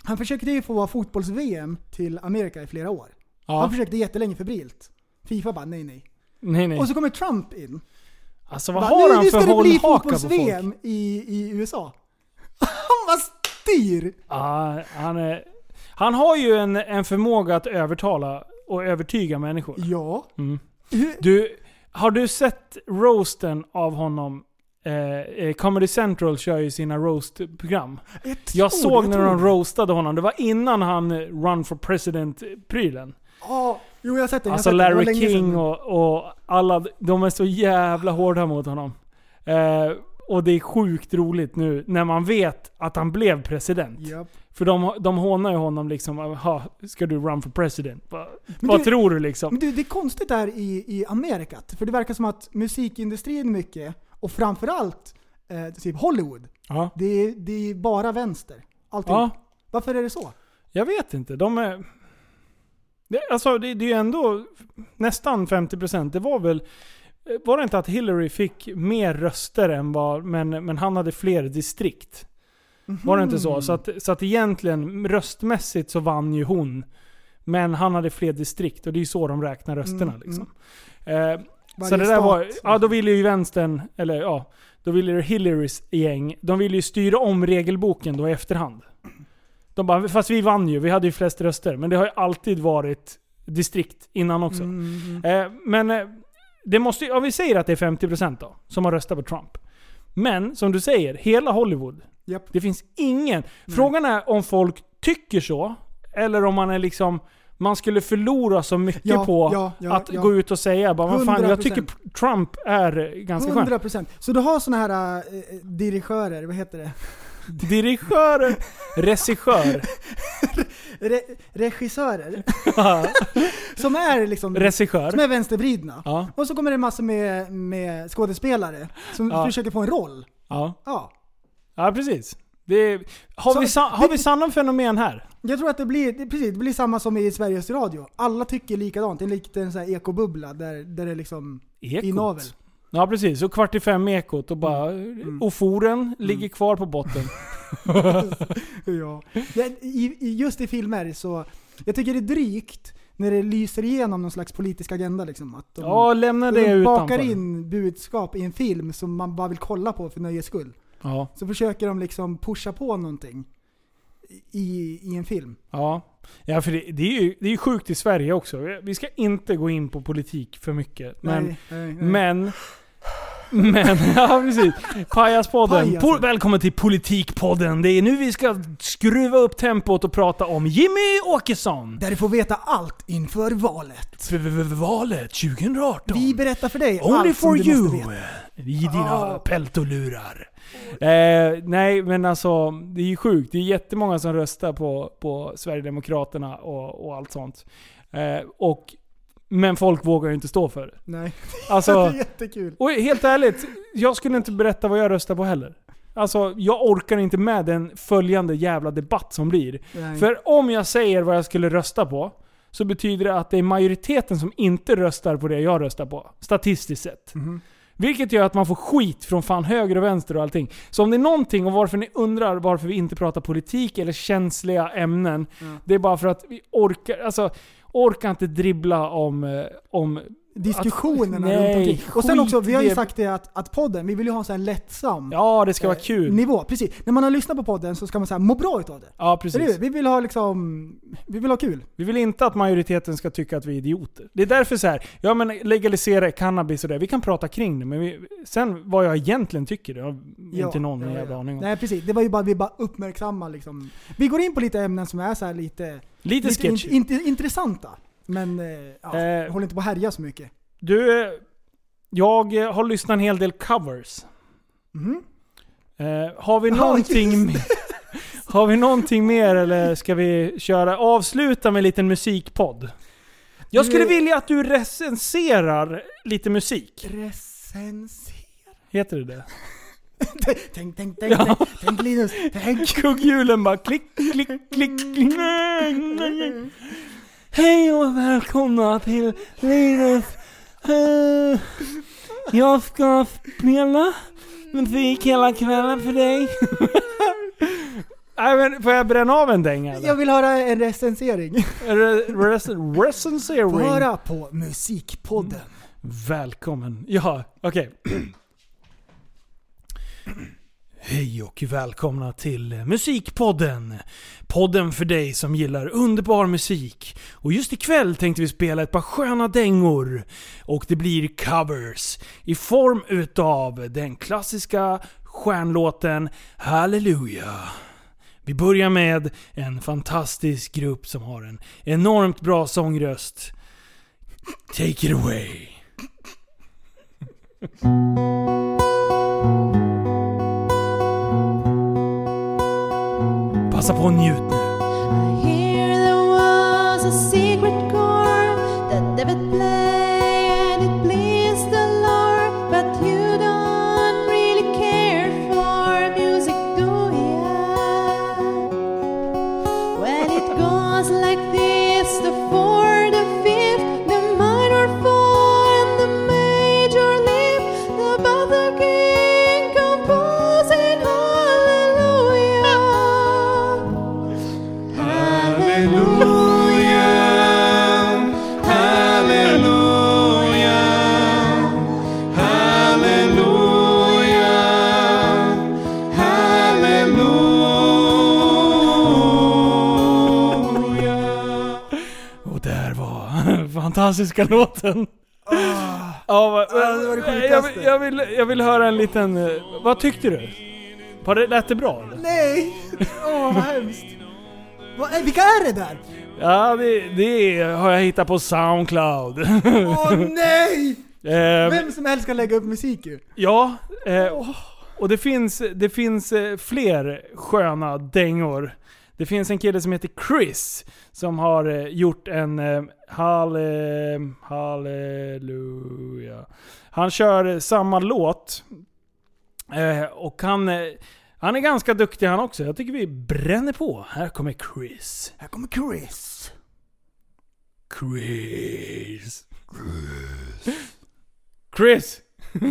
Han försökte ju få fotbolls-VM till Amerika i flera år. Ja. Han försökte jättelänge febrilt. Fifa bara nej, nej. Nej nej. Och så kommer Trump in. Alltså vad Bara, har nu, han nu för ska det bli hållhaka på folk? fotbolls-VM i, i USA. Han bara styr! Ja, han, är, han har ju en, en förmåga att övertala och övertyga människor. Ja. Mm. Du, har du sett roasten av honom? Eh, eh, Comedy Central kör ju sina roast-program. Jag, såg jag när tror de det. roastade honom. Det var innan han eh, Run for President-prylen. Ja, jo jag har sett den. jag har Alltså sett den. Det var Larry länge sedan. King och, och alla, de är så jävla hårda mot honom. Eh, och det är sjukt roligt nu när man vet att han blev president. Japp. För de, de hånar ju honom liksom, "Aha, ska du run for president? Va, Men vad du- tror du liksom? Men du, det är konstigt där i, i Amerikat. För det verkar som att musikindustrin mycket, och framförallt eh, typ Hollywood, Ja. det, är, det är bara vänster. Allting. Ja. Varför är det så? Jag vet inte, de är... Det, alltså det, det är ju ändå nästan 50%. Det var väl... eh, Var det inte att Hillary fick mer röster än vad... Men, men han hade fler distrikt. Var det inte så? Så att, så att egentligen, röstmässigt så vann ju hon. Men han hade fler distrikt och det är ju så de räknar rösterna. Mm, liksom. Eh, så Varje det där var, stat. ja, då ville ju vänstern, eller ja, då ville ju Hillarys gäng, de ville ju styra om regelboken då i efterhand. De bara, fast vi vann ju, vi hade ju flest röster. Men det har ju alltid varit distrikt innan också. Mm, Eh, men eh, det måste ju, ja, vi säger att det är 50% då, som har röstat på Trump. Men som du säger, hela Hollywood. Japp. Det finns ingen. Frågan är om folk tycker så, eller om man är liksom, man skulle förlora så mycket Ja, på ja, ja, att ja. gå ut och säga bara, vad fan, jag 100%. tycker Trump är ganska skön. 100%. Så du har såna här eh, dirigörer, vad heter det? Dirigör, regissör, Re, regissörer. som är liksom... regissör. Som är vänstervridna. Ja. Och så kommer det massor med, med skådespelare som Ja. försöker få en roll. Ja. Ja. Ja, precis. Det är, har, Så- vi sa, har vi samma fenomen här? Jag tror att det blir, det, precis, det blir samma som i Sveriges Radio. Alla tycker likadant. Det är en liten sån här ekobubbla där, där det är liksom Ekot. inavel. Ja, precis. Och kvart i fem ekot och bara... Mm. Och foren ligger kvar på botten. ja. Det- i, i, just i filmer så... Jag tycker det är drygt när det lyser igenom någon slags politisk agenda. Liksom, att de, Ja, lämna det de bakar utanför. in budskap i en film som man bara vill kolla på för nöjes skull. Ja. Så försöker de liksom pusha på någonting i, i en film. Ja. Ja, för det, det är ju det är ju sjukt i Sverige också. Vi ska inte gå in på politik för mycket. Men... nej, nej, nej. Men... Men, ja precis. Pajaspodden. Pajasen. Po- välkommen till Politikpodden. Det är nu vi ska skruva upp tempot och prata om Jimmy Åkesson. Där du får veta allt inför valet. För- för- för Valet 2018. Vi berättar för dig Only allt for som du you! måste veta. I dina Ah. peltolurar. Eh, nej, men alltså det är ju sjukt. Det är jättemånga som röstar på, på Sverigedemokraterna och, och allt sånt. Eh, och, men folk vågar ju inte stå för det. Nej. Alltså, det är jättekul. och helt ärligt, jag skulle inte berätta vad jag röstar på heller. Alltså, jag orkar inte med den följande jävla debatt som blir. Nej. För om jag säger vad jag skulle rösta på, så betyder det att det är majoriteten som inte röstar på det jag röstar på. Statistiskt sett. Mhm. Vilket gör att man får skit från fan höger och vänster och allting. Så om det är någonting, och varför ni undrar varför vi inte pratar politik eller känsliga ämnen. Det är bara för att vi orkar, alltså, orkar inte dribbla om... eh, om diskussionerna att- runt nej, omkring. Och sen skit också, vi har ju det. sagt det att, att podden, vi vill ju ha en sån här lättsam Ja, det ska Eh, vara kul. nivå. Precis. När man har lyssnat på podden så ska man säga må bra utav det. Ja, Eller hur? precis. Vi vill ha liksom, vi vill ha kul. Vi vill inte att majoriteten ska tycka att vi är idioter. Det är därför så här, ja men legalisera cannabis och det, vi kan prata kring det, men vi, sen vad jag egentligen tycker, det har Ja, inte någon ja, ja. jävla aning om. Nej precis, det var ju bara vi bara uppmärksamma liksom. Vi går in på lite ämnen som är så här lite, Lite in, sketchy. inte- intressanta. Men eh, ja, Eh. håll inte på att härja så mycket. Du, eh, jag eh, har lyssnat en hel del covers. Mhm. Eh, har, vi Ja, någonting just mer, har vi någonting mer eller ska vi köra, avsluta med en liten musikpodd? Jag Du- skulle vilja att du recenserar lite musik. Recensera. Heter det det? Tänk, tänk, tänk, tänk, tänk Linus, tänk. Kugghjulen bara klick, klick, klick, klick. Hej och välkomna till Linus. Eh, Jag ska spela musik hela kvällen för dig. Nej men får jag bränna av en dänga eller? Jag vill höra en recensering. Re- rec- Recensering. Få höra på Musikpodden. Välkommen. Ja, okej. Hej och välkomna till Musikpodden. Podden för dig som gillar underbar musik. Och just ikväll tänkte vi spela ett par sköna dängor. Och det blir covers i form utav den klassiska stjärnlåten Halleluja. Vi börjar med en fantastisk grupp som har en enormt bra sångröst. Take it away. Passa på och njut nu. Here there was a secret chord that David played. It pleased the Lord, but you don't really care for music, do ya? Well, it goes like this: the fourth, the fifth, the minor fall, and the major lift. Above the king composing hallelujah. Hallelujah. Hallelujah. Hallelujah. Hallelujah. Och där var fantastiska låten. Ja, vad- Ah. det var det jag, sjukaste. jag, vill, jag vill höra en liten... eh, Vad tyckte du? Var det, lät det bra eller? Nej! Åh, vad hemskt. Vad är- vilka är det där? Ja, det, det har jag hittat på Soundcloud. Åh nej! Eh, Vem som helst kan lägga upp musik ju. Ja, eh, och det finns, det finns eh, fler sköna dängor. Det finns en kille som heter Chris som har eh, gjort en eh, halle, halleluja. Han kör eh, samma låt. Eh, och han, eh, han är ganska duktig han också. Jag tycker vi bränner på. Här kommer Chris. Här kommer Chris. Chris. Chris!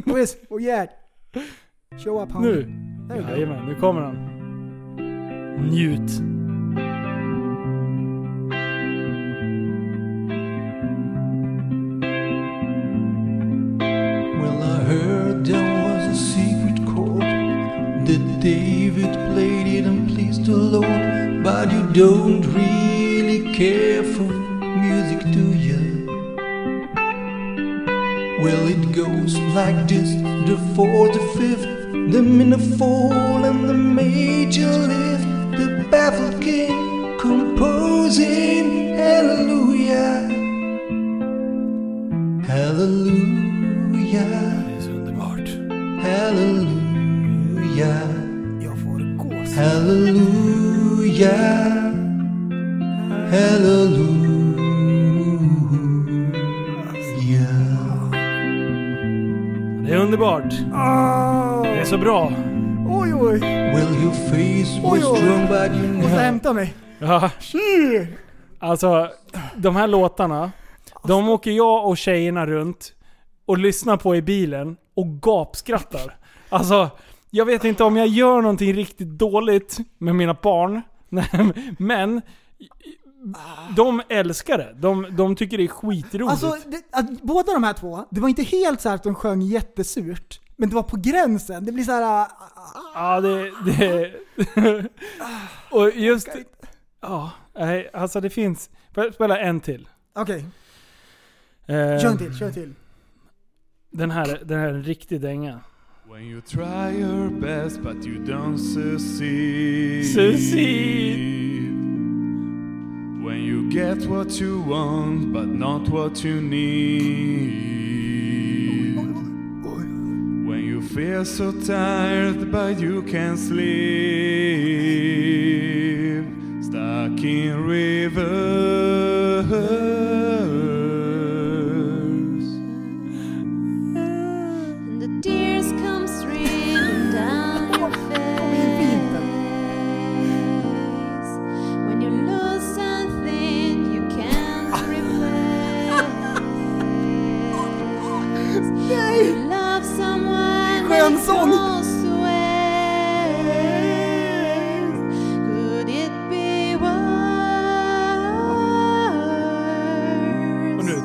Chris, oh yeah. Show up hound. Nu! There you go. Jajamän, nu kommer han. Njut. Well, I heard there was a secret chord that David played it and pleased the Lord. But you don't really care for music, do you? Well, it goes like this the fourth, the fifth, the minor fall, and the major lift. The baffled king composing hallelujah. Halleluja. Det är så underbart. Halleluja. Jag får gåshud. Halleluja. Halleluja. Det är underbart. Oh. Det är så bra. Oj, oj. Will your face Oj, was oj. strong but you Måste hämta mig. Ja. Alltså, de här låtarna. Alltså- De åker jag och tjejerna runt och lyssnar på i bilen och gapskrattar. Alltså, jag vet inte om jag gör någonting riktigt dåligt med mina barn. Nej, Men, de älskar det. De, de tycker det är skitroligt. Alltså, det, att, båda de här två, det var inte helt så här att de sjöng jättesurt. Men det var på gränsen. Det blir så här. ah, Ja, det... det och just... Ja, nej, alltså det finns... Får jag spela en till? Okej, Eh, kör en till, kör en till. Den här, den här är en riktig dänga. When you try your best but you don't succeed. Succeed. When you get what you want but not what you need. When you feel so tired but you can't sleep. Stuck in reverse. and the tears come streaming down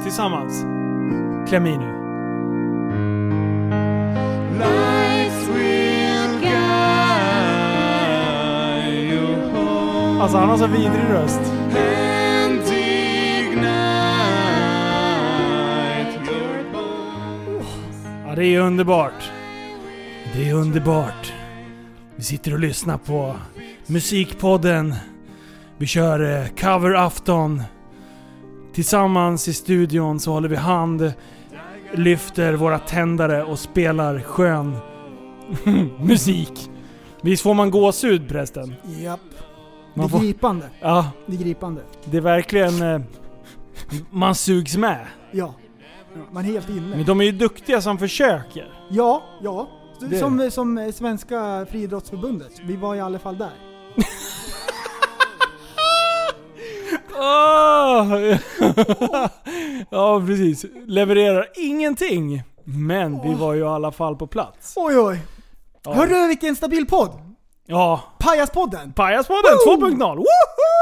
tillsammans. Kläm i nu. Alltså han har så vidrig röst. Ja, det är underbart. Det är underbart. Vi sitter och lyssnar på Musikpodden. Vi kör eh, coverafton. Tillsammans i studion så håller vi hand, lyfter våra tändare och spelar skön musik. Visst får man gåshud prästen? Japp. Det Man får- är gripande. Ja, Det är gripande. det är verkligen... eh, Man sugs med. Ja. Man är helt inne. Men de är ju duktiga som försöker. Ja, ja. Så- Det- Som, som eh, Svenska Friidrottsförbundet. Vi var i alla fall där. Åh! ja, precis. Levererar ingenting. Men vi var ju i alla fall på plats. Oj, oj. Ja. Hörru vilken stabil podd! Ja. Pajaspodden! Pajaspodden 2.0! Woho!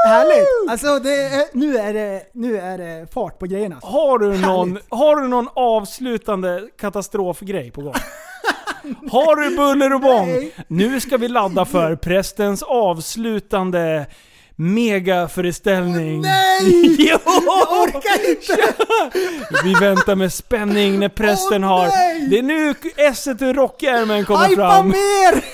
Härligt! Alltså det är, nu, är det, nu är det fart på grejerna. alltså. Har du, någon, Härligt. har du någon avslutande katastrofgrej på gång? Har du buller och bång? Nej. Nu ska vi ladda för prästens avslutande megaföreställning. Nej! jo! Jag orkar inte! Vi väntar med spänning när prästen har... nej! Det är nu esset ur rockärmen kommer Hajpa fram. mer!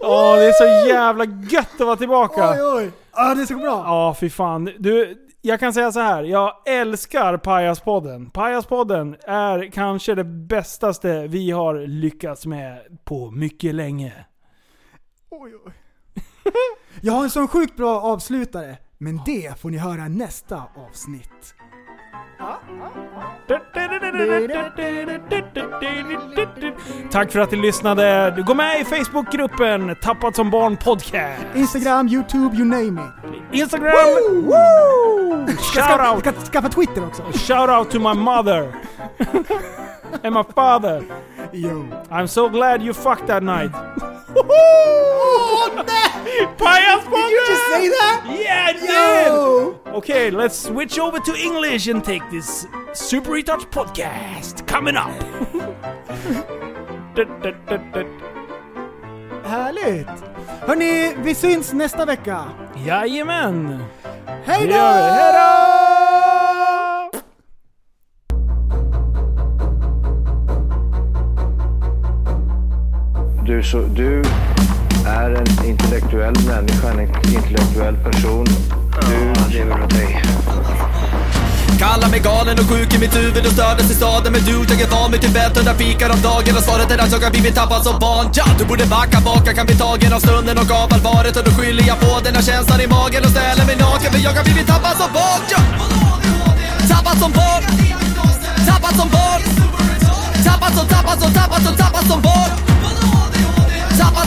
Ja, det är så jävla gött att vara tillbaka. Oj, oj. Ja, det är så bra. Ja, fy fan. Du, jag kan säga så här. Jag älskar Pajaspodden. Pajaspodden är kanske det bästaste vi har lyckats med på mycket länge. Oj, oj. Jag har en sån sjukt bra avslutare. Men det får ni höra i nästa avsnitt. Tack för att ni lyssnade. Gå med i Facebookgruppen Tappat som barn podcast. Instagram, YouTube, you name it. Instagram! Woo! Ska, ska, Shoutout! ska skaffa Twitter också. Shoutout to my mother! And my father! Yo. I'm so glad you fucked that night. Oh, nej! Pajaspodden! Did you just say that? Yeah, I Yo! did! Okay, let's switch over to English and take this Super Retouch podcast coming up! Härligt! Hörni, vi syns nästa vecka. Jajamän! Hej Det då! gör vi. Hej då! Du, så, du är en intellektuell människa, en intellektuell person. Du lever åt dig. Kallar mig galen och sjuk i mitt huvud och stördes i staden Men du, jag är van vid Tibet och där fikar om dagen Och svaret är att jag har blivit tappad som barn ja, Du borde backa baka, kan bli tagen av stunden och av allvaret Och då skyller jag på den här känslan i magen och ställer mig naken För jag har blivit tappad som barn ja. Tappad som barn Tappad som barn Tappad som, tappad som, tappad som, tappad som barn Tappad